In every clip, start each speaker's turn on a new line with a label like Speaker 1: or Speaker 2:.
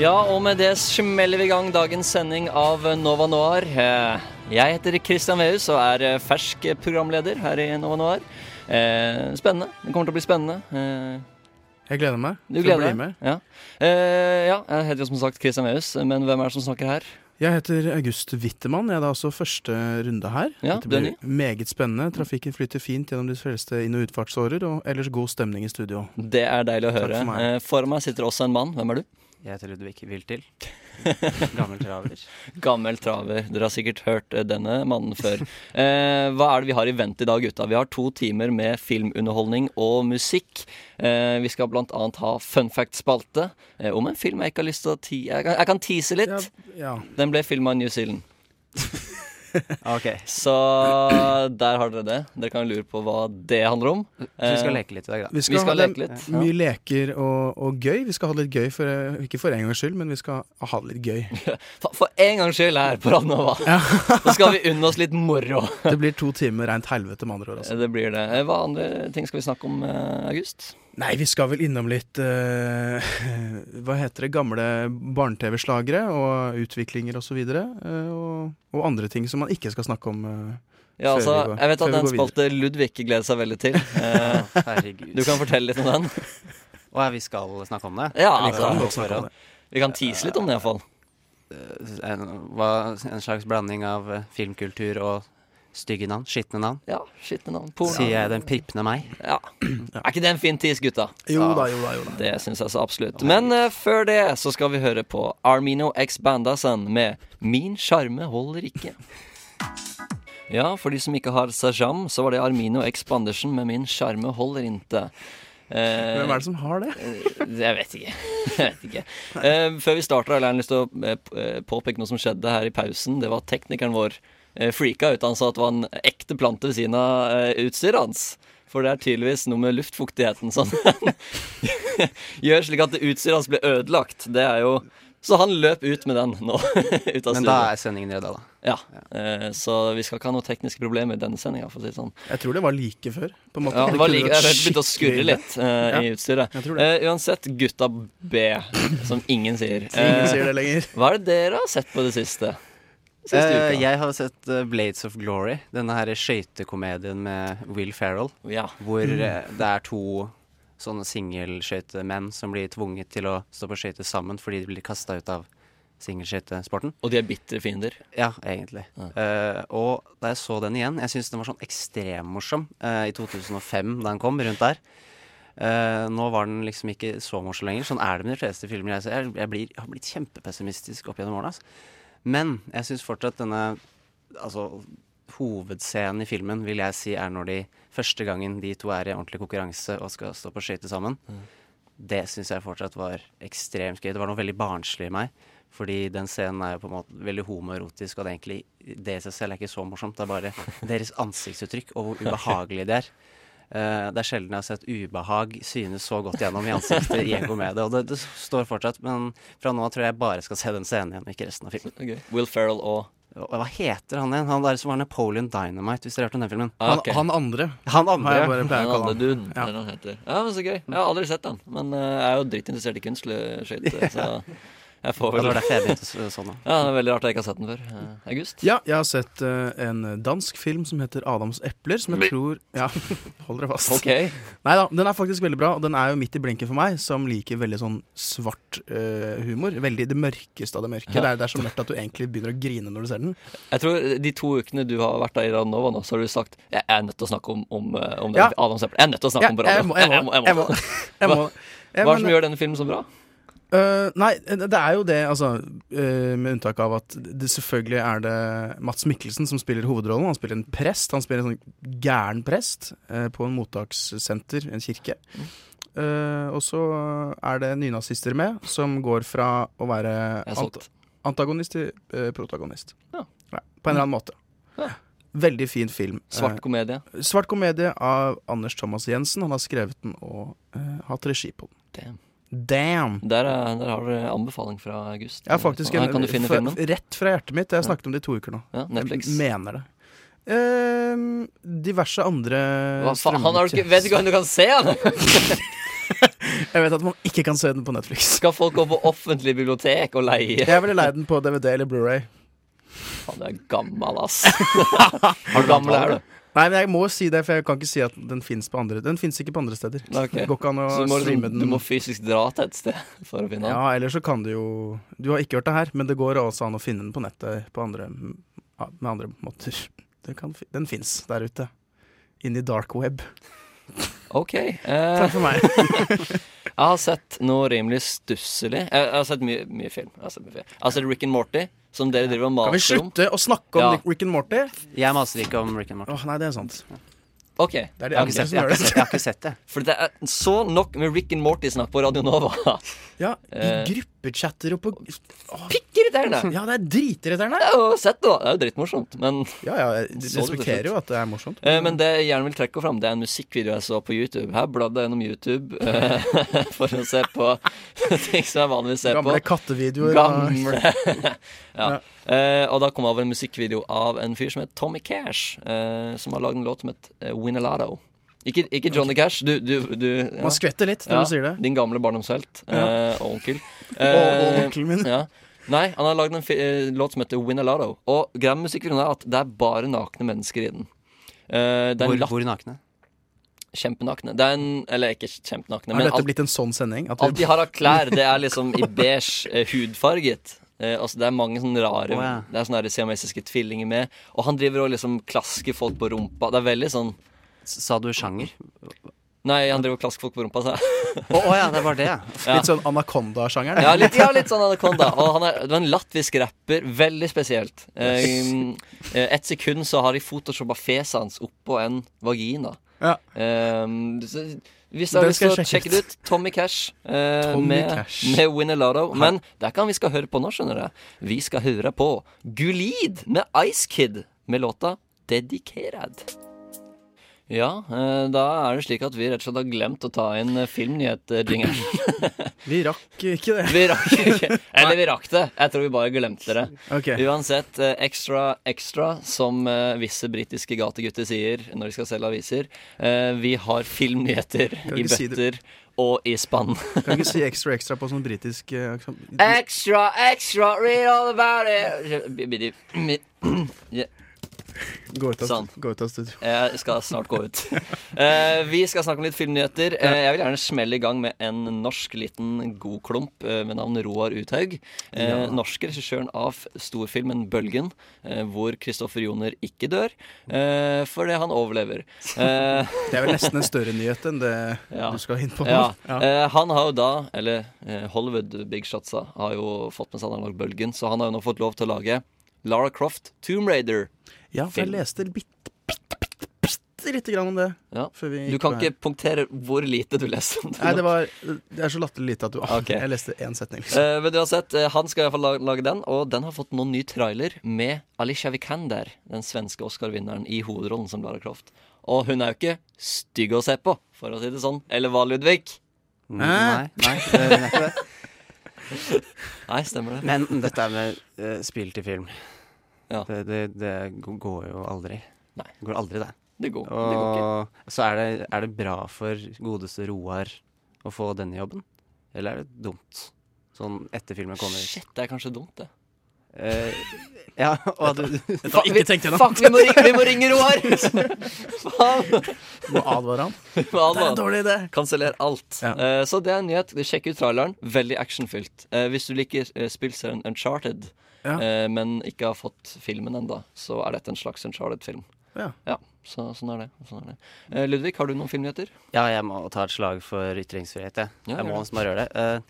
Speaker 1: Ja, og med det smeller vi i gang dagens sending av Nova Noir. Eh, Jeg heter Christian Veus og er eh, fersk programleder her i Nova Noir. Eh, Spennende. Det kommer til å bli spennende. Eh,
Speaker 2: Jeg gleder meg.
Speaker 1: Du
Speaker 2: til å
Speaker 1: gleder
Speaker 2: bli
Speaker 1: deg?
Speaker 2: med.
Speaker 1: Ja. Eh, ja, jeg heter jo som sagt Christian Veus, men hvem er det som snakker her?
Speaker 2: Jeg heter August Wittemann. Jeg er da også første runde her.
Speaker 1: Ja,
Speaker 2: Dette
Speaker 1: du er
Speaker 2: blir meget spennende. Trafikken flyter fint gjennom de fleste inn- og utfartsårer, og ellers god stemning i studio.
Speaker 1: Det er deilig å
Speaker 2: Takk
Speaker 1: høre.
Speaker 2: for meg.
Speaker 1: Eh, Foran meg sitter også en mann. Hvem er du?
Speaker 3: Jeg heter Ludvig Wiltil. Gammel traver.
Speaker 1: Gammel traver. Dere har sikkert hørt eh, denne mannen før. Eh, hva er det vi har i vent i dag, gutta? Vi har to timer med filmunderholdning og musikk. Eh, vi skal blant annet ha fun fact-spalte eh, om en film jeg ikke har lyst til å ti... Jeg kan, jeg kan tease litt.
Speaker 2: Ja, ja.
Speaker 1: Den ble filma i New Zealand.
Speaker 3: Ok,
Speaker 1: Så der har dere det. Dere kan lure på hva det handler om. Eh,
Speaker 3: så vi skal leke litt i dag, da.
Speaker 2: Vi
Speaker 1: Vi skal
Speaker 2: ha det
Speaker 1: leke litt.
Speaker 2: Mye leker og, og gøy. Vi skal ha det litt gøy, for, ikke for en gangs skyld, men vi skal ha det litt gøy.
Speaker 1: For, for en gangs skyld her på Radnova. Nå skal vi unne oss litt moro.
Speaker 2: Det blir to timer reint helvete, med andre ord. Altså.
Speaker 1: Det blir det. Eh, Hva andre ting skal vi snakke om, eh, August?
Speaker 2: Nei, vi skal vel innom litt eh, Hva heter det? Gamle barne-TV-slagere og utviklinger osv. Og, så videre, eh, og, og andre ting som man ikke skal snakke om. eh.
Speaker 1: Ja,
Speaker 2: Før
Speaker 1: altså,
Speaker 2: vi går-
Speaker 1: jeg vet
Speaker 2: før
Speaker 1: at den
Speaker 2: vi går videre.
Speaker 1: spalte Ludvig gleder seg veldig til. Eh,
Speaker 3: Å, Herregud.
Speaker 1: Du kan fortelle litt om den.
Speaker 3: Å, ja, vi skal snakke om det?
Speaker 1: Ja,
Speaker 3: Eller
Speaker 1: altså.
Speaker 3: kan vi
Speaker 2: Godt snakke om
Speaker 3: forhånd?
Speaker 2: det.
Speaker 1: Vi kan tease litt om det, iallfall.
Speaker 3: Eh, En, hva, en slags blanding av eh, filmkultur og stygge navn. Skitne navn.
Speaker 1: Ja, skitne navn. Porno.
Speaker 3: Sier jeg den pripne meg.
Speaker 1: Ja. Er ikke det en fin tease, gutta?
Speaker 2: Jo da, jo da, jo da.
Speaker 1: Det syns jeg så absolutt. Men eh, før det så skal vi høre på Armino X Bandasen med 'Min sjarme holder ikke'. Ja, for de som ikke har Sajam, så var det Armino X Bandersen med 'Min sjarme holder inte'. Eh,
Speaker 2: Hvem er det som har det?
Speaker 1: Jeg vet ikke. Jeg vet ikke. Eh, før vi starter, har jeg lyst til å eh, p- eh, påpeke noe som skjedde her i pausen. Det var teknikeren vår eh, freaka ut. Han sa at det var en ekte plante ved siden av eh, utstyret hans. For det er tydeligvis noe med luftfuktigheten som gjør slik at utstyret hans ble ødelagt. Det er jo Så han løp ut med den nå. ut av
Speaker 3: Men da
Speaker 1: studioet.
Speaker 3: er sendingen redda, da.
Speaker 1: Ja. Eh, så vi skal ikke ha noe tekniske problemer i denne sendinga, for å si det sånn.
Speaker 2: Jeg tror det var like før. På en måte.
Speaker 1: Ja, det var
Speaker 2: kunne
Speaker 1: like,
Speaker 2: vært
Speaker 1: jeg rett begynte å skurre
Speaker 2: skikkelig-
Speaker 1: litt eh, i utstyret.
Speaker 2: jeg tror
Speaker 1: Eh, uansett, gutta B, som ingen sier.
Speaker 2: Ingen
Speaker 1: Eh,
Speaker 2: sier det lenger.
Speaker 1: hva er det dere har sett på det siste? Siste
Speaker 3: Eh,
Speaker 1: uka.
Speaker 3: jeg har sett eh, Blades of Glory, denne her skøytekomedien med Will Ferrell.
Speaker 1: Ja.
Speaker 3: Hvor eh, det er to sånne singelskøytemenn som blir tvunget til å stå på skøyter sammen fordi de blir kasta ut av singelskøytesporten.
Speaker 1: Og de er bitre fiender.
Speaker 3: Ja, egentlig. Eh, og da jeg så den igjen Jeg syns den var sånn ekstremmorsom uh, i 2005, da den kom, rundt der. Eh, nå var den liksom ikke så morsom lenger. Sånn er det med de fleste filmer jeg ser. Jeg, jeg, blir, jeg har blitt kjempepessimistisk opp gjennom årene. Altså. Men jeg syns fortsatt denne Altså, hovedscenen i filmen vil jeg si er når de første gangen de to er i ordentlig konkurranse og skal stå på skøyter sammen. Det syns jeg fortsatt var ekstremt gøy. Det var noe veldig barnslig i meg. Fordi den scenen er jo på en måte veldig homoerotisk, og det er egentlig det i seg selv er ikke så morsomt. Det er bare deres ansiktsuttrykk og hvor ubehagelig det er. Eh, det er sjelden jeg har sett ubehag synes så godt gjennom i ansiktet i en komedie. Og det, det står fortsatt, men fra nå av tror jeg jeg bare skal se den scenen igjen, og ikke resten av filmen.
Speaker 1: Okay. Will Ferrell og
Speaker 3: Og Hva heter han igjen? Han der som var Napoleon Dynamite, hvis dere har hørt om den filmen?
Speaker 1: Ah,
Speaker 2: Han,
Speaker 1: ok.
Speaker 2: han andre
Speaker 3: Han
Speaker 2: har jeg bare
Speaker 3: andre.
Speaker 2: pleier
Speaker 1: Den
Speaker 2: å kalle
Speaker 1: andre
Speaker 2: han.
Speaker 1: duden,
Speaker 2: Ja.
Speaker 1: er det han heter. Ja, men Så gøy. Jeg har aldri sett den. Men eh, jeg er jo drittinteressert i kunstskøyter, så jeg får
Speaker 3: Det
Speaker 1: vel
Speaker 3: var derfor jeg begynte så- sånn. da.
Speaker 1: Ja, det er Veldig rart at jeg ikke har sett den før. Eh, August?
Speaker 2: Ja, jeg har sett eh, en dansk film som heter 'Adams epler', som jeg tror Ja, hold dere fast.
Speaker 1: OK.
Speaker 2: Nei da, den er faktisk veldig bra, og den er jo midt i blinken for meg, som liker veldig sånn svart eh, humor. Veldig det mørkeste av det mørke. Det, er, det er så mørkt at du egentlig begynner å grine når du ser den.
Speaker 1: Jeg tror de to ukene du har vært der i Radnova nå, så har du sagt Jeg er nødt til å snakke om, om, eh, om den
Speaker 2: Ja.
Speaker 1: Adams eple. Jeg er nødt til å snakke om på radio.
Speaker 2: jeg må, jeg må, jeg må, jeg må.
Speaker 1: Hva er det
Speaker 2: Men,
Speaker 1: som gjør denne filmen så bra?
Speaker 2: Eh, nei, det er jo det, altså. eh, med unntak av at det, selvfølgelig er det Mats Mikkelsen som spiller hovedrollen. Han spiller en prest. Han spiller en sånn gæren prest eh, på en mottakssenter, en kirke.
Speaker 1: Mm.
Speaker 2: Eh, og så er det nynazister med, som går fra å være
Speaker 1: Jeg er
Speaker 2: ant
Speaker 1: solgt.
Speaker 2: antagonist til eh, protagonist.
Speaker 1: Ja.
Speaker 2: på en eller annen måte.
Speaker 1: Ja.
Speaker 2: Veldig fin film.
Speaker 1: Svart komedie.
Speaker 2: Eh, svart komedie av Anders Thomas Jensen. Han har skrevet den og eh, hatt regi på den.
Speaker 1: Damn.
Speaker 2: Damn!
Speaker 1: Der, er, der har dere anbefaling fra August.
Speaker 2: Jeg har faktisk en,
Speaker 1: Her kan du finne
Speaker 2: fra-
Speaker 1: filmen.
Speaker 2: rett fra hjertet mitt. Jeg har snakket om det i to uker nå.
Speaker 1: Ja, Netflix.
Speaker 2: Jeg mener det. Ehm, diverse andre
Speaker 1: Hva faen, han har du ikke, vet ikke
Speaker 2: strømmetjenester.
Speaker 1: hvem du kan se han
Speaker 2: Jeg vet at man ikke kan se den på Netflix.
Speaker 1: Skal folk gå på offentlig bibliotek og leie?
Speaker 2: Jeg ville leid den på DVD eller Blu-ray
Speaker 1: Faen, du er gammel, ass. Hvor gammel er du?
Speaker 2: Nei, men jeg må si det, for jeg kan ikke si at den fins på andre Den finnes ikke på andre steder.
Speaker 1: Nei, ok.
Speaker 2: Det går ikke an
Speaker 1: Så
Speaker 2: å
Speaker 1: du må,
Speaker 2: streame
Speaker 1: liksom,
Speaker 2: den.
Speaker 1: du må fysisk dra til et sted for å finne den?
Speaker 2: Ja, eller så kan du jo Du har ikke hørt det her, men det går også an å finne den på nettet på andre, ja, med andre måter. Den, kan fi- den fins der ute. In the dark web.
Speaker 1: Ok. Eh,
Speaker 2: Takk for meg.
Speaker 1: jeg har sett noe rimelig stusselig. Eh, Jeg, jeg har sett mye, mye film. Jeg har sett, mye film. Jeg har sett Rick and Morty, som dere driver og
Speaker 2: Kan vi
Speaker 1: maser om.
Speaker 2: slutte å snakke om
Speaker 1: Ja.
Speaker 2: Rick and Morty?
Speaker 3: Jeg maser ikke om Rick and Morty.
Speaker 2: Åh, Nei, det er sant.
Speaker 1: Ok,
Speaker 2: Det er
Speaker 3: Jeg har ikke sett, jeg har ikke sett, jeg har ikke sett det.
Speaker 1: For det er så nok med Rick and Morty-snakk på Radio Nova.
Speaker 2: Ja, I
Speaker 1: Eh.
Speaker 2: gruppechatter og på Åh,
Speaker 1: Pikkeriterende!
Speaker 2: Ja, det er dritirriterende!
Speaker 1: Jeg har jo sett det, da. Det er jo drittmorsomt. Men,
Speaker 2: Ja, ja,
Speaker 1: Så
Speaker 2: jeg
Speaker 1: du til
Speaker 2: respekterer jo at det er morsomt.
Speaker 1: eh, men det jeg gjerne vil trekke fram, det er en musikkvideo jeg så på YouTube. Her bladde jeg gjennom YouTube eh, for å se på ting som jeg vanligvis ser
Speaker 2: Gamle
Speaker 1: på.
Speaker 2: kattevideoer. og-
Speaker 1: Gamle ja. Eh, og da kom jeg over en musikkvideo av en fyr som het Tommy Cash, eh, som har lagd en låt som het eh, Winalado. Ikke, ikke Johnny Cash. Du, du, du ja.
Speaker 2: Man skvetter litt når
Speaker 1: Ja,
Speaker 2: du sier det.
Speaker 1: Din gamle barndomshelt eh, og onkel.
Speaker 2: og
Speaker 1: Eh,
Speaker 2: onkelen min.
Speaker 1: Ja. Nei, han har lagd en fi eh, låt som heter Winalado. Og greia med musikkvideoen er at det er bare nakne mennesker i den. Eh, det er
Speaker 3: Hvor,
Speaker 1: lapp,
Speaker 3: hvor nakne?
Speaker 1: kjempenakne. Det er en, eller ikke kjempenakne,
Speaker 2: Er
Speaker 1: men
Speaker 2: dette
Speaker 1: alt,
Speaker 2: blitt en sånn sending? At
Speaker 1: alt
Speaker 2: vi,
Speaker 1: de har av klær, det er liksom i beige, eh, hudfarget. Eh, altså Det er mange sånne rare
Speaker 3: Å, ja.
Speaker 1: Det er sånne her siamesiske tvillinger med. Og han driver og liksom klasker folk på rumpa. Det er veldig sånn
Speaker 3: S- Sa du sjanger?
Speaker 1: Nei, han driver og klasker folk på rumpa. Så.
Speaker 3: Å å ja, det var det, ja.
Speaker 2: litt sånn Anaconda-sjangeren?
Speaker 1: Ja, litt, ja, litt sånn Anaconda. Og han er, det var en latvisk rapper. Veldig spesielt. Um, et sekund så har de photoshoppa fjeset hans oppå en vagina.
Speaker 2: Ja.
Speaker 1: Ehm, så, hvis dere har
Speaker 2: Den
Speaker 1: lyst
Speaker 2: skal
Speaker 1: til å
Speaker 2: jeg sjekke
Speaker 1: sjekke det ut, Tommy Cash eh,
Speaker 2: Tommy
Speaker 1: med,
Speaker 2: Cash.
Speaker 1: med Winelado. Men det kan vi skal høre på nå, skjønner jeg. Vi skal høre på Gulid med Ice Kid med låta Dedicated. Ja, eh, da er det slik at vi rett og slett har glemt å ta inn eh, filmnyhet-jingeren.
Speaker 2: Vi rakk ikke det.
Speaker 1: Vi rakk ikke. Eller vi rakk det. Jeg tror vi bare glemte det.
Speaker 2: Ok.
Speaker 1: Uansett, eh, extra extra, som eh, visse britiske gategutter sier når de skal selge aviser. Eh, vi har filmnyheter i
Speaker 2: ikke si
Speaker 1: bøtter
Speaker 2: det.
Speaker 1: og i spann.
Speaker 2: Kan ikke si ekstra ekstra på sånn britisk eh, aksent.
Speaker 1: Extra, extra, read all about it!
Speaker 2: Gå ut av,
Speaker 1: Sånn.
Speaker 2: gå ut av studio.
Speaker 1: Jeg skal snart gå ut. Eh, vi skal snakke om litt filmnyheter. Eh, jeg vil gjerne smelle i gang med en norsk liten god klump eh, med navn Roar Uthaug. Eh, Norske regissøren av storfilmen 'Bølgen', eh, hvor Kristoffer Joner ikke dør, eh, fordi han overlever. Eh,
Speaker 2: Det er vel nesten en større nyhet enn det
Speaker 1: Ja.
Speaker 2: du skal inn på. nå.
Speaker 1: ja.
Speaker 2: Ja.
Speaker 1: Eh, han har jo da, eller eh, Hollywood Big Shotsa har jo fått med seg at han har lagd 'Bølgen', så han har jo nå fått lov til å lage Lara Croft, Tomb Raider.
Speaker 2: Ja, for jeg
Speaker 1: Film.
Speaker 2: leste bitte, bitte, bitte lite grann om det.
Speaker 1: Ja.
Speaker 2: Før vi
Speaker 1: Du
Speaker 2: gikk
Speaker 1: kan
Speaker 2: på
Speaker 1: ikke punktere hvor lite du leser om det.
Speaker 2: Nei,
Speaker 1: nå.
Speaker 2: det var Det er så latterlig lite at du
Speaker 1: Ok.
Speaker 2: Jeg leste én setning, liksom.
Speaker 1: Eh, men uansett, eh, han skal i hvert fall lage, lage den, og den har fått noen ny trailer med Alicia Vikander, den svenske Oscar-vinneren, i hovedrollen som Lara Croft. Og hun er jo ikke stygg å se på, for å si det sånn. Eller hva, Ludvig?
Speaker 3: Mm, Nei, nei, det er ikke det.
Speaker 1: Nei, stemmer det.
Speaker 3: Men dette med eh, spill til film,
Speaker 1: Ja.
Speaker 3: det, det, det g- går jo aldri.
Speaker 1: Nei.
Speaker 3: Det går aldri, det.
Speaker 1: Det går, det går ikke.
Speaker 3: Og så er det, er det bra for godeste Roar å få denne jobben, eller er det dumt? Sånn etter filmen kommer
Speaker 1: Shit, det er kanskje dumt, det.
Speaker 3: Eh, ja, og du,
Speaker 1: Fuck, vi, fuck, vi må ringe, vi må ringe Roar! Faen! altså.
Speaker 2: Må advare han.
Speaker 1: Hva
Speaker 2: Det er
Speaker 1: da?
Speaker 2: en dårlig idé.
Speaker 1: Kanseller alt.
Speaker 2: Ja.
Speaker 1: Eh, så det er en nyhet. Sjekk ut traileren. Veldig actionfylt. Eh, hvis du liker uh, spillserien Uncharted,
Speaker 2: Ja.
Speaker 1: eh, men ikke har fått filmen ennå, så er dette en slags Uncharted-film.
Speaker 2: Ja.
Speaker 1: så, sånn er det. Sånn er det. Eh, Ludvig, har du noen filmnyheter?
Speaker 3: Ja, jeg må ta et slag for ytringsfrihet, jeg.
Speaker 1: Ja,
Speaker 3: jeg
Speaker 1: gjør
Speaker 3: må
Speaker 1: det.
Speaker 3: som bare gjøre det. Eh,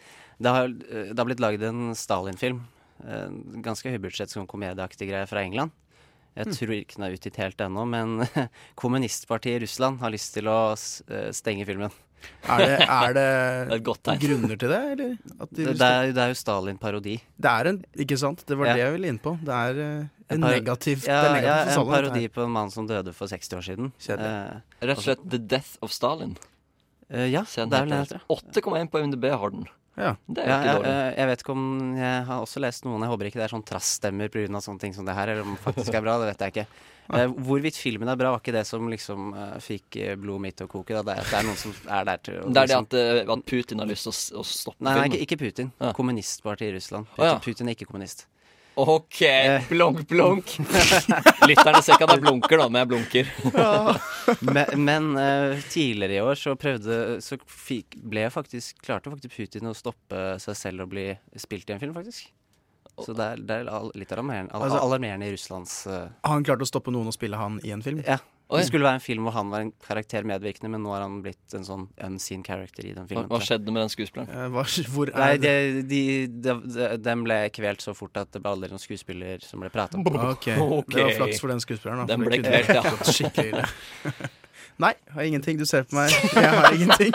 Speaker 3: Det har, eh, det har blitt lagd en Stalin-film. En ganske høybudsjett sånn komedieaktig greie fra England.
Speaker 1: Mm.
Speaker 3: Jeg tror ikke den er utgitt helt ennå, men kommunistpartiet i Russland har lyst til å s- eh, stenge filmen.
Speaker 2: Er det, er det,
Speaker 1: Det er et godt tegn.
Speaker 2: grunner til det, eller? At de,
Speaker 3: Det, det, er, det er jo Stalin-parodi.
Speaker 2: det er en Ikke sant? Det var
Speaker 3: Ja.
Speaker 2: det jeg ville inn på. Det er eh, en
Speaker 3: par-
Speaker 2: negativ det er
Speaker 3: Ja, ja,
Speaker 2: negativt for Stalin,
Speaker 3: en
Speaker 2: dette her.
Speaker 3: parodi på en mann som døde for 60 år siden.
Speaker 2: Kjedelig.
Speaker 1: Rett og slett The Death of Stalin.
Speaker 3: Eh, eh, ja,
Speaker 1: Se
Speaker 3: Altså, det er
Speaker 1: den
Speaker 3: vel det,
Speaker 1: heter.
Speaker 3: tror jeg.
Speaker 1: 8,1 på MDB har den.
Speaker 2: Ja.
Speaker 1: Det er jo
Speaker 3: Ja, eh,
Speaker 1: ikke
Speaker 3: jeg,
Speaker 1: dårlig.
Speaker 3: jeg vet ikke om Jeg har også lest noen, jeg håper ikke det er sånn trasstemmer pga. sånne ting som det her, eller om det faktisk er bra, det vet jeg ikke. Eh, Hvorvidt filmen er bra, var ikke det som liksom eh, fikk eh, blodet mitt til å koke. Da. Det, er, det er noen som er der til
Speaker 1: Det
Speaker 3: å
Speaker 1: er det
Speaker 3: liksom-
Speaker 1: at, eh, at Putin har lyst til å, s- å stoppe
Speaker 3: Nei, nei ikke,
Speaker 1: filmen.
Speaker 3: ikke Putin.
Speaker 1: Ja.
Speaker 3: Kommunistpartiet i Russland. Putin,
Speaker 1: ja.
Speaker 3: Putin er ikke kommunist.
Speaker 1: OK,
Speaker 3: Eh.
Speaker 1: blunk, blunk. Lytterne ser ikke at jeg blunker, da, men jeg blunker.
Speaker 3: Men, men eh, tidligere i år så prøvde Så fikk, ble faktisk Klarte faktisk Putin å stoppe seg selv og bli spilt i en film, faktisk. Så det er, det er al- litt alarmerende, al-
Speaker 2: Altså-
Speaker 3: alarmerende i Russlands eh,
Speaker 2: Han klarte å stoppe noen å spille han i en film.
Speaker 3: Ja.
Speaker 1: Oi.
Speaker 3: Det skulle være en film hvor han var en karakter medvirkende, men nå har han blitt en sånn unseen character i den
Speaker 1: Hva,
Speaker 3: filmen.
Speaker 1: hva skjedde med den skuespilleren?
Speaker 2: Eh, Hva, hvor
Speaker 3: Nei,
Speaker 2: er
Speaker 3: de,
Speaker 2: det?
Speaker 3: de, de, de, den ble kvelt så fort at det ble aldri noen skuespiller som ble prata om.
Speaker 2: Ok,
Speaker 1: Ok.
Speaker 2: Det var flaks for den skuespilleren. Da,
Speaker 1: Den
Speaker 2: for
Speaker 1: ble
Speaker 2: det kunne
Speaker 1: kvelt, ja.
Speaker 2: gått Skikkelig ille. Nei, jeg har ingenting. Du ser på meg. Jeg har ingenting.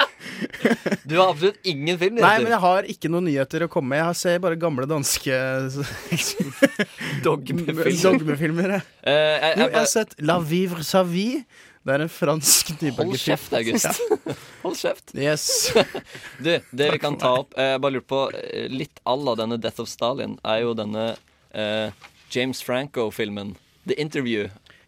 Speaker 1: Du har absolutt ingen film.
Speaker 2: Nei, men jeg har ikke noen nyheter å komme med. Jeg ser bare gamle danske
Speaker 1: Dogmefilm.
Speaker 2: dogmefilmer. jeg.
Speaker 1: Eh, jeg,
Speaker 2: Jo, altså,
Speaker 1: jeg,
Speaker 2: jeg har sett La Vivre sa vie. Det er en fransk
Speaker 1: hold
Speaker 2: nyborgerfilm.
Speaker 1: kjeft, August. Hold kjeft.
Speaker 2: Yes.
Speaker 1: Du, det vi kan ta opp eh, Jeg bare lurer på eh, Litt all av denne Death of Stalin er jo denne eh, James Franco-filmen The Interview,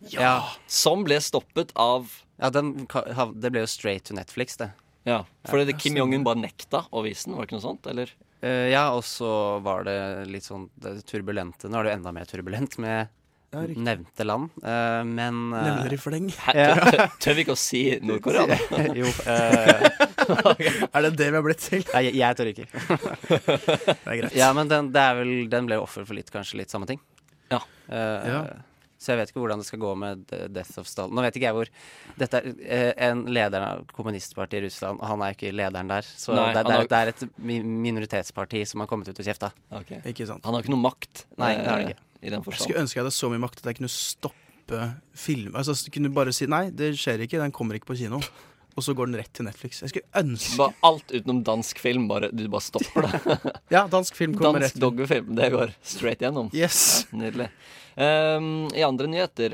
Speaker 3: Ja.
Speaker 1: som ble stoppet av
Speaker 3: ja, den ka- hav- Det ble jo straight to Netflix, det.
Speaker 1: Ja, fordi det- Kim Jong-un bare nekta å vise den, var det ikke noe sånt? Eller?
Speaker 3: Eh, ja, og så var det litt sånn det turbulente. Nå er det jo enda mer turbulent med nevnte land, eh, men eh,
Speaker 2: Nevner i fleng.
Speaker 1: Hæ, tør- tør- Tør vi ikke å si Nord-Korea? da?
Speaker 3: Jo. eh,
Speaker 2: Er det det vi har blitt til?
Speaker 3: nei, jeg, jeg tør ikke.
Speaker 2: Det er greit.
Speaker 3: Ja, men den, det er vel, den ble jo offer for litt, kanskje litt samme ting.
Speaker 1: Ja.
Speaker 3: Eh,
Speaker 2: Ja.
Speaker 3: Så jeg vet ikke hvordan det skal gå med The Death of Stalin. Nå vet ikke jeg hvor Dette er eh, en leder av kommunistpartiet i Russland, og han er jo ikke lederen der. Så
Speaker 1: Nei,
Speaker 3: det, det,
Speaker 1: han
Speaker 3: er, det er et mi- minoritetsparti som har kommet ut og kjefta.
Speaker 1: Ok.
Speaker 2: Ikke sant.
Speaker 1: Han har ikke noe makt
Speaker 3: Nei, det har han
Speaker 1: eh,
Speaker 3: ikke.
Speaker 1: i den
Speaker 2: Jeg
Speaker 1: forstand.
Speaker 2: skulle ønske jeg hadde så mye makt at jeg kunne stoppe film Altså jeg kunne bare si nei, det skjer ikke, den kommer ikke på kino. Og så går den rett til Netflix. Jeg skulle ønske
Speaker 1: Bare alt utenom dansk film, bare, du bare stopper det.
Speaker 2: Ja, dansk film kommer
Speaker 1: Dansk
Speaker 2: rett.
Speaker 1: dogmefilm, det går straight gjennom.
Speaker 2: Yes.
Speaker 1: Nydelig. Ehm, I andre nyheter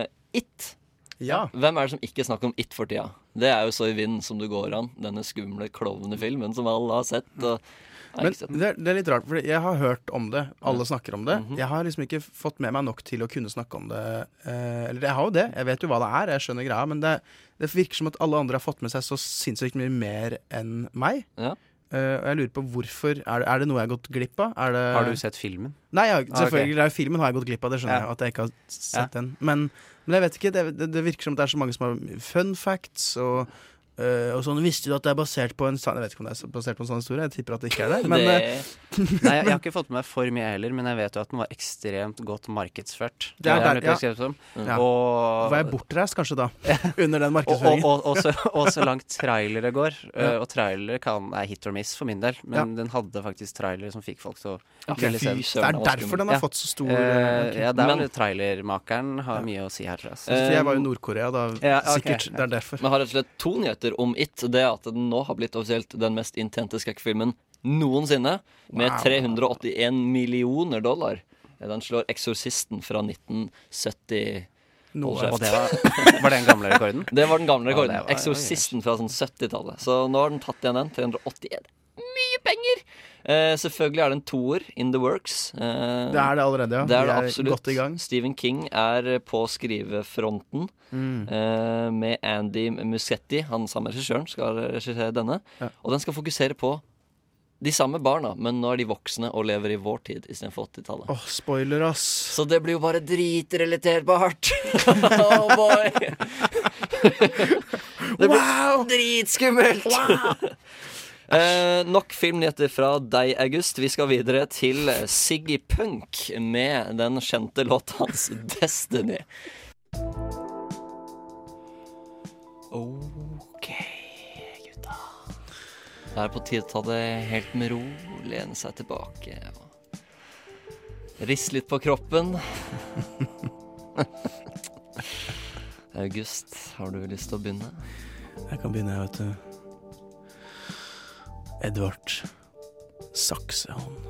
Speaker 1: eh, It.
Speaker 2: Ja.
Speaker 1: Hvem er det som ikke snakker om It for tida? Det er jo så i vinden som det går an. Denne skumle klovnefilmen som alle har sett. Og... Nei,
Speaker 2: Men
Speaker 1: ikke sett.
Speaker 2: det, er- det er litt rart, for jeg har hørt om det. Alle snakker om det.
Speaker 3: Mhm.
Speaker 2: Jeg har liksom ikke fått med meg nok til å kunne snakke om det. Eh, eller jeg har jo det, jeg vet jo hva det er, jeg skjønner greia, men det, det virker som at alle andre har fått med seg så sinnssykt mye mer enn meg.
Speaker 1: Ja.
Speaker 2: Eh, og jeg lurer på hvorfor. Er det, er det noe jeg har gått glipp av? Er det,
Speaker 3: Har du sett filmen?
Speaker 2: Nei, jeg,
Speaker 3: Ah, ok.
Speaker 2: selvfølgelig. det er jo Filmen har jeg gått glipp av, det skjønner
Speaker 3: Ja.
Speaker 2: jeg. At jeg ikke har sett den men, men jeg vet ikke. Det, det, det virker som det er så mange som har fun facts og øh, og sånn, Visste du at det er basert på en sann Jeg vet ikke om det er basert på en sann historie. Jeg tipper at det ikke er det. Men
Speaker 1: det,
Speaker 2: øh,
Speaker 3: Nei, jeg, jeg har ikke fått med meg for mye heller, men jeg vet jo at den var ekstremt godt markedsført.
Speaker 2: Det er der,
Speaker 3: litt
Speaker 2: ja.
Speaker 3: beskrevet som.
Speaker 2: Ja.
Speaker 3: Og,
Speaker 2: var jeg bortreist kanskje da? Under den
Speaker 3: og, og,
Speaker 2: markedsføringen.
Speaker 3: og, og, så, og så langt trailere går. eh, Og trailere kan, er hit or miss for min del, men den hadde faktisk trailere som fikk folk til å ville
Speaker 1: fy
Speaker 3: se den.
Speaker 2: det
Speaker 1: søren,
Speaker 2: er
Speaker 1: det var
Speaker 2: derfor
Speaker 1: skummelt.
Speaker 2: den har
Speaker 3: Ja.
Speaker 2: fått så stor
Speaker 3: Eh,
Speaker 2: øh,
Speaker 3: ja, der
Speaker 1: Men-
Speaker 3: var det trailermakeren har mye å si her, tror jeg. altså.
Speaker 1: Eh,
Speaker 2: For jeg var jo i Nord-Korea da,
Speaker 3: ja, ok.
Speaker 2: sikkert. Det er derfor.
Speaker 1: Vi Ehm, har rett og slett to nyheter om It. Det er at den nå har blitt offisielt den mest intente skrekkfilmen noensinne. Med 381 millioner dollar. Den slår 'Eksorsisten' fra 1970.
Speaker 2: Noe
Speaker 1: Hold
Speaker 3: Og det var, var det den gamle rekorden?
Speaker 1: Det var den gamle rekorden.
Speaker 3: det var-
Speaker 1: Eksorsisten fra sånn 70-tallet. Så nå har den tatt igjen den. 381. Mye penger! Eh, selvfølgelig er det en toer in the works. Eh,
Speaker 2: Det er det allerede, ja.
Speaker 1: det er det
Speaker 2: Vi er
Speaker 1: absolutt.
Speaker 2: Godt i gang.
Speaker 1: Stephen King er eh, på skrivefronten
Speaker 2: Mm.
Speaker 1: eh, med Andy Muschetti. Han samme regissøren skal regissere denne. Og den skal fokusere på de samme barna, men nå er de voksne og lever i vår tid istedenfor 80-tallet.
Speaker 2: Åh, spoiler, ass.
Speaker 1: Så det blir jo bare dritrelaterbart. oh boy! det blir dritskummelt. Eh, nok filmnyheter fra deg, August. Vi skal videre til Siggy Punk med den kjente låta hans 'Destiny'. OK, gutta. Det er på tide å ta det helt med ro, lene seg tilbake og riste litt på kroppen. August, har du lyst til å begynne?
Speaker 2: Jeg kan begynne, jeg, vet du. Edvard Saksehånd.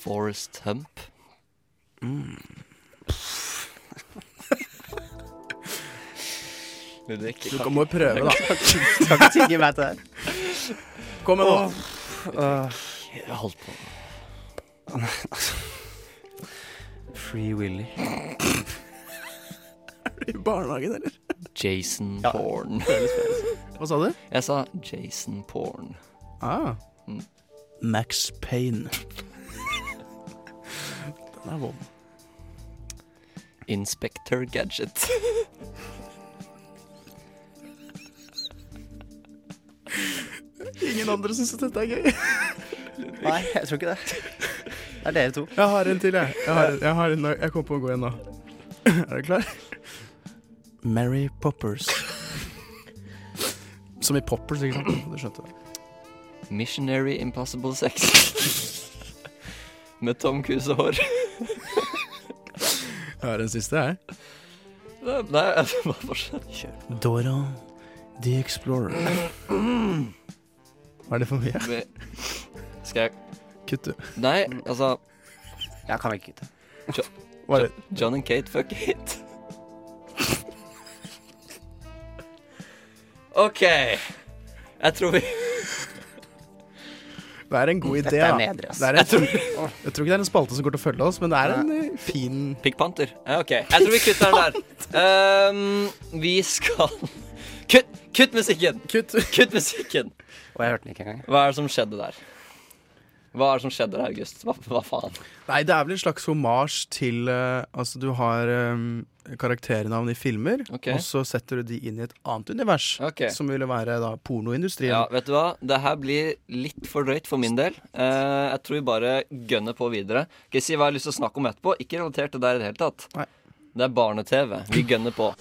Speaker 1: Forest Hump. Ludvig.
Speaker 2: Du kan- må jo prøve, da.
Speaker 3: Skal ikke tigge meg til det
Speaker 2: Kom med nå.
Speaker 1: Holdt på.
Speaker 3: her. Free Willy.
Speaker 2: I barnehagen, eller?
Speaker 1: Jason Porn.
Speaker 2: Hva sa du?
Speaker 1: Jeg sa Jason Porn.
Speaker 2: Ah. Max Payne. Den er vond.
Speaker 1: Inspector Gadget.
Speaker 2: Ingen andre syns at dette er gøy.
Speaker 3: Nei, jeg tror ikke det. Det er dere to.
Speaker 2: Jeg har en til, jeg. Jeg, har, en- jeg, har en, jeg kom på å gå igjen nå. Er dere klar? Mary Poppers. Som i Poppers, ikke sant? Du skjønte det.
Speaker 1: Missionary Impossible Sex. Med Tom Cruise og hår.
Speaker 2: Jeg har en siste, jeg.
Speaker 1: Nei, nei, altså, bare fortsett.
Speaker 2: Dora the Explorer. Var det for mye?
Speaker 1: Skal jeg
Speaker 2: Kutt, du.
Speaker 1: Nei, altså
Speaker 3: Jeg kan ikke kutte.
Speaker 2: Var det
Speaker 1: John and Kate fuck it. OK. Jeg tror vi
Speaker 2: Det er en god idé.
Speaker 3: Dette er
Speaker 2: da.
Speaker 3: nedre, ass.
Speaker 2: Det er en, jeg, tror, jeg tror ikke det er en spalte som går til å følge oss, men det er en eh, fin
Speaker 1: Pick Panther. Ja, OK. Jeg tror vi kutter den der. Um, vi skal Kutt, kutt musikken! Kutt. musikken.
Speaker 3: Og jeg hørte den ikke engang.
Speaker 1: Hva er det som skjedde der? Hva er det som skjedde der, August? Hva, hva faen?
Speaker 2: Nei, det er vel en slags hommage til eh, Altså, du har eh, karakternavn i filmer,
Speaker 1: Ok.
Speaker 2: og så setter du de inn i et annet univers,
Speaker 1: Ok.
Speaker 2: som ville være da pornoindustrien.
Speaker 1: Ja, vet du hva? Det her blir litt for drøyt for min del. Eh, jeg tror vi bare gønner på videre. Skal jeg si hva jeg har lyst til å snakke om etterpå? Ikke relatert til det der i det hele tatt.
Speaker 2: Nei.
Speaker 1: Det er barne-TV. Vi gønner på.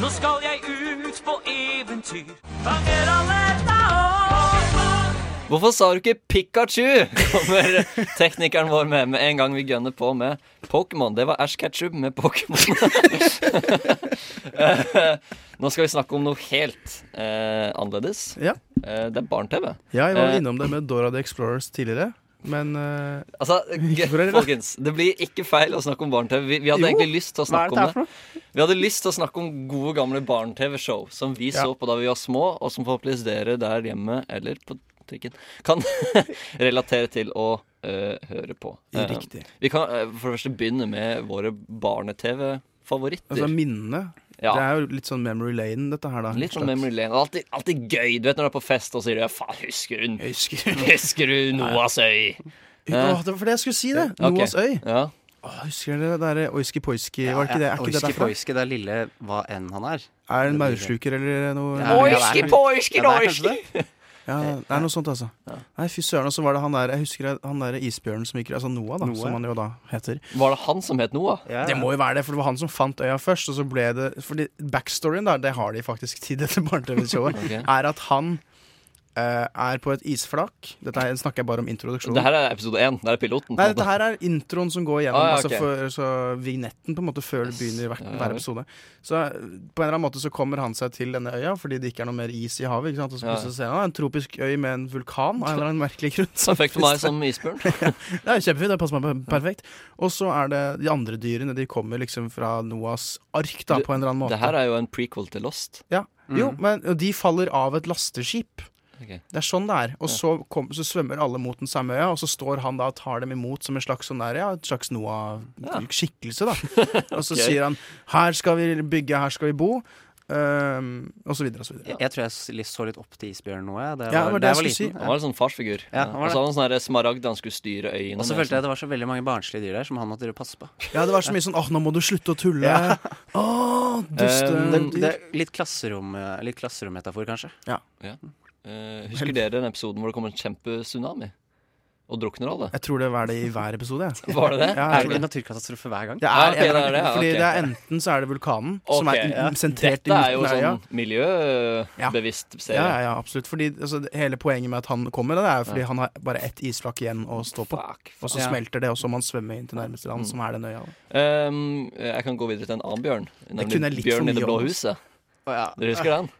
Speaker 4: Nå skal jeg ut på eventyr. Fanger alle dager.
Speaker 1: Hvorfor sa du ikke Pikachu? Kommer teknikeren vår med med en gang vi gønner på med Pokémon. Det var Ash Ketchup med Pokémon. Eh, Nå skal vi snakke om noe helt eh, annerledes.
Speaker 2: Ja.
Speaker 1: Eh, det er barne-TV.
Speaker 2: Ja, jeg var
Speaker 1: Eh.
Speaker 2: innom det med Dora the Explorers tidligere, men eh,
Speaker 1: Altså,
Speaker 2: Ikke for dere, da.
Speaker 1: folkens, det blir ikke feil å snakke om barne-TV. Vi, vi hadde
Speaker 2: Jo,
Speaker 1: egentlig lyst til å
Speaker 2: hva er
Speaker 1: snakke
Speaker 2: dette her
Speaker 1: om det. Vi hadde lyst til å snakke om gode, gamle barne-TV-show som vi
Speaker 2: Ja.
Speaker 1: så på da vi var små, og som forhåpentligvis dere der hjemme eller på trikken kan relatere til å eh, høre på. Eh,
Speaker 2: Riktig.
Speaker 1: vi kan eh, for det første begynne med våre barne-TV-favoritter.
Speaker 2: altså minnene
Speaker 1: Ja.
Speaker 2: Det er jo litt sånn memory lane, dette her, da.
Speaker 1: Litt
Speaker 2: slags.
Speaker 1: sånn memory lane. Det er Alltid, alltid gøy. Du vet når du er på fest og sier du, 'faen, husker hun?
Speaker 2: Jeg husker
Speaker 1: Husker du Noahs øy?'
Speaker 2: Åh, det var fordi jeg skulle si det!
Speaker 1: Ok.
Speaker 2: Noas øy.
Speaker 1: Ja.
Speaker 2: Åh, husker dere det der oiski-poiski? var ikke det, er ikke det
Speaker 3: Eh, Oiski
Speaker 2: derfra?
Speaker 3: Poiski, det er lille hva enn han er.
Speaker 2: Er det en maursluker eller noe?
Speaker 3: Ja, det er-
Speaker 1: Oiski, poiski,
Speaker 3: Ja, det er kanskje
Speaker 1: noiski.
Speaker 3: det.
Speaker 2: Ja, det er noe sånt, altså. Nei, fy søren. Og så var det han der Jeg husker han der isbjørnen som gikk Altså Noah, da, som han jo da heter.
Speaker 1: Var det han som het Noah?
Speaker 3: Ja,
Speaker 2: Det må jo være det, for det var han som fant øya først. Og så ble det Fordi backstoryen, da, det har de faktisk tid etter barne-TV-showet,
Speaker 1: Ok.
Speaker 2: er at han eh, er på et isflak. Dette her snakker jeg bare om introduksjonen.
Speaker 1: Det her er episode én. Det er piloten. på
Speaker 2: Nei,
Speaker 1: en måte.
Speaker 2: dette her er introen som går gjennom
Speaker 1: Ah, ja,
Speaker 2: altså
Speaker 1: ok.
Speaker 2: for, så vignetten på en måte før det begynner hver, hver episode. Så eh, på en eller annen måte så kommer han seg til denne øya fordi det ikke er noe mer is i havet. Ikke sant? Og så
Speaker 1: Ja.
Speaker 2: plutselig ser han ah, en tropisk øy med en vulkan av en eller annen merkelig grunn. Så
Speaker 1: Perfekt for meg som isbjørn.
Speaker 2: Det er kjempefint, det passer meg per- perfekt. Og så er det de andre dyrene. De kommer liksom fra Noas ark, da, på en eller annen måte.
Speaker 1: Det her er jo en prequel til Lost.
Speaker 2: ja. Jo, men og de faller av et lasteskip.
Speaker 1: Mhm. Ok.
Speaker 2: Det er sånn det er. Og så, kom, så svømmer alle mot den samme øya, og så står han da og tar dem imot som en slags sånn der, ja, et slags Noah-skikkelse, da. Og så sier han 'her skal vi bygge, her skal vi bo', ehm, og så videre og så videre.
Speaker 3: Jeg, jeg tror jeg s- litt- så litt opp til isbjørn nå, jeg. Det
Speaker 2: Ja,
Speaker 3: var,
Speaker 2: det var det
Speaker 3: da jeg
Speaker 2: jeg
Speaker 3: var
Speaker 2: skulle
Speaker 3: liten.
Speaker 2: si.
Speaker 1: Han var en sånn farsfigur.
Speaker 3: Ja, han var
Speaker 1: og
Speaker 3: det.
Speaker 1: så hadde han sånn der smaragd han skulle styre øyene
Speaker 3: Og så
Speaker 1: med,
Speaker 3: følte jeg det var så veldig mange barnslige dyr der som han måtte drive og passe på.
Speaker 2: Ja, det var så mye sånn 'åh, nå må du slutte å tulle'. Åh, duste
Speaker 1: Ehm,
Speaker 3: Det,
Speaker 2: dyr.
Speaker 3: det er litt klasserom eh, Litt klasserommetafor, kanskje.
Speaker 1: sånn. Eh, husker dere den episoden hvor det kom en kjempesunami? Og drukner alle?
Speaker 2: Jeg tror det var det i hver episode. Jeg.
Speaker 1: Var det det?
Speaker 2: Ja,
Speaker 3: Er
Speaker 2: jeg
Speaker 3: det
Speaker 2: tror
Speaker 3: en
Speaker 2: det.
Speaker 3: naturkatastrofe hver gang?
Speaker 2: Det
Speaker 1: Ah,
Speaker 2: er,
Speaker 1: ok,
Speaker 2: en eller
Speaker 1: det er det,
Speaker 2: annen-
Speaker 1: ja,
Speaker 2: fordi
Speaker 1: ok.
Speaker 2: det er enten så er det vulkanen, som
Speaker 1: Ok,
Speaker 2: er
Speaker 1: ja.
Speaker 2: sentrert
Speaker 1: Dette er
Speaker 2: i
Speaker 1: jo
Speaker 2: midten av øya.
Speaker 1: sånn miljøbevisst
Speaker 2: Ja,
Speaker 1: serie.
Speaker 2: ja, ja, absolutt. Fordi altså, Hele poenget med at han kommer, det er jo fordi han har bare ett isflak igjen å stå på.
Speaker 1: Fuck. Mm.
Speaker 2: Og så
Speaker 3: Ja.
Speaker 2: smelter det, og så må han svømme inn til nærmeste land, som er den øya.
Speaker 1: Ehm, jeg kan gå videre til en annen bjørn.
Speaker 2: kunne jeg
Speaker 1: Nemlig
Speaker 2: litt for
Speaker 1: Bjørn i
Speaker 2: mye
Speaker 1: det blå
Speaker 2: om.
Speaker 3: altså.
Speaker 1: huset.
Speaker 3: Å, ja.
Speaker 1: Dere husker den?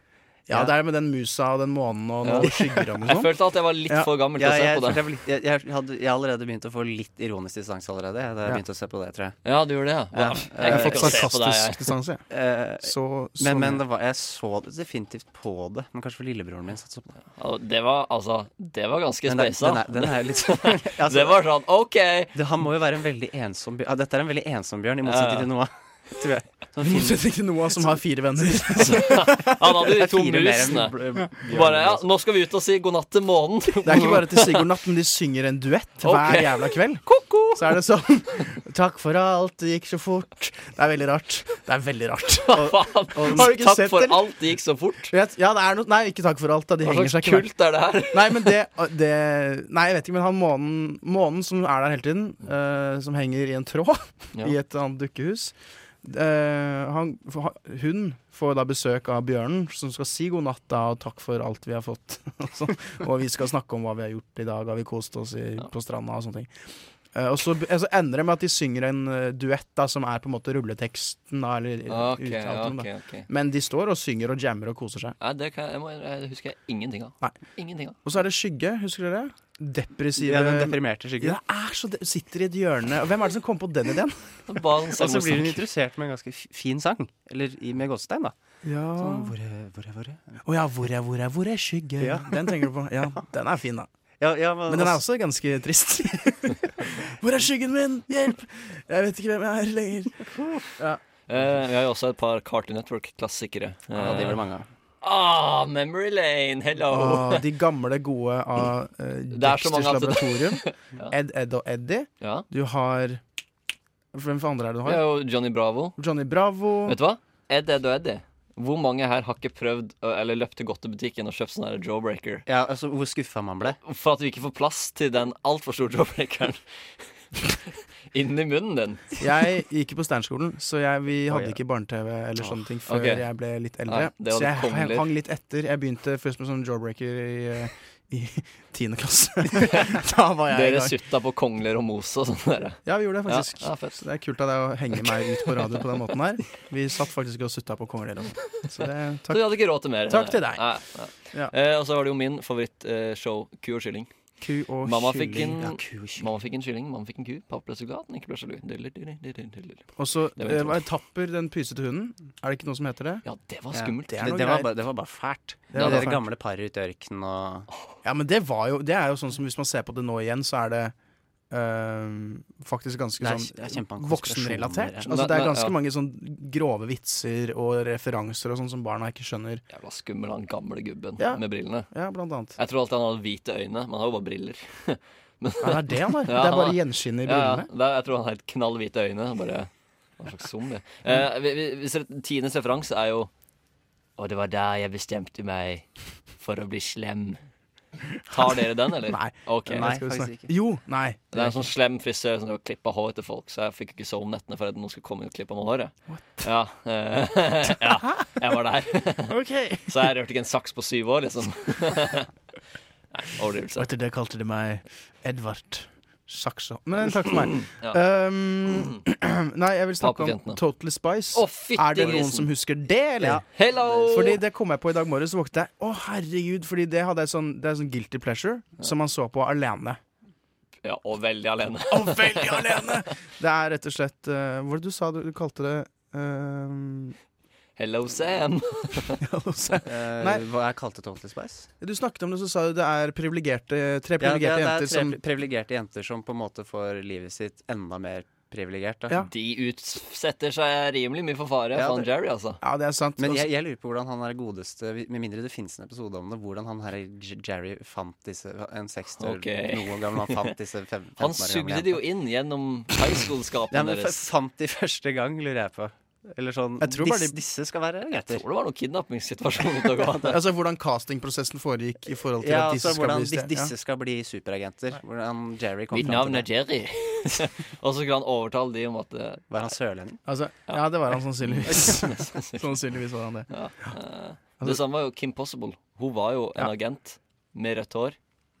Speaker 2: Ja, det er med den musa og den månen og
Speaker 1: Ja.
Speaker 2: noen skygger og noe
Speaker 1: Jeg
Speaker 2: sånt.
Speaker 1: følte at jeg var litt
Speaker 2: Ja.
Speaker 1: for gammel til
Speaker 3: Ja,
Speaker 1: å se på
Speaker 3: jeg, følte
Speaker 1: det.
Speaker 3: jeg, var litt- jeg, jeg, hadde, jeg har allerede begynt å få litt ironisk distanse allerede. Jeg hadde
Speaker 2: Ja.
Speaker 3: begynt å se på det, tror jeg.
Speaker 1: Ja, du gjorde det, ja.
Speaker 3: Ja.
Speaker 1: Wow.
Speaker 3: Jeg
Speaker 2: Jeg
Speaker 1: Jeg
Speaker 2: har fått
Speaker 1: gikk og se på deg, jeg.
Speaker 2: sarkastisk distanse, jeg.
Speaker 3: Eh,
Speaker 2: Så, så
Speaker 3: men men det var, jeg så det definitivt på det. Men kanskje for lillebroren min satsa på det.
Speaker 1: Ja, Det var altså Det var ganske
Speaker 3: Den er,
Speaker 1: spesa.
Speaker 3: den er, den er jo litt sånn altså,
Speaker 1: Det var sånn OK!
Speaker 3: det, Han må jo være en veldig ensom bjørn. Ja, dette er en veldig ensom bjørn, i
Speaker 1: Ja.
Speaker 3: motsetning til Noah. Tror jeg. Sånn
Speaker 2: I
Speaker 3: fin-
Speaker 2: motsetning til Noah, som har fire venner.
Speaker 1: Han hadde
Speaker 3: det
Speaker 1: de
Speaker 3: er
Speaker 1: to
Speaker 3: fire mer enn
Speaker 1: musene.
Speaker 3: bl- bjørn.
Speaker 1: Bare, ja, nå skal vi ut og si god natt til månen.
Speaker 2: Det er ikke bare til Sigurd Natt, men de synger en duett hver
Speaker 1: Ok.
Speaker 2: jævla kveld. Så er det sånn Takk for alt, det gikk så fort. Det er veldig rart. Det er veldig rart. Og,
Speaker 1: Faen.
Speaker 2: og, har du ikke
Speaker 1: Takk
Speaker 2: sett
Speaker 1: for
Speaker 2: det? eller?
Speaker 1: alt, det gikk så fort.
Speaker 2: Vet- Ja, det er noe Nei, ikke takk for alt, da. De
Speaker 1: Hva
Speaker 2: henger
Speaker 1: slags
Speaker 2: seg ikke. hver-
Speaker 1: kult er det her?
Speaker 2: Nei, men det, det Nei, jeg vet ikke, men han månen, månen som er der hele tiden, eh, som henger i en tråd
Speaker 1: Ja.
Speaker 2: i et annet dukkehus eh, han, for han- Hun får da besøk av bjørnen, som skal si god natt da, og takk for alt vi har fått. og sånn. og vi skal snakke om hva vi har gjort i dag, har vi kost oss i, på stranda og sånne ting. Eh, og så be- så ender det med at de synger en eh, duett da, som er på en måte rulleteksten. Da, eller,
Speaker 1: Ok,
Speaker 2: uttalt om, da.
Speaker 1: ok, ok
Speaker 2: Men de står og synger og jammer og koser seg.
Speaker 1: Nei, det, kan jeg, jeg må, jeg husker jeg ingenting av.
Speaker 2: Nei.
Speaker 1: Ingenting av
Speaker 2: Og så er det Skygge, husker dere? Depressive
Speaker 3: Ja, den deprimerte
Speaker 2: Eh, Ja,
Speaker 3: skyggen.
Speaker 2: det er så de sitter i et hjørne. Og Hvem er det som kom på den ideen?
Speaker 1: Det var en
Speaker 3: Og så blir hun
Speaker 1: selvmordstanke.
Speaker 3: introdusert med en ganske fi- fin sang. Eller i- med gåsestein, da.
Speaker 2: Ja.
Speaker 3: Sånn, hvor er, hvor er, hvor er?
Speaker 2: Å ja, hvor er, hvor er, hvor er skygge?
Speaker 3: Ja.
Speaker 2: Den tenker du på. Ja, den er fin, da.
Speaker 3: Ja, ja, men, altså-
Speaker 2: Men den er også ganske trist. hvor er skyggen min? Hjelp! Jeg vet ikke hvem jeg er lenger.
Speaker 1: Eh, vi har jo også et par Cartoon Network-klassikere.
Speaker 3: ja, de
Speaker 1: Eh,
Speaker 3: blir mange av.
Speaker 1: ah, Memory Lane! Hello!
Speaker 2: Å, de gamle, gode av uh,
Speaker 1: Det er så mange at
Speaker 2: Dexters
Speaker 1: det-
Speaker 2: Laboratorium. Ed, Ed og Eddie.
Speaker 1: Ja.
Speaker 2: Du har Hvem for andre er det
Speaker 1: Det
Speaker 2: du har?
Speaker 1: er jo Johnny Bravo.
Speaker 2: Johnny Bravo.
Speaker 1: Vet du hva? Ed, Ed og Eddie. Hvor mange her har ikke prøvd ø, eller løpt til godtebutikken og kjøpt sånn her jawbreaker?
Speaker 3: Ja, altså, hvor skuffa man ble.
Speaker 1: For at vi ikke får plass til den altfor store jawbreakeren inni munnen din.
Speaker 2: Jeg gikk på Sternskolen, så jeg, vi hadde
Speaker 3: ja.
Speaker 2: ikke barne-TV eller sånne ting før
Speaker 1: ok.
Speaker 2: jeg ble litt eldre.
Speaker 1: Nei, det var
Speaker 2: så jeg
Speaker 1: litt kongelig.
Speaker 2: hang litt etter. Jeg begynte først med sånn jawbreaker i, eh, i tiende klasse. da var jeg
Speaker 1: Dere
Speaker 2: i gang.
Speaker 1: sutta på kongler og mose og sånn der.
Speaker 2: Ja, vi gjorde det
Speaker 1: Ja,
Speaker 2: faktisk.
Speaker 1: ja, fett.
Speaker 2: Så det er kult av deg å henge meg ut på radio på den måten her. Vi satt faktisk og sutta på kongler.
Speaker 1: Så
Speaker 2: Så det,
Speaker 1: de
Speaker 2: takk.
Speaker 1: hadde ikke råd til mer.
Speaker 2: Takk til deg.
Speaker 1: Nei, nei.
Speaker 2: Ja.
Speaker 1: Eh, og så var det jo min favorittshow, Ku og kylling.
Speaker 2: Ku og
Speaker 1: Mamma fikk
Speaker 2: kylling.
Speaker 1: en,
Speaker 3: Ja, ku og kylling.
Speaker 1: mamma fikk en kylling, mamma fikk en ku. Pappa ble så glad at han ikke ble sjalu. Diller, diller, diller, diller.
Speaker 2: Og så
Speaker 1: Det var
Speaker 2: eh, var Tapper den pysete hunden. Er det ikke noe som heter det?
Speaker 1: Ja, det var
Speaker 3: Ja,
Speaker 1: skummelt.
Speaker 2: det er noe
Speaker 3: Det, det, var
Speaker 2: greier.
Speaker 3: bare, det var bare fælt. Det,
Speaker 2: var
Speaker 3: det
Speaker 2: fælt.
Speaker 3: gamle paret ute i ørkenen og
Speaker 2: Ja, men det var jo Det er jo sånn som hvis man ser på det nå igjen, så er det øhm, faktisk ganske
Speaker 3: Det er- det er
Speaker 2: sånn
Speaker 3: kjempemange
Speaker 2: voksenrelatert.
Speaker 3: konspirasjoner, ja.
Speaker 2: Altså, det
Speaker 1: Nei,
Speaker 2: er
Speaker 1: nei,
Speaker 2: ganske
Speaker 1: ja.
Speaker 2: mange sånn grove vitser og referanser og sånn som barna ikke skjønner.
Speaker 1: Jævla skummel, han gamle gubben
Speaker 2: Ja.
Speaker 1: med brillene.
Speaker 2: Ja, blant annet.
Speaker 1: Jeg tror alltid han hadde hvite øyne, men han har jo bare briller.
Speaker 2: Ja, det er det han har.
Speaker 1: Ja,
Speaker 2: det er
Speaker 1: han
Speaker 2: bare
Speaker 1: har-
Speaker 2: gjenskinnet i
Speaker 1: Ja, ja,
Speaker 2: brillene.
Speaker 1: det er- jeg tror han har helt knallhvite øyne. Han bare Hva slags zombie? Eh, vi- vi- hvis dere- Tines referanse er jo Og det var der jeg bestemte meg for å bli slem. Tar dere den, eller?
Speaker 2: Nei.
Speaker 1: Ok.
Speaker 3: Nei,
Speaker 2: Skal vi
Speaker 3: faktisk
Speaker 2: snakke-
Speaker 3: ikke.
Speaker 2: Jo, nei.
Speaker 1: Det er en sånn slem frisør som klipper hår til folk, så jeg fikk ikke sove om nettene for at noen skulle komme inn og klippe meg håret. Ja, eh, ja, jeg var der.
Speaker 2: Ok.
Speaker 1: Så jeg rørte ikke en saks på syv år, liksom. Nei,
Speaker 2: Og
Speaker 1: overdrivelse.
Speaker 2: etter det kalte de meg Edvard Saksa. Men takk for meg.
Speaker 1: Ja.
Speaker 2: Øhm, nei, jeg vil snakke om
Speaker 1: Pappefjentene.
Speaker 2: Totally Spice.
Speaker 1: Å, fytti
Speaker 2: er det noen
Speaker 1: grisen.
Speaker 2: som husker det, eller?
Speaker 3: Ja.
Speaker 1: Hello!
Speaker 2: Fordi det kom jeg på i dag morges. så Våknet jeg. Å, herregud. Fordi det hadde jeg sånn, det er sånn guilty pleasure som man så på alene.
Speaker 1: Ja, og veldig alene.
Speaker 2: Og veldig alene! Det er rett og slett eh, Hva var det du sa du, du kalte det? eh,
Speaker 1: Hello, Sam.
Speaker 3: Eh,
Speaker 2: Nei.
Speaker 3: Hva jeg kalte Totally Spice?
Speaker 2: du snakket om det, så sa du det er privilegerte, tre
Speaker 3: Ja,
Speaker 2: privilegerte jenter
Speaker 3: det, det er tre
Speaker 2: som
Speaker 3: pri- privilegerte jenter som på en måte får livet sitt enda mer privilegert. Da.
Speaker 2: Ja.
Speaker 1: De utsetter seg rimelig mye for fare,
Speaker 3: Ja,
Speaker 1: faen
Speaker 3: det-
Speaker 1: Jerry, altså.
Speaker 2: Ja, det er sant.
Speaker 3: Men
Speaker 2: Og-
Speaker 3: jeg, jeg lurer på hvordan han er godeste Med mindre det finnes en episode om det, hvordan han her J- Jerry fant disse En 60
Speaker 1: Ok.
Speaker 3: noe gammel han fant disse fem, 15
Speaker 1: Han
Speaker 3: år gamle
Speaker 1: sugde de jo inn gjennom high
Speaker 3: Ja,
Speaker 1: school-skapene
Speaker 3: men f-
Speaker 1: deres.
Speaker 3: fant de første gang, lurer jeg på. Eller sånn
Speaker 2: Jeg tror bare
Speaker 3: disse,
Speaker 2: de-
Speaker 3: disse skal være
Speaker 1: Jeg
Speaker 3: raketter.
Speaker 1: tror det var noen kidnappingssituasjon ute og gå.
Speaker 2: Altså hvordan castingprosessen foregikk i forhold til
Speaker 3: Ja,
Speaker 2: at
Speaker 3: altså
Speaker 2: disse skal
Speaker 3: hvordan
Speaker 2: bli
Speaker 3: di-
Speaker 2: stjerne-
Speaker 3: disse skal bli superagenter. Hvordan Jerry kom
Speaker 1: Mitt
Speaker 3: fram
Speaker 1: navn
Speaker 3: til
Speaker 1: er
Speaker 3: det.
Speaker 1: Jerry. og så skulle han overtale de om at eh,
Speaker 3: Var han sørlending?
Speaker 2: Ja. Altså, ja, det var han sannsynligvis. sannsynligvis var han det.
Speaker 1: eh, Det samme var jo Kim Possible. Hun var jo en
Speaker 2: Ja.
Speaker 1: agent med rødt hår.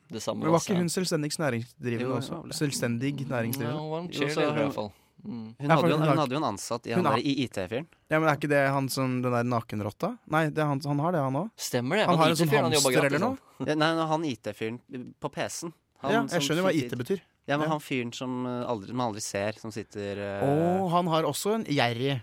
Speaker 1: Det samme
Speaker 2: Men var
Speaker 1: Sam.
Speaker 2: ikke hun selvstendig næringsdrivende
Speaker 3: Jo, jo,
Speaker 2: også?
Speaker 3: vel.
Speaker 2: Selvstendig
Speaker 1: Ja,
Speaker 2: næringsdrivende?
Speaker 1: Hun var en
Speaker 3: Jo, så
Speaker 1: cheerleader, i
Speaker 3: hun-
Speaker 1: hvert fall. Mm.
Speaker 3: Hun
Speaker 2: Ja,
Speaker 3: hadde
Speaker 2: for
Speaker 3: jo
Speaker 2: hun
Speaker 3: en,
Speaker 2: har
Speaker 3: hun
Speaker 2: ikke-
Speaker 3: hadde jo en ansatt i
Speaker 2: hun
Speaker 3: han
Speaker 2: har-
Speaker 3: der i IT-fyren.
Speaker 2: Ja, men Er ikke det han som den der nakenrotta? Nei, det er han, han har det, han òg.
Speaker 1: Stemmer det.
Speaker 2: Han har en sånn
Speaker 1: IT-fyren, han jobber
Speaker 2: hamster
Speaker 1: gratis,
Speaker 2: eller noe.
Speaker 1: han.
Speaker 3: Ja, Nei, nei, han IT-fyren på PC-en. Han
Speaker 2: Ja, jeg
Speaker 3: som
Speaker 2: skjønner hva IT
Speaker 3: sitter-
Speaker 2: betyr.
Speaker 3: Ja, men
Speaker 2: Ja.
Speaker 3: han fyren som eh, aldri, man aldri ser, som sitter eh,
Speaker 2: Og han har også en gjerrig.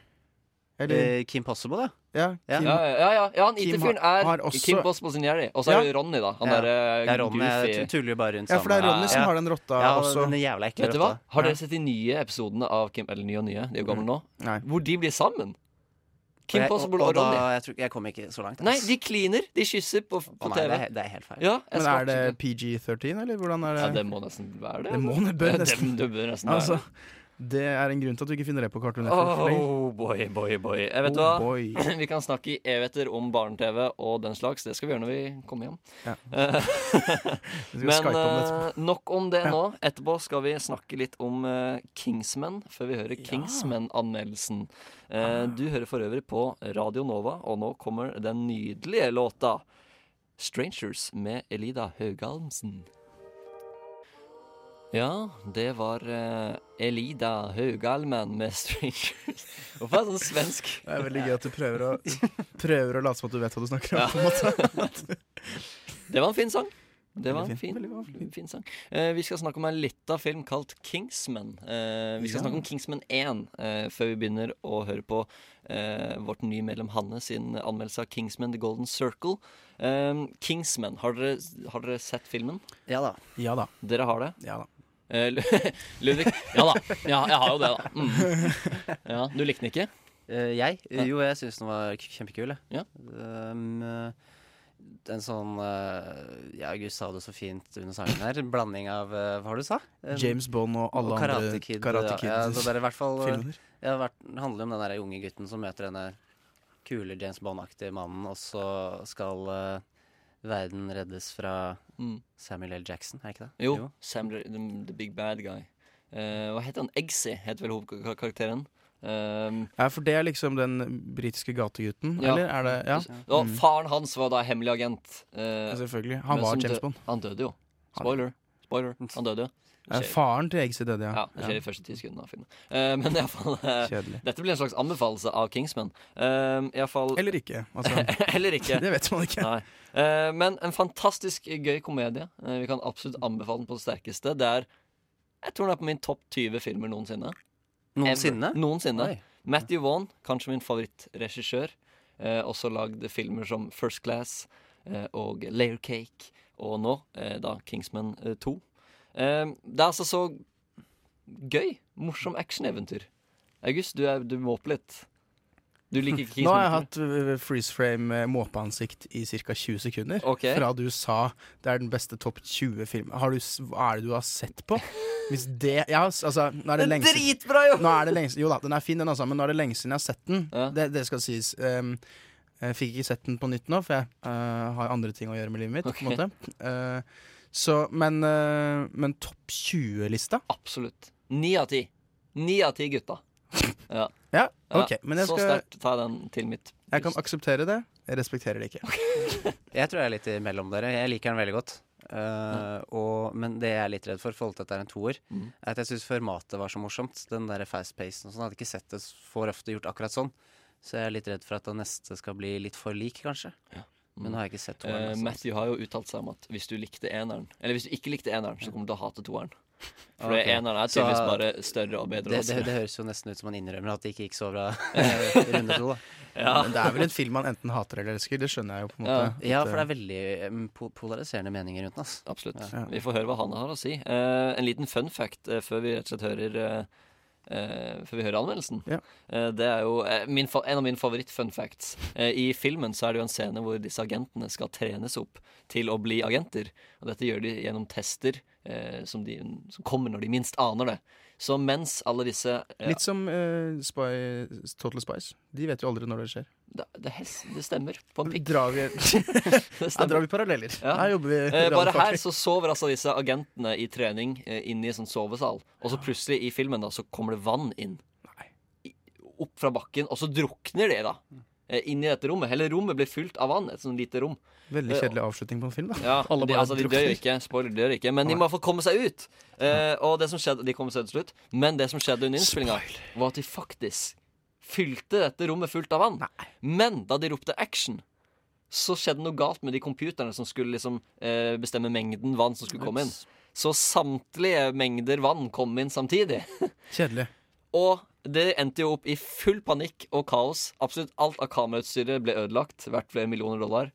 Speaker 2: Eller
Speaker 3: eh, Kim Possible, ja.
Speaker 2: Ja.
Speaker 3: ja.
Speaker 2: Kim.
Speaker 1: Ja, ja, ja, ja, ja han
Speaker 2: Kim
Speaker 1: IT-fyren
Speaker 2: har-
Speaker 1: er
Speaker 2: har også-
Speaker 1: Kim Possible sin Jerry. Og så er
Speaker 2: Ja.
Speaker 1: det Ronny, da. Han
Speaker 3: Ja.
Speaker 1: derre
Speaker 3: Ja, Ronny jeg tu-
Speaker 1: goofy
Speaker 3: tuller jo bare rundt
Speaker 2: ja, for det er Ronny som
Speaker 3: Ja.
Speaker 2: har den rotta
Speaker 3: ja,
Speaker 2: også.
Speaker 3: Den jævla ekle
Speaker 1: Vet du hva?
Speaker 3: rotta.
Speaker 1: Har dere sett de nye episodene av Kim Eller nye og nye, de er jo gamle nå?
Speaker 2: Nei.
Speaker 1: Hvor de blir sammen?
Speaker 3: Og
Speaker 1: Kim
Speaker 3: jeg-
Speaker 1: Possible
Speaker 3: og,
Speaker 1: og,
Speaker 3: og da,
Speaker 1: Ronny.
Speaker 3: jeg, tror, jeg kom ikke så langt. ass.
Speaker 1: Nei, de kliner. De kysser på,
Speaker 3: Å
Speaker 1: på
Speaker 3: nei, det,
Speaker 1: TV.
Speaker 3: er, det er helt feil.
Speaker 1: Ja, jeg
Speaker 2: Men
Speaker 1: skal
Speaker 2: er
Speaker 1: absolutt-
Speaker 2: det PG-13, eller hvordan er det?
Speaker 1: ja, Det må nesten være det. altså.
Speaker 2: Det må det
Speaker 1: Ja,
Speaker 2: bør
Speaker 1: det-
Speaker 2: nesten
Speaker 1: det bør nesten være
Speaker 2: Altså,
Speaker 1: det.
Speaker 2: det er en grunn til at du ikke finner det på Cartoon Network lenger.
Speaker 1: Oh boy, boy, boy. Jeg vet hva?
Speaker 2: Oh, boy.
Speaker 1: Vi kan snakke i evigheter om barne-TV og den slags. Det skal vi gjøre når vi kommer hjem. Eh,
Speaker 2: Vi skal
Speaker 1: Men
Speaker 2: skype om det etterpå.
Speaker 1: eh, nok om det nå. Etterpå skal vi snakke litt om eh, Kingsmen, før vi hører Kingsmen-anmeldelsen. Eh, du hører for øvrig på Radio Nova, og nå kommer den nydelige låta 'Strangers' med Elida Haugalmsen. Ja, det var eh, Elida Haugalmen med 'Strangers'. Hvorfor er det sånn svensk?
Speaker 2: Det er veldig gøy at du prøver å, prøver å late som at du vet hva du snakker om. på en måte.
Speaker 1: Det var en fin sang. Det var en
Speaker 2: Veldig fin.
Speaker 1: fin,
Speaker 2: Veldig
Speaker 1: fin, sang. Eh, vi skal snakke om en lita film kalt Kingsman. Eh, vi skal snakke om Kingsman 1 eh, før vi begynner å høre på eh, vårt nye medlem Hanne sin anmeldelse av Kingsman The Golden Circle. Eh, Kingsman, har dere, har dere sett filmen?
Speaker 3: Ja da.
Speaker 2: Ja da.
Speaker 1: Dere har det?
Speaker 2: Ja da.
Speaker 1: Eh, Lu- Ludvig? Ja da. Ja, jeg har jo det, da. Mm. Ja, du likte den ikke?
Speaker 3: Eh, jeg? Jo, jeg syns den var k- kjempekul, jeg.
Speaker 1: Ja.
Speaker 3: Um, eh, en sånn eh, Ja, Gud sa det så fint under sangen her. En blanding av eh, Hva var det du sa? Eh,
Speaker 2: James Bond og alle
Speaker 3: og
Speaker 2: andre
Speaker 3: Karate Kid.
Speaker 2: Karate
Speaker 3: ja, ja, så det
Speaker 2: Kid-filmer.
Speaker 3: er i hvert fall eh, ja, vært, Det handler jo om den der unge gutten som møter denne kule James Bond-aktige mannen, og så skal eh, verden reddes fra
Speaker 1: Mm.
Speaker 3: Samuel L. Jackson, er ikke det?
Speaker 1: Jo. Sam, the, the Big Bad Guy. Eh, hva heter han? Eggsy heter vel hovedkarakteren. Um,
Speaker 2: Ja, for det er liksom den britiske gategutten,
Speaker 1: Ja.
Speaker 2: eller? Er det, ja. Mm.
Speaker 1: Og faren hans var da hemmelig agent. eh,
Speaker 2: ja, selvfølgelig.
Speaker 1: men
Speaker 2: Han var
Speaker 1: som
Speaker 2: James
Speaker 1: dø-
Speaker 2: Bond.
Speaker 1: Han døde jo. Spoiler. Spoiler. Han døde jo.
Speaker 2: Eh,
Speaker 1: Skjer-
Speaker 2: Faren til Eggsy døde,
Speaker 1: ja,
Speaker 2: ja.
Speaker 1: det skjer i første ti sekundene av filmen. Eh, men iallfall uh,
Speaker 2: Kjedelig.
Speaker 1: Dette blir en slags anbefalelse av Kingsman. Uh, iallfall
Speaker 2: Eller ikke. Altså,
Speaker 1: Eller ikke.
Speaker 2: det vet man ikke.
Speaker 1: Nei. Eh, men en fantastisk gøy komedie. Eh, vi kan absolutt anbefale den på det sterkeste. Det er jeg tror den er på min topp 20 filmer noensinne.
Speaker 3: Noensinne?
Speaker 1: Ever. Noensinne.
Speaker 3: Oi.
Speaker 1: Matthew Vaughn, kanskje min favorittregissør. Eh, også lagd filmer som First Class eh, og Layer Cake, og nå eh, da Kingsman eh, 2. Eh, det er altså så gøy. Morsom actioneventyr. August, du, er, du må opp litt. Du liker ikke Kingsman?
Speaker 2: Nå har jeg
Speaker 1: ikke?
Speaker 2: hatt øh, freeze frame øh, måpeansikt i ca. 20 sekunder.
Speaker 1: Ok.
Speaker 2: Fra du sa det er den beste topp 20-filmen. Har du s- Hva er det du har sett på? Hvis det Ja, s- altså Nå er det lenge siden
Speaker 1: Dritbra, jo!
Speaker 2: nå er det lenge, siden- Jo da, den er fin, den altså, men nå er det lenge siden jeg har sett den.
Speaker 1: Ja.
Speaker 2: Det, det skal sies. Ehm, jeg fikk ikke sett den på nytt nå, for jeg eh, har andre ting å gjøre med livet mitt. På en måte. Eh, så, men eh, men topp 20-lista?
Speaker 1: Absolutt. Ni av ti. Ni av ti gutta. Ja.
Speaker 2: Ja,
Speaker 1: ja.
Speaker 2: ok. Men jeg,
Speaker 1: Så
Speaker 2: skal,
Speaker 1: sterkt tar jeg den til mitt
Speaker 2: jeg kan
Speaker 1: bryst.
Speaker 2: akseptere det. Jeg respekterer det ikke.
Speaker 3: Jeg tror jeg er litt imellom dere. Jeg liker den veldig godt. Eh, og, men det jeg er litt redd for, i forhold til at det er en toer,
Speaker 1: Mm.
Speaker 3: er at jeg syns formatet var så morsomt. Den der fast pacen og sånn. Jeg Hadde ikke sett det for ofte gjort akkurat sånn. Så jeg er litt redd for at den neste skal bli litt for lik, kanskje. Men nå har jeg ikke sett toeren.
Speaker 1: Eh,
Speaker 3: altså.
Speaker 1: Matthew har jo uttalt seg om at hvis du likte eneren Eller hvis du ikke likte eneren, så kommer du til å hate toeren. For eneren er tydeligvis
Speaker 3: Så-
Speaker 1: bare større og bedre. og
Speaker 3: det, det,
Speaker 1: raskere.
Speaker 3: det høres jo nesten ut som han innrømmer at det ikke gikk så bra i runde to. Da.
Speaker 2: Men det er vel en film man enten hater eller elsker. Det skjønner jeg jo på en måte.
Speaker 3: Ja, for det er veldig em, po- polariserende meninger rundt den. altså. ass.
Speaker 1: Absolutt. Vi får høre hva han har å si. Eh, en liten fun fact eh, før vi rett og slett hører eh, eh, før vi hører anmeldelsen.
Speaker 2: Ja.
Speaker 1: Eh, det er jo eh, min, fa- en av mine favoritt-fun facts. Eh, I filmen så er det jo en scene hvor disse agentene skal trenes opp til å bli agenter. Og dette gjør de gjennom tester eh, som, de, som kommer når de minst aner det. Så mens alle disse eh,
Speaker 2: Litt som eh, Spy, Total Spice. De vet jo aldri når det skjer.
Speaker 1: det, det, det stemmer. På en pikk.
Speaker 2: Drar vi,
Speaker 1: Det
Speaker 2: her
Speaker 1: stemmer.
Speaker 2: drar vi paralleller.
Speaker 1: Ja.
Speaker 2: Her jobber vi
Speaker 1: Eh, bare
Speaker 2: radiofolk.
Speaker 1: her så sover altså disse agentene i trening eh, inne i en sånn sovesal. Og så plutselig i filmen da, så kommer det vann inn. I- Opp fra bakken, og så drukner de da. eh, Inn i dette rommet. Hele rommet blir fylt av vann. Et sånn lite rom.
Speaker 2: Veldig kjedelig avslutning på en film, da.
Speaker 1: Ja,
Speaker 2: Alle
Speaker 1: de,
Speaker 2: bare
Speaker 1: altså, de
Speaker 2: drukner.
Speaker 1: dør jo ikke. Spoiler, de dør ikke. Men de må i hvert fall komme seg ut. Eh, og det som skjedde, de kom seg ut til slutt. Men det som skjedde under innspillinga, var at de faktisk fylte dette rommet fullt av vann. Men da de ropte action så skjedde noe galt med de computerne som skulle liksom eh, bestemme mengden vann som skulle komme inn. Så samtlige mengder vann kom inn samtidig.
Speaker 2: Kjedelig.
Speaker 1: Og det endte jo opp i full panikk og kaos. Absolutt alt av kamerautstyret ble ødelagt, verdt flere millioner dollar.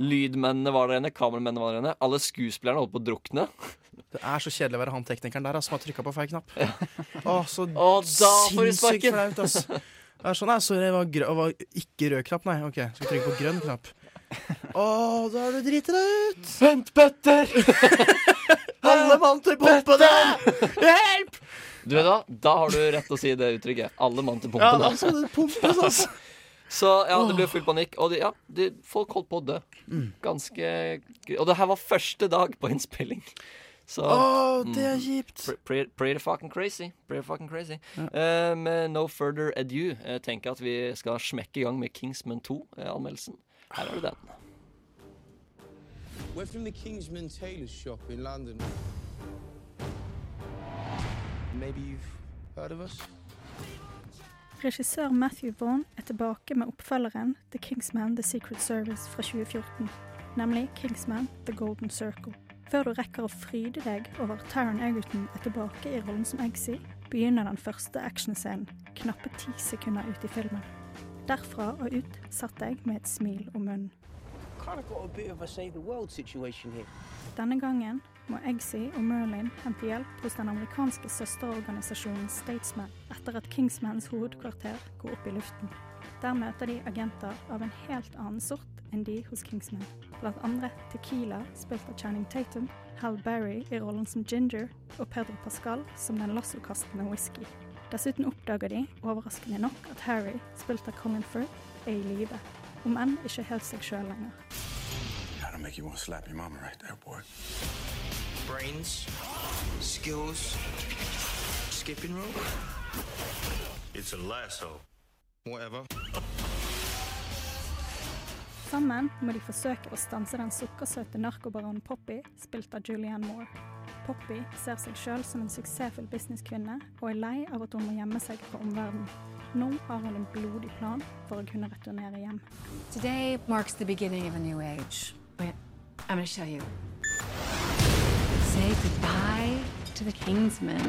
Speaker 1: Lydmennene var der inne, kameramennene var der inne. Alle skuespillerne holdt på å drukne.
Speaker 2: Det er så kjedelig å være han teknikeren der ass, som har trykka på feil knapp. Å, så
Speaker 1: Å, da får du
Speaker 2: sinnssykt
Speaker 1: sparken.
Speaker 2: flaut, ass. Det er sånn, nei, sorry, det var, grø det var ikke rød knapp, nei. Ok, skal vi trykke på grønn knapp. Å, da har du driti deg ut!
Speaker 1: Vent, Petter!
Speaker 2: Alle mann til pumpa der! Hjelp!
Speaker 1: Du vet hva, altså. Da har du rett til å si det uttrykket. Alle mann til
Speaker 2: Ja,
Speaker 1: pumpen.
Speaker 2: da skal det pumpes, ass.
Speaker 1: Så ja, det ble full panikk. Og de, ja, de, folk holdt på å dø. Ganske gr- Og det her var første dag på innspilling. Så
Speaker 2: Å, det
Speaker 1: Mhm.
Speaker 2: er kjipt.
Speaker 1: Pre- Pretty, pretty fucking crazy. Pretty fucking crazy. Eh, med no further ado eh, tenker jeg at vi skal smekke i gang med Kingsman 2-anmeldelsen. Her er det den.
Speaker 5: We're from the Kingsman Tailor Shop in London. Maybe you've heard of us?
Speaker 6: Regissør Matthew Vaughn er tilbake med oppfølgeren The Kingsman The Secret Service fra 2014, nemlig Kingsman The Golden Circle. Før du rekker å fryde deg over at Taron Egerton er tilbake i rollen som Eggsy, begynner den første actionscenen knappe ti sekunder ut i filmen. Derfra og ut satt jeg med et smil om munnen.
Speaker 5: Kind of got a bit of a save the world situation here.
Speaker 6: Denne gangen må Eggsy og Merlin hente hjelp hos den amerikanske søsterorganisasjonen Statesman etter at Kingsmans hovedkvarter går opp i luften. Der møter de agenter av en helt annen sort enn de hos Kingsman. Blant andre Tequila, spilt av Channing Tatum, Hal Berry i rollen som Ginger, og Pedro Pascal som den lassokastende whisky. Dessuten oppdager de, overraskende nok, at Harry, spilt av Colin Firth, er i live. Om enn ikke helt seg sjøl lenger.
Speaker 7: Gotta make you want to slap your mama right there, boy.
Speaker 5: Brains, skills, skipping rope. It's a lasso. Whatever.
Speaker 6: Sammen må de forsøke å stanse den sukkersøte narkobaronen Poppy, spilt av Julianne Moore. Poppy ser seg sjøl som en suksessfull businesskvinne, og er lei av at hun må gjemme seg fra omverdenen. Nå har hun en blodig plan for å kunne returnere hjem.
Speaker 4: Today marks the beginning of a new age. Wait, I'm gonna show you. Say goodbye to the Kingsmen.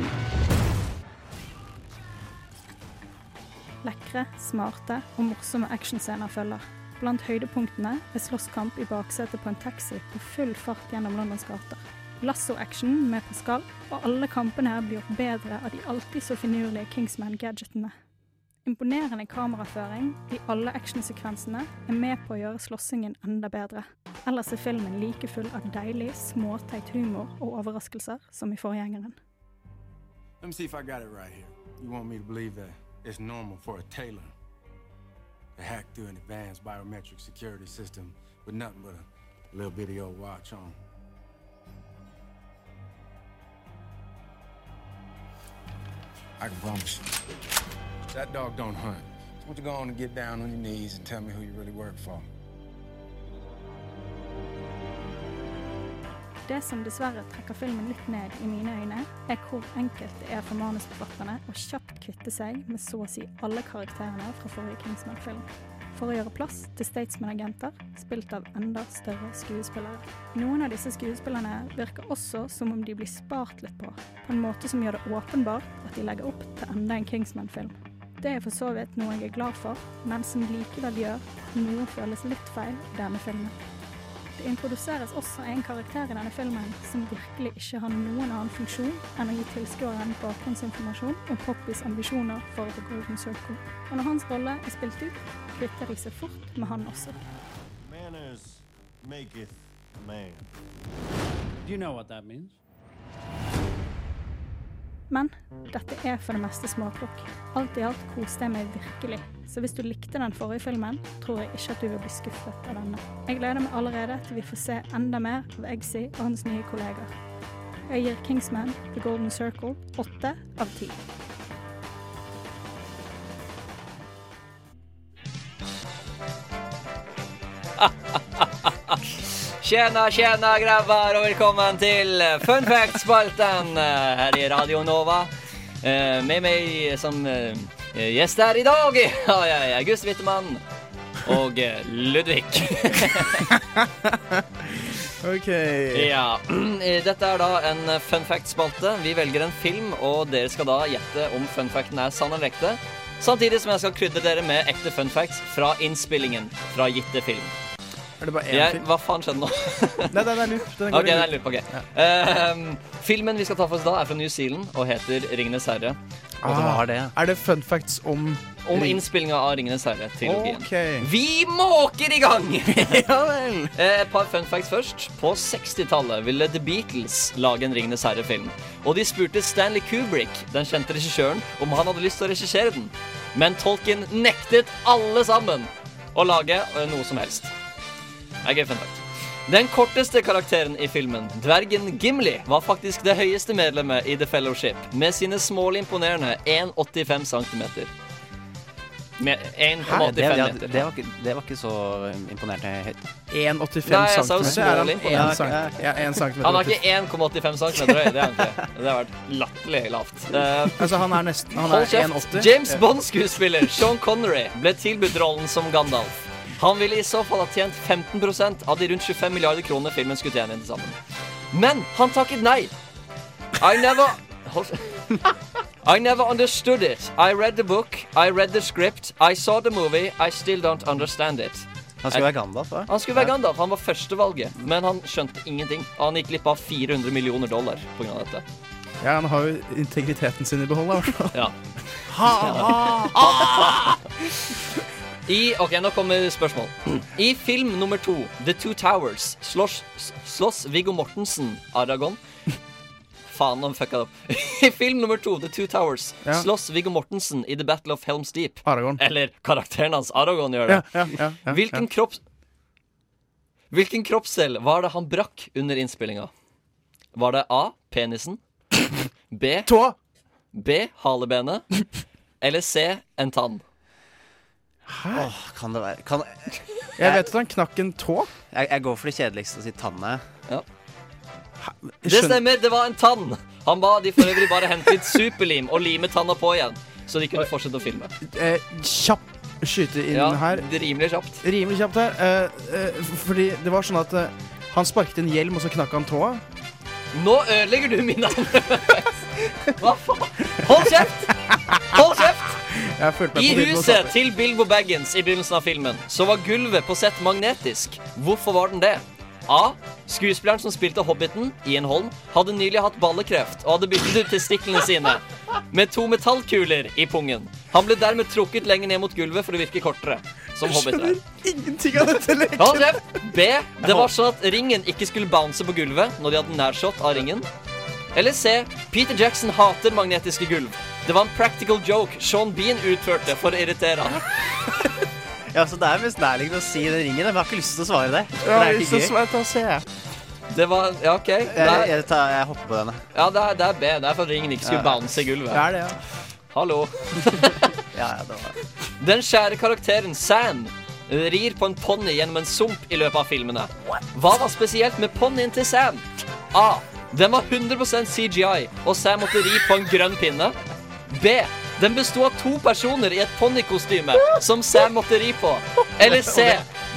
Speaker 6: Lekre, smarte og morsomme actionscener følger. Blant høydepunktene er slåsskamp i baksetet på en taxi på full fart gjennom Londons gater. Lasso-action med Pascal, og alle kampene her blir gjort bedre av de alltid så finurlige Kingsman-gadgetene. Imponerende kameraføring i alle actionsekvensene er med på å gjøre slåssingen enda bedre. Ellers er filmen like full av deilig, småteit humor og overraskelser som i forgjengeren.
Speaker 7: Let me see if I got it right here. You want me to believe that it's normal for a tailor to hack through an advanced biometric security system with nothing but a little bitty old watch on? I can promise you. That dog don't hunt. So why don't you go on and get down on your knees and tell me who you really work for?
Speaker 6: Det som dessverre trekker filmen litt ned i mine øyne, er hvor enkelt det er for manusforfatterne å kjapt kvitte seg med så å si alle karakterene fra forrige Kingsman-film. For å gjøre plass til Statesman-agenter, spilt av enda større skuespillere. Noen av disse skuespillerne virker også som om de blir spart litt på, på en måte som gjør det åpenbart at de legger opp til enda en Kingsman-film. Det er for så vidt noe jeg er glad for, men som likevel gjør at noe føles litt feil i denne filmen. Det introduseres også en karakter i denne filmen som virkelig ikke har noen annen funksjon enn å gi tilskueren bakgrunnsinformasjon om Poppys ambisjoner for The Golden Circle. Og når hans rolle er spilt ut, kvitter de seg fort med han også.
Speaker 8: Manners maketh man.
Speaker 5: Do you know what that means?
Speaker 6: Men dette er for det meste småplukk. Alt i alt koste jeg meg virkelig. Så hvis du likte den forrige filmen, tror jeg ikke at du vil bli skuffet av denne. Jeg gleder meg allerede til vi får se enda mer av Eggsy og hans nye kollegaer. Jeg gir Kingsman The Golden Circle åtte av ti.
Speaker 1: Tjena, tjena, grabbar, og velkommen til Fun Fact-spalten eh, her i Radio Nova. Eh, Med meg som eh, gjest her i dag har jeg August Wittemann og eh, Ludvig.
Speaker 2: OK.
Speaker 1: Ja. Eh, Dette er da en fun fact-spalte. Vi velger en film, og dere skal da gjette om fun facten er sann eller ekte. Samtidig som jeg skal krydre dere med ekte fun facts fra innspillingen fra gitte film.
Speaker 2: Er det bare én
Speaker 1: Jeg,
Speaker 2: film?
Speaker 1: hva faen skjedde nå?
Speaker 2: Nei, den er lurt. Den
Speaker 1: Ok,
Speaker 2: går i
Speaker 1: det er
Speaker 2: lurt.
Speaker 1: lurt. ok. Ehm, filmen vi skal ta for oss da, er fra New Zealand og heter 'Ringenes herre'.
Speaker 3: Og det var det.
Speaker 2: Ah. Er det fun facts om
Speaker 1: Om innspillinga av 'Ringenes herre'-trilogien.
Speaker 2: OK.
Speaker 1: Vi måker i gang!
Speaker 2: Ja vel.
Speaker 1: Eh, Et par fun facts først. På 60-tallet ville The Beatles lage en Ringenes herre-film. Og de spurte Stanley Kubrick, den kjente regissøren, om han hadde lyst til å regissere den. Men Tolkien nektet alle sammen å lage eh, noe som helst. Det er gøy fun fact. Den korteste karakteren i filmen, dvergen Gimli, var faktisk det høyeste medlemmet i The Fellowship, med sine smålig imponerende 1,85 cm. Med 1,85
Speaker 3: Hæ? Det, det,
Speaker 1: meter.
Speaker 3: det, var ikke, det var ikke så imponerende høyt.
Speaker 2: 1,85 cm.
Speaker 1: Nei, jeg sa jo smålig på den.
Speaker 2: Ja, 1 cm.
Speaker 1: Han er ikke 1,85 cm høy. Det er han ikke. Det har vært latterlig lavt. Eh,
Speaker 2: Altså, han er nesten Han
Speaker 1: hold
Speaker 2: er
Speaker 1: kjeft.
Speaker 2: 1,80.
Speaker 1: James Bond-skuespiller Sean Connery ble tilbudt rollen som Gandalf. Han ville i så fall ha tjent 15 av de rundt 25 milliarder kroner filmen skulle tjene til sammen. Men han takket nei. I never Hold I never understood it. I read the book, I read the script, I saw the movie, I still don't understand it.
Speaker 3: Han skulle være Gandalf, da.
Speaker 1: Han skulle være Gandalf, han var førstevalget, men han skjønte ingenting. Og han gikk glipp av 400 millioner dollar pga. dette.
Speaker 2: Ja, han har jo integriteten sin i behold, i hvert fall.
Speaker 1: Ja. I, ok, nå kommer spørsmål. I film nummer to, The Two Towers, slåss, slåss Viggo Mortensen Aragon Faen, nå fucka jeg det opp. I film nummer to, The Two Towers,
Speaker 2: Ja.
Speaker 1: slåss Viggo Mortensen i The Battle of Helms Deep.
Speaker 2: Aragorn.
Speaker 1: Eller karakteren hans, Aragon, gjør det.
Speaker 2: Ja, ja, ja, ja,
Speaker 1: Hvilken kropps... Hvilken kroppsdel var det han brakk under innspillinga? Var det A. Penisen? B.
Speaker 2: ja. Tå!
Speaker 1: B. Halebenet? Eller C. En tann?
Speaker 3: Åh, kan det være kan,
Speaker 2: Jeg vet at han knakk en tå.
Speaker 3: jeg, jeg går for det kjedeligste og sier tanne.
Speaker 1: Det
Speaker 2: Skjønner-
Speaker 1: stemmer, det var en tann. Han ba de for øvrig bare hente litt superlim og lime tanna på igjen. Så de kunne fortsette å filme.
Speaker 2: eh, kjapp skyte inn
Speaker 1: Ja,
Speaker 2: her.
Speaker 1: det er Rimelig kjapt.
Speaker 2: Rimelig kjapt her. Eh, eh, f- fordi det var sånn at eh, han sparket en hjelm, og så knakk han tåa.
Speaker 1: Nå ødelegger du min andre Hva faen? Hold kjeft! Hold kjeft!
Speaker 2: Jeg
Speaker 1: I
Speaker 2: følte meg på tiden å
Speaker 1: huset
Speaker 2: tape.
Speaker 1: til Bilbo Baggins i begynnelsen av filmen så var gulvet på sett magnetisk. Hvorfor var den det? A. Skuespilleren som spilte Hobbiten, Ian Holm, hadde nylig hatt ballekreft og hadde byttet ut testiklene sine med to metallkuler i pungen. Han ble dermed trukket lenger ned mot gulvet for å virke kortere. Som hobbiter.
Speaker 2: Ingenting av dette leken.
Speaker 1: Hold kjeft! B. Det var sånn at ringen ikke skulle bounce på gulvet når de hadde nærshot av ringen. Eller C. Peter Jackson hater magnetiske gulv. Det var en practical joke Sean Bean utførte for å irritere han.
Speaker 3: Ja, så Det er mest nærliggende å si den ringen. Men jeg har ikke lyst til å svare det. For
Speaker 2: Ja,
Speaker 3: det er
Speaker 2: det
Speaker 3: ikke
Speaker 2: er
Speaker 3: gøy.
Speaker 2: svært å se.
Speaker 1: Det var Ja, OK. Det
Speaker 3: Jeg,
Speaker 1: er,
Speaker 3: jeg, tar, jeg hopper på denne.
Speaker 1: ja, det er, det er B. Det er for at ringen ikke skulle bounce i
Speaker 2: Det
Speaker 1: gulvet.
Speaker 2: er det, ja.
Speaker 1: Hallo.
Speaker 3: Ja, ja, det var.
Speaker 1: Den skjære karakteren Sam rir på en ponni gjennom en sump i løpet av filmene. Hva var spesielt med ponnien til Sam? A. Den var 100 CGI, og Sam måtte ri på en grønn pinne. B. Den besto av to personer i et ponnikostyme som Sam måtte ri på. Eller C.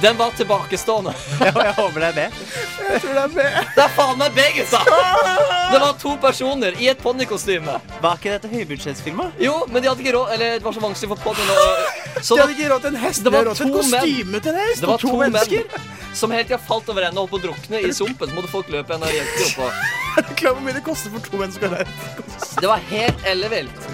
Speaker 1: Den var tilbakestående.
Speaker 3: Jeg, jeg håper det er det.
Speaker 1: Det er faen meg B, gutta! Det var to personer i et ponnikostyme.
Speaker 3: Var ikke dette høybudsjettsfilma?
Speaker 1: Jo, men de hadde ikke råd Eller det var så vanskelig for ponnien å så
Speaker 2: De
Speaker 1: da-
Speaker 2: hadde ikke råd til en hest,
Speaker 1: Det
Speaker 2: de
Speaker 1: var
Speaker 2: hadde råd til et
Speaker 1: to menn.
Speaker 2: kostyme til en hest!
Speaker 1: Det var
Speaker 2: og
Speaker 1: to,
Speaker 2: mennesker.
Speaker 1: menn som hele tida falt over ende og holdt på å drukne i sumpen. Så måtte folk løpe igjen og hjelpe dem oppå.
Speaker 2: Er du klar over hvor mye det koster for to mennesker å ha hest?
Speaker 1: Det var helt ellevilt.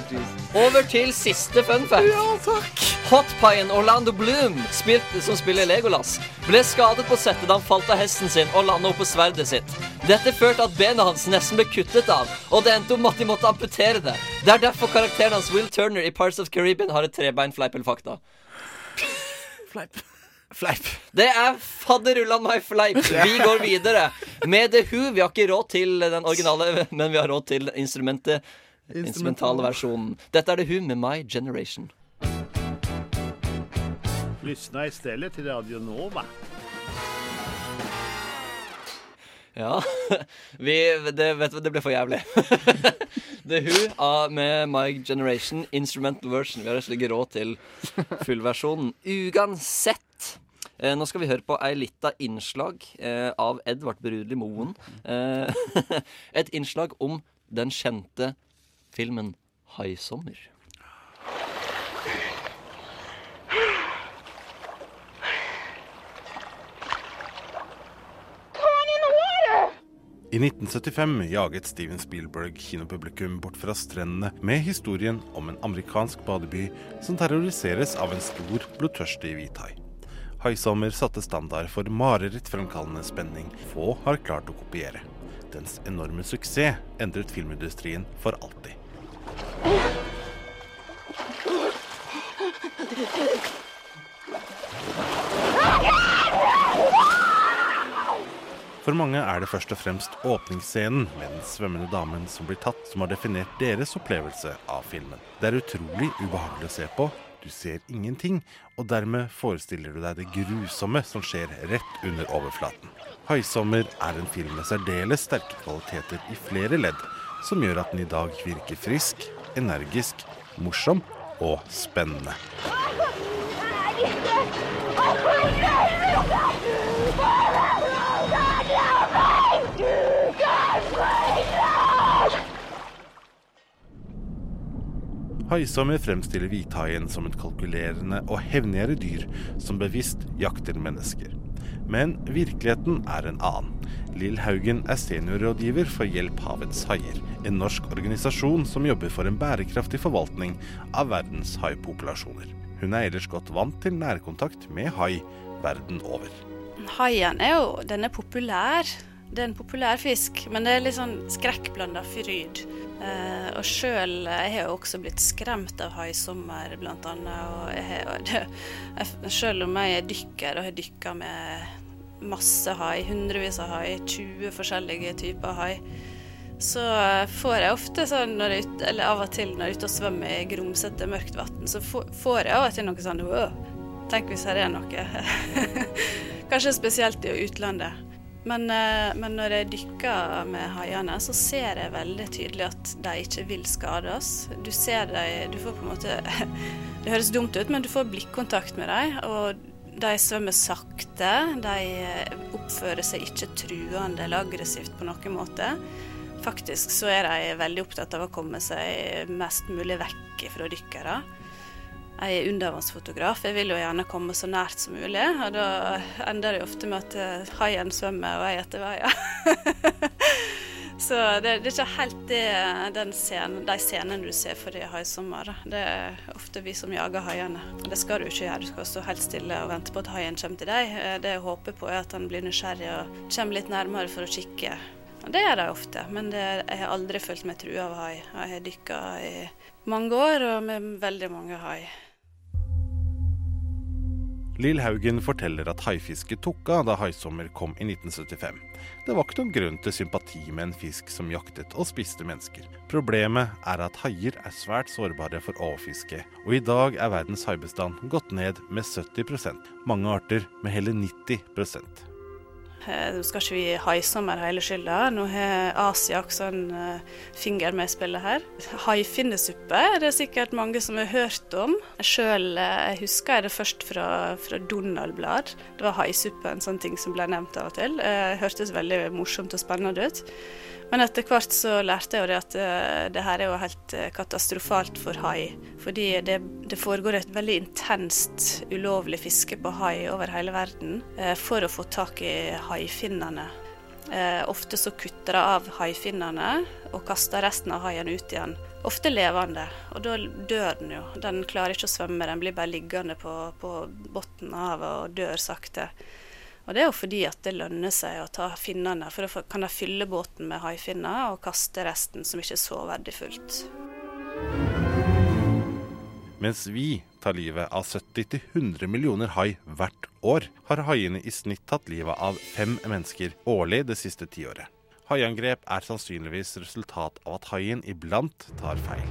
Speaker 1: Over til siste fun fact.
Speaker 2: Ja, takk.
Speaker 1: Hotpien Orlando Bloom, spilt, som spiller Legolas, ble skadet på settet da han falt av hesten sin og landet oppå sverdet sitt. Dette førte at benet hans nesten ble kuttet av, og det endte opp med at de måtte amputere det. Det er derfor karakteren hans Will Turner i Parts of Caribbean har et trebein fleip eller fakta.
Speaker 2: Fleip. Fleip.
Speaker 1: Det er fadderullan meg fleip. Vi går videre med The Who. Vi har ikke råd til den originale, men vi har råd til instrumentet. Instrumentale versjonen. Dette er The Who med My Generation.
Speaker 9: Lyssna istället till Radio Nova.
Speaker 1: Ja. Vi, det, vet, du, det ble for jævlig. The Who av- ah, med My Generation instrumental version. Vi har rett og slett ikke råd til fullversjonen. Uansett. Eh, nå skal vi høre på ei lita innslag eh, av Edvard Brudli Moen. Eh, et innslag om den kjente filmen 'Haisommer'.
Speaker 10: I 1975 jaget Steven Spielberg kinopublikum bort fra strendene med historien om en amerikansk badeby som terroriseres av en stor, blodtørstig hvithai. Haisommer satte standard for marerittfremkallende spenning få har klart å kopiere. Dens enorme suksess endret filmindustrien for alltid. For mange er det først og fremst åpningsscenen med den svømmende damen som blir tatt, som har definert deres opplevelse av filmen. Det er utrolig ubehagelig å se på. Du ser ingenting, og dermed forestiller du deg det grusomme som skjer rett under overflaten. 'Haisommer' er en film med særdeles sterke kvaliteter i flere ledd, som gjør at den i dag virker frisk, energisk, morsom og spennende. Haisommer fremstiller hvithaien som et kalkulerende og hevnigere dyr som bevisst jakter mennesker. Men virkeligheten er en annen. Lill Haugen er seniorrådgiver for Hjelp havets haier, en norsk organisasjon som jobber for en bærekraftig forvaltning av verdens haipopulasjoner. Hun er ellers godt vant til nærkontakt med hai verden over.
Speaker 11: Haien er jo den er populær. Det er en populær fisk, men det er litt sånn skrekkblanda fryd. Eh, og sjøl Jeg har jo også blitt skremt av haisommer, blant annet. Og jeg har, og det, jeg, selv om jeg er dykker og har dykka med masse hai, hundrevis av hai, 20 forskjellige typer hai, så får jeg ofte sånn når jeg, er ute- Eller av og til når jeg er ute og svømmer i grumsete, mørkt vann, så får får jeg av og til noe sånn «Åh, Tenk hvis her er noe. Kanskje spesielt i utlandet. Men, eh, men når jeg dykker med haiene, så ser jeg veldig tydelig at de ikke vil skade oss. Du ser dem Du får på en måte Det høres dumt ut, men du får blikkontakt med dem. Og de svømmer sakte. De eh, oppfører seg ikke truende eller aggressivt på noen måte. Faktisk så er de veldig opptatt av å komme seg mest mulig vekk fra dykkere. Jeg er undervannsfotograf, jeg vil jo gjerne komme så nært som mulig. Og da ender det jo ofte med at eh, haien svømmer og jeg etter veien. så det, det er ikke helt det, den scenen, de scenene du ser for i haisommer. da. Det er ofte vi som jager haiene. Og Det skal du ikke gjøre, du skal stå helt stille og vente på at haien kommer til deg. Eh, Det jeg håper på er at han blir nysgjerrig og kommer litt nærmere for å kikke. Og Det gjør de ofte, men det, jeg har aldri følt meg trua av hai. Og Jeg har dykka i mange år og med veldig mange hai.
Speaker 10: Lill Haugen forteller at haifisket tok av da haisommer kom i 1975. Det var ikke noen grunn til sympati med en fisk som jaktet og spiste mennesker. Problemet er at haier er svært sårbare for overfiske, og i dag er verdens haibestand gått ned med 70 mange arter med hele 90
Speaker 11: Eh, Nå skal ikke vi haisommer hele skylda. Nå har Asia også en eh, finger med i spillet her. Haifinnesuppe er det sikkert mange som har hørt om. Sjøl husker jeg det først fra, fra Donald-blad. Det var haisuppe, en sånn ting som ble nevnt av og til. Eh, hørtes veldig morsomt og spennende ut.
Speaker 6: Men etter hvert så lærte jeg jo det at eh, det her er jo helt eh, katastrofalt for hai. Fordi det, det foregår et veldig intenst ulovlig fiske på hai over hele verden eh, for å få tak i haifinnene. Eh, Ofte så kutter de av haifinnene og kaster resten av haien ut igjen. Ofte levende, og da dør den jo. Den klarer ikke å svømme, den blir bare liggende på, på bunnen av havet og dør sakte. Og det er jo fordi at det lønner seg å ta finnene, for da får- kan de fylle båten med haifinner og kaste resten, som ikke er så verdifullt.
Speaker 10: Mens vi tar livet av 70-100 millioner hai hvert år, har haiene i snitt tatt livet av fem mennesker årlig det siste tiåret. Haiangrep er sannsynligvis resultat av at haien iblant tar feil.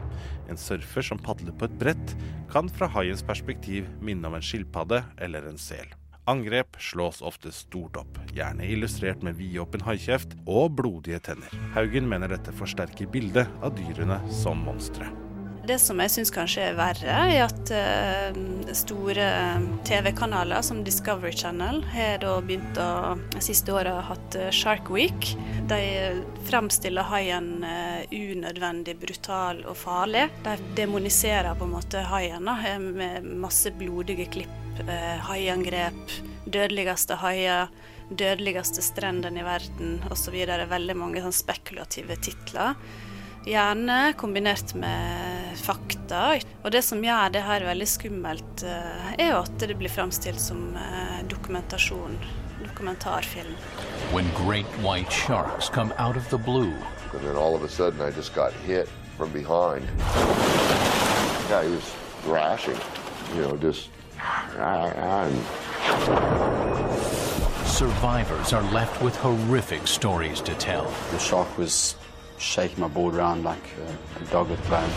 Speaker 10: En surfer som padler på et brett, kan fra haiens perspektiv minne om en skilpadde eller en sel. Angrep slås ofte stort opp, gjerne illustrert med vidåpen haikjeft og blodige tenner. Haugen mener dette forsterker bildet av dyrene som monstre.
Speaker 6: Det som jeg syns kanskje er verre, er at eh, store TV-kanaler som Discovery Channel har da begynt å de siste åra hatt eh, Shark Week. De fremstiller haien eh, unødvendig brutal og farlig. De demoniserer på en måte haien da, eh, med masse blodige klipp, eh, haiangrep, dødeligste haier, dødeligste strendene i verden osv. Veldig mange sånn spekulative titler. Gjerne kombinert med eh, fakta. Og det som gjør det her veldig skummelt, eh, er jo at det blir fremstilt som eh, dokumentasjon. Dokumentarfilm.
Speaker 9: when great white sharks come out of the blue.
Speaker 11: And then all of a sudden, I just got hit from behind. Yeah, he was thrashing, you know, just. ah, And
Speaker 9: Survivors are left with horrific stories to tell. The shark was shaking my board around like a, dog with bone.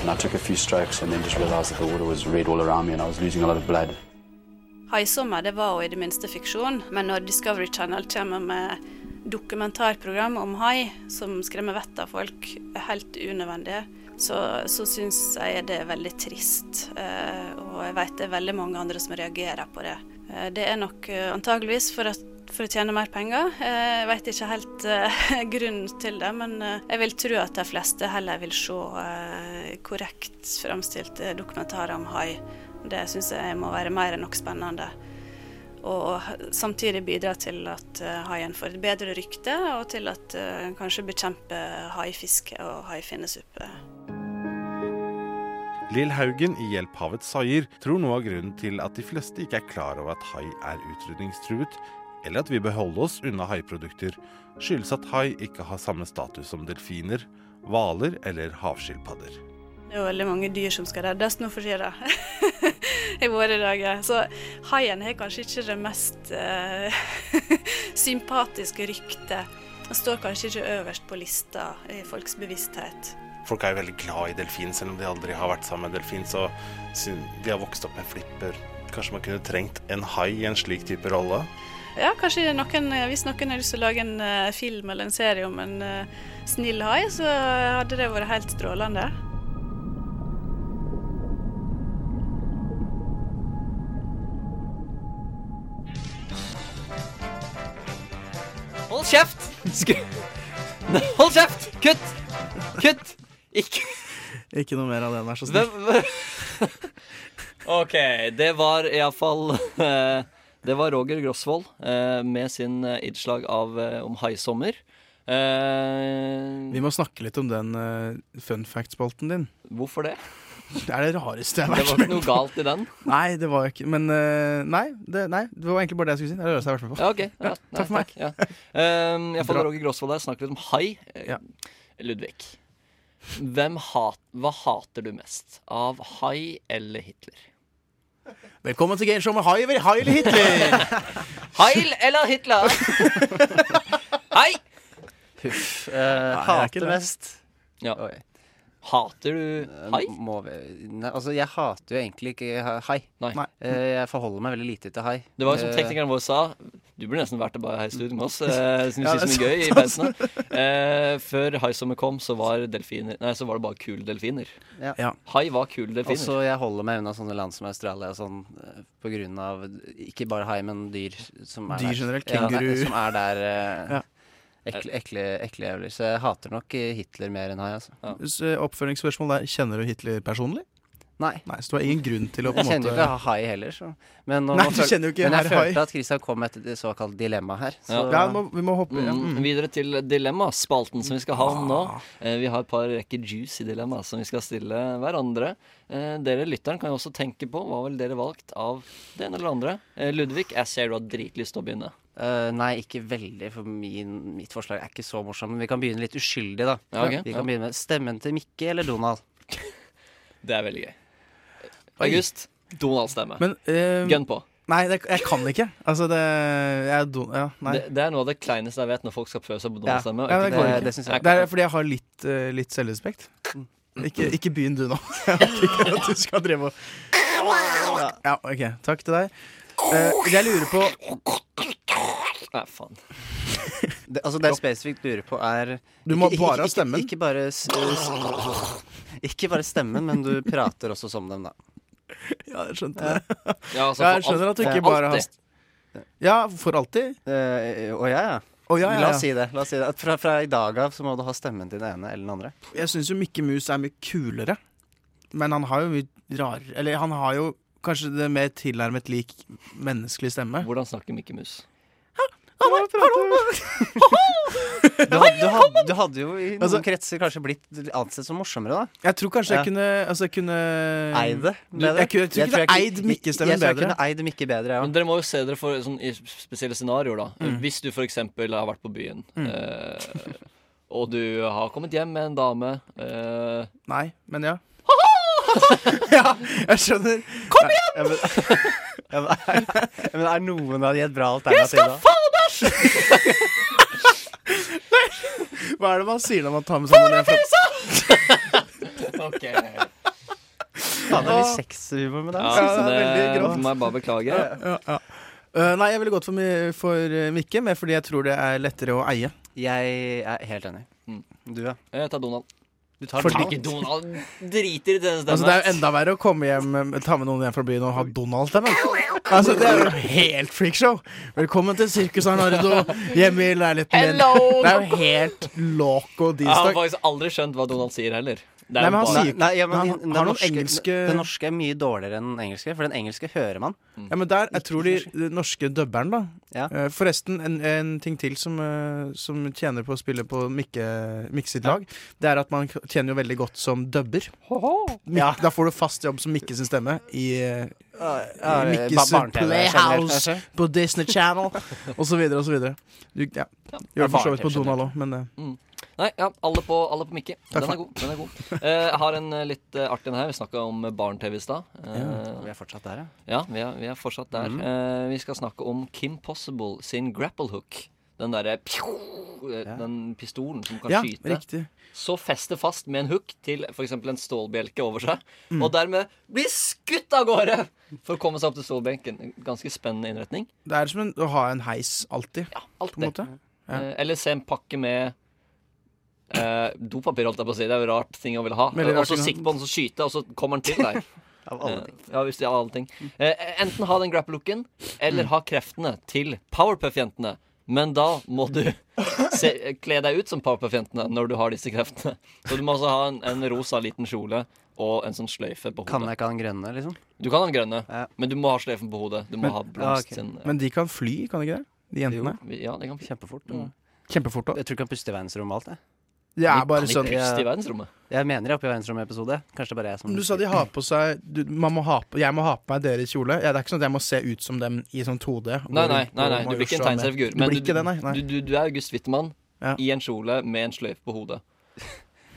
Speaker 12: And I took a few strokes and then just realized that the water was red all around me and I was losing a lot of blood.
Speaker 6: Haisommer det var jo i det minste fiksjon, men når Discovery Channel kommer med dokumentarprogram om hai som skremmer vettet av folk, er helt unødvendig, så, så syns jeg det er veldig trist. Eh, og jeg vet det er veldig mange andre som reagerer på det. Eh, det er nok eh, antageligvis for, at, for å tjene mer penger. Eh, jeg vet ikke helt eh, grunnen til det, men eh, jeg vil tro at de fleste heller vil se eh, korrekt fremstilte dokumentarer om hai. Det syns jeg må være mer enn nok spennende. Og samtidig bidra til at eh, haien får et bedre rykte, og til at eh, en kanskje bekjemper haifiske og haifinnesuppe.
Speaker 10: Lill Haugen i Hjelp havets haier tror noe av grunnen til at de fleste ikke er klar over at hai er utrydningstruet, eller at vi bør holde oss unna haiprodukter, skyldes at hai ikke har samme status som delfiner, hvaler eller havskilpadder.
Speaker 6: Det er jo veldig mange dyr som skal reddes nå for tida i våre dager. Så haien har kanskje ikke det mest eh, sympatiske ryktet. Den står kanskje ikke øverst på lista i folks bevissthet.
Speaker 10: Folk er jo veldig glad i delfin, selv om de aldri har vært sammen med delfin, så siden de har vokst opp med flipper. Kanskje man kunne trengt en hai i en slik type rolle?
Speaker 6: Ja, kanskje noen, eh, hvis noen har lyst til å lage en eh, film eller en serie om en eh, snill hai, så hadde det vært helt strålende.
Speaker 1: Hold kjeft! Sku... Nei, Hold kjeft! Kutt! Kutt! Ikke
Speaker 2: Ikke noe mer av det, vær så snill.
Speaker 1: Hvem OK, det var iallfall eh, Det var Roger Grosvold eh, med sin eh, innslag av eh, om haisommer. Eh,
Speaker 2: Vi må snakke litt om den eh, fun fact-spalten din.
Speaker 1: Hvorfor det?
Speaker 2: Det er det rareste jeg har
Speaker 1: det
Speaker 2: vært
Speaker 1: var ikke
Speaker 2: med
Speaker 1: noe
Speaker 2: på.
Speaker 1: galt i den.
Speaker 2: Nei, det var ikke Men eh, nei, det, nei, det var egentlig bare det jeg skulle si. Det er det rareste jeg har vært med på.
Speaker 1: Ja, ok. Ja,
Speaker 2: Ja,
Speaker 1: nei,
Speaker 2: takk for meg.
Speaker 1: Ja. Um, jeg får
Speaker 2: Bra.
Speaker 1: Roger Grosvold der snakke litt om hai. Eh, Ludvig, Hvem hat, hva hater du mest? Av hai eller Hitler?
Speaker 2: Velkommen til Gameshow med Hai eller Hai eller Hitler!
Speaker 1: Heil eller Hitler? Hei!
Speaker 3: Puff.
Speaker 1: det er
Speaker 3: Uh,
Speaker 1: ikke
Speaker 3: hater
Speaker 1: det.
Speaker 3: mest.
Speaker 1: Oi. Hater du
Speaker 3: Eh,
Speaker 1: hai?
Speaker 3: Må vi, nei, altså, jeg hater jo egentlig ikke ha- hai.
Speaker 1: Nei.
Speaker 3: Eh, jeg forholder meg veldig lite til hai.
Speaker 1: Det var jo som
Speaker 3: Eh,
Speaker 1: teknikeren vår sa, du burde nesten vært bare her i studio med oss. Eh, siden vi
Speaker 3: Ja,
Speaker 1: synes det er
Speaker 3: det er
Speaker 1: gøy i
Speaker 3: sant,
Speaker 1: pausene. Eh, før haisommer kom, så var, delfiner, nei, så var det bare kule delfiner.
Speaker 3: Ja.
Speaker 1: Hai var kule delfiner.
Speaker 3: Og så jeg holder meg unna sånne land som Australia og sånn eh, på grunn av ikke bare hai, men dyr som er
Speaker 2: Dyr
Speaker 3: der.
Speaker 2: generelt, kenguru.
Speaker 3: Ja, nei, som er der. eh,
Speaker 2: Ja.
Speaker 3: Jeg Ekle, ekle, ekle jævler. Så jeg hater nok eh, Hitler mer enn han. Altså.
Speaker 2: Hvis, eh, Oppfølgingsspørsmål der. Kjenner du Hitler personlig?
Speaker 3: Nei.
Speaker 2: Så du har ingen grunn til å på
Speaker 3: Jeg
Speaker 2: en
Speaker 3: kjenner jo
Speaker 2: måte
Speaker 3: ikke Hai heller. Så. Men, nå-
Speaker 2: Nei,
Speaker 3: nå
Speaker 2: du
Speaker 3: føl-
Speaker 2: kjenner jo ikke
Speaker 3: men jeg
Speaker 2: herr Hai.
Speaker 3: følte at Christian kom etter det såkalte dilemmaet her. Så.
Speaker 1: Ja. Ja,
Speaker 2: vi må hoppe
Speaker 1: Mm, videre til dilemmaspalten som vi skal ha om nå.
Speaker 3: Ah.
Speaker 1: Eh, vi har et par rekker juicy dilemma som vi skal stille hverandre. Eh, dere lytteren kan jo også tenke på hva vel dere valgt av det ene eller det andre. Eh, Ludvig, jeg ser du har dritlyst til å begynne.
Speaker 3: Eh, nei, ikke veldig, for min, mitt forslag er ikke så morsomt. Men vi kan begynne litt uskyldig, da.
Speaker 1: Ja, ok.
Speaker 3: Vi
Speaker 1: Ja.
Speaker 3: kan begynne med stemmen til Mikke eller Donald.
Speaker 1: Det er veldig gøy. August, Donald-stemme.
Speaker 2: Men eh,
Speaker 1: Gun på.
Speaker 2: Nei, det, jeg kan ikke. Altså, det Jeg er don... Ja, nei.
Speaker 1: Det, det er noe av det kleineste jeg vet når folk skal prøve seg på Donald-stemme.
Speaker 2: Ja, det,
Speaker 1: Ikke-
Speaker 2: går ikke. Det er fordi jeg har litt, eh, litt selvrespekt. Mm. Ikke, ikke begynn du nå. Jeg orker ikke at du skal drive og Ja, OK. Takk til deg. Eh, jeg lurer på
Speaker 1: Nei, faen.
Speaker 3: Det, altså, det jeg spesifikt lurer på, er
Speaker 2: Du må
Speaker 3: ikke-
Speaker 2: bare
Speaker 3: ikke-
Speaker 2: ha stemmen.
Speaker 3: Ikke, ikke, bare, s- s- ikke bare stemmen, men du prater også som dem, da.
Speaker 2: Ja, jeg skjønte det.
Speaker 1: Ja, altså,
Speaker 2: jeg
Speaker 3: for
Speaker 2: skjønner at du
Speaker 3: alt-
Speaker 2: ikke
Speaker 3: for
Speaker 2: bare har
Speaker 3: alltid.
Speaker 2: Ja, for alltid?
Speaker 3: Å Eh, ja, ja.
Speaker 2: Å, ja, ja,
Speaker 3: La
Speaker 2: ja.
Speaker 3: oss si det. La oss si det. At fra, fra i dag av så må du ha stemmen til den ene eller den andre.
Speaker 2: Jeg syns jo Mikke Mus er mye kulere. Men han har jo mye rarere Eller han har jo kanskje det mer tilnærmet lik menneskelig stemme.
Speaker 1: Hvordan snakker Mikke Mus?
Speaker 3: Du, had, du, had, du hadde jo i noen
Speaker 2: Altså-
Speaker 3: kretser kanskje blitt ansett som morsommere, da.
Speaker 2: Jeg tror kanskje
Speaker 3: Ja.
Speaker 2: jeg kunne Altså, jeg kunne
Speaker 3: Eid det
Speaker 2: Du- Jeg, kunne- jeg tror ikke det er eid Mikke-stemmen
Speaker 3: Jeg tror jeg
Speaker 2: bedre.
Speaker 3: kunne eid Mikke bedre, ja.
Speaker 1: Men dere må jo se dere for sånn, i spesielle scenarioer, da.
Speaker 3: Mm.
Speaker 1: Hvis du f.eks. har vært på byen,
Speaker 2: Mm.
Speaker 1: eh, og du har kommet hjem med en dame eh,
Speaker 2: Nei, men ja. ja, jeg skjønner. Kom igjen!
Speaker 3: Ja, men, ja, men, er, ja, men er noen av de et bra
Speaker 2: Jeg
Speaker 3: alternativ,
Speaker 2: skal
Speaker 3: da?
Speaker 2: faen bæsje! Hva er det man sier når man tar med seg noen hjem fra-
Speaker 1: Eh,
Speaker 3: Faen, det er mye sexhumor med det.
Speaker 1: Ja,
Speaker 3: altså.
Speaker 1: så det,
Speaker 2: veldig grovt.
Speaker 1: må jeg bare beklage.
Speaker 2: Ja, ja, ja. Eh, nei, jeg ville gått for, mi- for eh, Mikke, men fordi jeg tror det er lettere å eie.
Speaker 3: Jeg er helt enig. Mm. Du, ja.
Speaker 1: Jeg tar Donald.
Speaker 3: Du tar
Speaker 2: Fordi-
Speaker 1: Ikke Donald driter i denne stemmen.
Speaker 2: Altså, det er jo enda verre å komme hjem, eh, ta med noen hjem fra byen og ha Donald-stemmen. Altså, det er jo helt freakshow. Velkommen til Sirkus Arnardo, hjemme i leiligheten min.
Speaker 1: Hello!
Speaker 2: Det er jo helt loco
Speaker 1: Jeg har
Speaker 2: distak.
Speaker 1: faktisk aldri skjønt hva Donald sier heller. Det
Speaker 2: Nei,
Speaker 1: jo
Speaker 2: men han
Speaker 1: bare-
Speaker 2: sier
Speaker 3: Nei, ja, men
Speaker 2: Han
Speaker 3: den- den
Speaker 2: har noen
Speaker 3: norske,
Speaker 2: engelske-
Speaker 3: Den norske er mye dårligere enn den engelske, for den engelske hører man.
Speaker 2: Ja, men der, jeg tror de de norske dubberen, da.
Speaker 3: Ja.
Speaker 2: Eh, Forresten, en, en ting til som, eh, som tjener på å spille på Mikke, Mikke sitt lag, det er at man k- tjener jo veldig godt som dubber. Mik
Speaker 3: Ja.
Speaker 2: Da får du fast jobb som Mikke sin stemme i, eh,
Speaker 3: ja,
Speaker 2: i
Speaker 3: ba-
Speaker 2: Mikkes
Speaker 3: barne-tv,
Speaker 2: Playhouse
Speaker 3: generelt, kanskje.
Speaker 2: på Disney Channel og så videre og så videre. Du, ja. Gjør det for så vidt på
Speaker 3: barne-tv
Speaker 2: Donald òg, men eh,
Speaker 1: Nei, ja, alle på, alle på Mikke.
Speaker 2: Takk
Speaker 1: Den
Speaker 2: for
Speaker 1: er god. den er god Eh, Jeg har en eh, litt eh, artig en her. Vi snakka om eh, barn-TV i stad. Eh,
Speaker 3: Vi er fortsatt der, ja.
Speaker 1: ja, vi er, vi er fortsatt der.
Speaker 3: Mhm.
Speaker 1: Eh, vi skal snakke om Kim Possible sin grapple hook. Den derre pjo- eh, Den pistolen som kan
Speaker 2: Ja,
Speaker 1: skyte.
Speaker 2: riktig.
Speaker 1: Så feste fast med en hook til f.eks. en stålbjelke over seg,
Speaker 2: Mm.
Speaker 1: og dermed bli skutt av gårde for å komme seg opp til stålbenken. Ganske spennende innretning.
Speaker 2: det er som en, å ha en heis alltid. På en
Speaker 1: Alltid.
Speaker 2: måte. Ja.
Speaker 1: Eh, Eller se en pakke med eh, dopapir, holdt jeg på å si. Det er jo rart ting å ville ha.
Speaker 2: Veldig rart
Speaker 1: Og så
Speaker 2: ting å ha.
Speaker 1: sikte på den, så skyte, og så kommer den til deg.
Speaker 3: Av alle
Speaker 1: ting. ja, hvis det er av alle ting. Eh, enten ha den grapple-looken, eller
Speaker 2: Mm.
Speaker 1: ha kreftene til Powerpuff-jentene. Men da må du se, kle deg ut som Powerpuff-jentene når du har disse kreftene. Så du må altså ha en, en rosa liten kjole og en sånn sløyfe på hodet.
Speaker 3: Kan jeg ikke ha den grønne, liksom?
Speaker 1: Du kan ha den grønne, men du må ha sløyfen på hodet. Du må
Speaker 2: Men-
Speaker 1: ha blomst
Speaker 3: Ja, ok.
Speaker 1: sin eh,
Speaker 2: Men de kan fly, kan de ikke det? De jentene.
Speaker 1: Ja, det kan Kjempefort.
Speaker 3: Mm.
Speaker 2: Kjempefort òg.
Speaker 3: Jeg tror ikke han puster i verdensrommet alt, jeg.
Speaker 2: Det er bare
Speaker 1: Kan
Speaker 2: sånn
Speaker 1: ikke puste i verdensrommet.
Speaker 3: Jeg mener jeg er oppe i verdensrommet-episode. Kanskje det bare er
Speaker 1: sånn
Speaker 3: jeg som
Speaker 2: Du sa de har på seg du, man må ha på, Jeg må ha på meg deres kjole. Ja, det er ikke sånn at jeg må se ut som dem i sånn 2D.
Speaker 1: Nei, nei, nei, nei, du blir ikke en tegneseriefigur.
Speaker 2: Du
Speaker 1: men
Speaker 2: blir ikke det, nei. nei.
Speaker 1: Du, du, du er August Wittmann
Speaker 2: Ja.
Speaker 1: i en kjole med en sløyfe på hodet.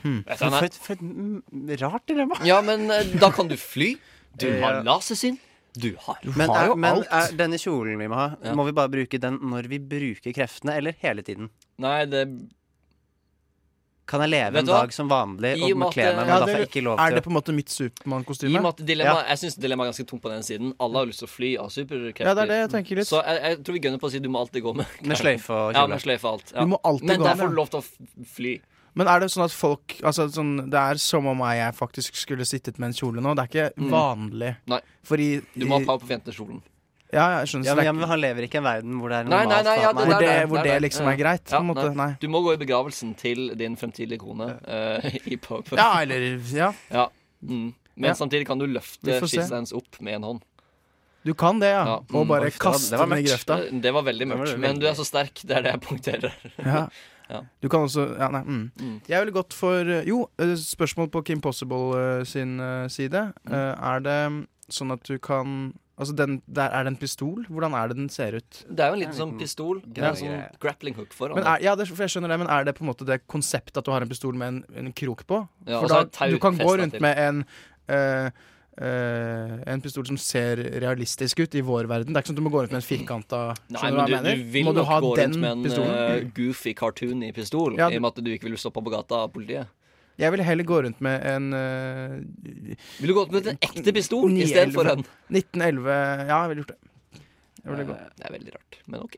Speaker 2: Hmm.
Speaker 1: Vet du, han
Speaker 3: For
Speaker 1: er-
Speaker 3: et, for et mm, rart dilemma.
Speaker 1: Ja, men eh, da kan du fly. Du
Speaker 3: Ja.
Speaker 1: har lasersyn. Du har
Speaker 3: Men, er, men er denne kjolen vi må ha, må vi bare bruke den når vi bruker kreftene, eller hele tiden?
Speaker 1: Nei, det
Speaker 3: Kan jeg leve
Speaker 1: Vet
Speaker 3: en
Speaker 1: du hva?
Speaker 3: dag som vanlig
Speaker 1: I
Speaker 3: og
Speaker 1: og med
Speaker 3: må
Speaker 1: at
Speaker 3: kle
Speaker 1: det-
Speaker 3: meg, men
Speaker 1: Ja,
Speaker 3: da
Speaker 1: det-
Speaker 3: får jeg ikke lov
Speaker 2: er
Speaker 3: til
Speaker 2: det på en måte mitt
Speaker 1: I og med
Speaker 2: Supermann-kostyme?
Speaker 1: at dilemma, Jeg syns dilemmaet er ganske tomt på den siden. Alle har lyst til å fly av superkrefter.
Speaker 2: Ja, det er det jeg tenker litt.
Speaker 1: Så jeg, jeg tror vi gunner på å si du må alltid gå med
Speaker 3: Med sløyfe og
Speaker 1: Ja,
Speaker 3: kjole.
Speaker 1: med sløyfe og alt. Ja.
Speaker 2: Du må alltid
Speaker 1: men
Speaker 2: gå
Speaker 1: der
Speaker 2: med.
Speaker 1: får du lov til å f- fly.
Speaker 2: Men er det sånn at folk altså, sånn, Det er som om jeg faktisk skulle sittet med en kjole nå. Det er ikke
Speaker 1: Mm.
Speaker 2: vanlig.
Speaker 1: Nei.
Speaker 2: For i,
Speaker 1: Du må
Speaker 2: i-
Speaker 1: ha power på jentekjolen.
Speaker 2: Ja, jeg skjønner.
Speaker 3: Ja,
Speaker 2: så
Speaker 3: men,
Speaker 2: det er
Speaker 3: ja, men han lever ikke i en verden hvor det er
Speaker 1: Nei, nei,
Speaker 3: normalt
Speaker 1: nei, ja,
Speaker 3: at man-
Speaker 1: det der-
Speaker 2: Hvor det-
Speaker 1: der-
Speaker 2: hvor
Speaker 1: der-
Speaker 2: det
Speaker 1: der.
Speaker 2: liksom er greit, på en måte. Nei.
Speaker 1: Du må gå i begravelsen til din fremtidige kone eh, i pub.
Speaker 2: Ja, eller- ja.
Speaker 1: Mm. Men
Speaker 2: Ja.
Speaker 1: samtidig kan du løfte
Speaker 2: Vi får se.
Speaker 1: skissene hennes opp med en hånd.
Speaker 2: Du kan det, ja.
Speaker 1: Ja.
Speaker 2: Og bare
Speaker 1: Uff, det var-
Speaker 2: kaste
Speaker 1: det var
Speaker 2: den i
Speaker 1: mørkt.
Speaker 2: grøfta.
Speaker 1: Eh, Det var veldig
Speaker 2: Det var
Speaker 1: mørkt.
Speaker 2: veldig-
Speaker 1: Men du er så sterk. Det er det jeg punkterer.
Speaker 2: Ja.
Speaker 1: Ja.
Speaker 2: Du kan også ja, nei, mm. Jeg ville gått for eh, Jo, eh, spørsmål på Kim Possible eh, sin eh, side.
Speaker 1: Mm.
Speaker 2: Eh, Er det sånn at du kan Altså, den, der er det en pistol? Hvordan er det den ser ut?
Speaker 1: Det er jo en liten sånn pistol med
Speaker 2: Ja.
Speaker 1: en sånn grappling hook foran.
Speaker 2: Men er, ja, det, for jeg skjønner det, men er det på en måte det konseptet at du har en pistol med en, en krok på?
Speaker 1: Ja, og så
Speaker 2: for da,
Speaker 1: er det tau
Speaker 2: du kan gå
Speaker 1: festet
Speaker 2: rundt
Speaker 1: til.
Speaker 2: med en eh, eh, en pistol som ser realistisk ut i vår verden. Det er ikke sånn at du må gå rundt med en firkanta
Speaker 1: Nei,
Speaker 2: Skjønner
Speaker 1: men
Speaker 2: du hva jeg
Speaker 1: du,
Speaker 2: mener?
Speaker 1: du vil
Speaker 2: må du
Speaker 1: nok
Speaker 2: ha
Speaker 1: gå rundt
Speaker 2: den
Speaker 1: med en eh,
Speaker 2: pistolen?
Speaker 1: goofy cartoon i pistol,
Speaker 2: Ja,
Speaker 1: i
Speaker 2: du-
Speaker 1: og med at du ikke vil bli stoppa på gata av politiet.
Speaker 2: Jeg ville heller gå rundt med en eh,
Speaker 1: Vil du gå ut med en ekte pistol
Speaker 2: 911.
Speaker 1: istedenfor en?
Speaker 2: 1911 Ja, jeg ville gjort det. Jeg ville gått.
Speaker 1: Eh, Det er veldig rart, men ok.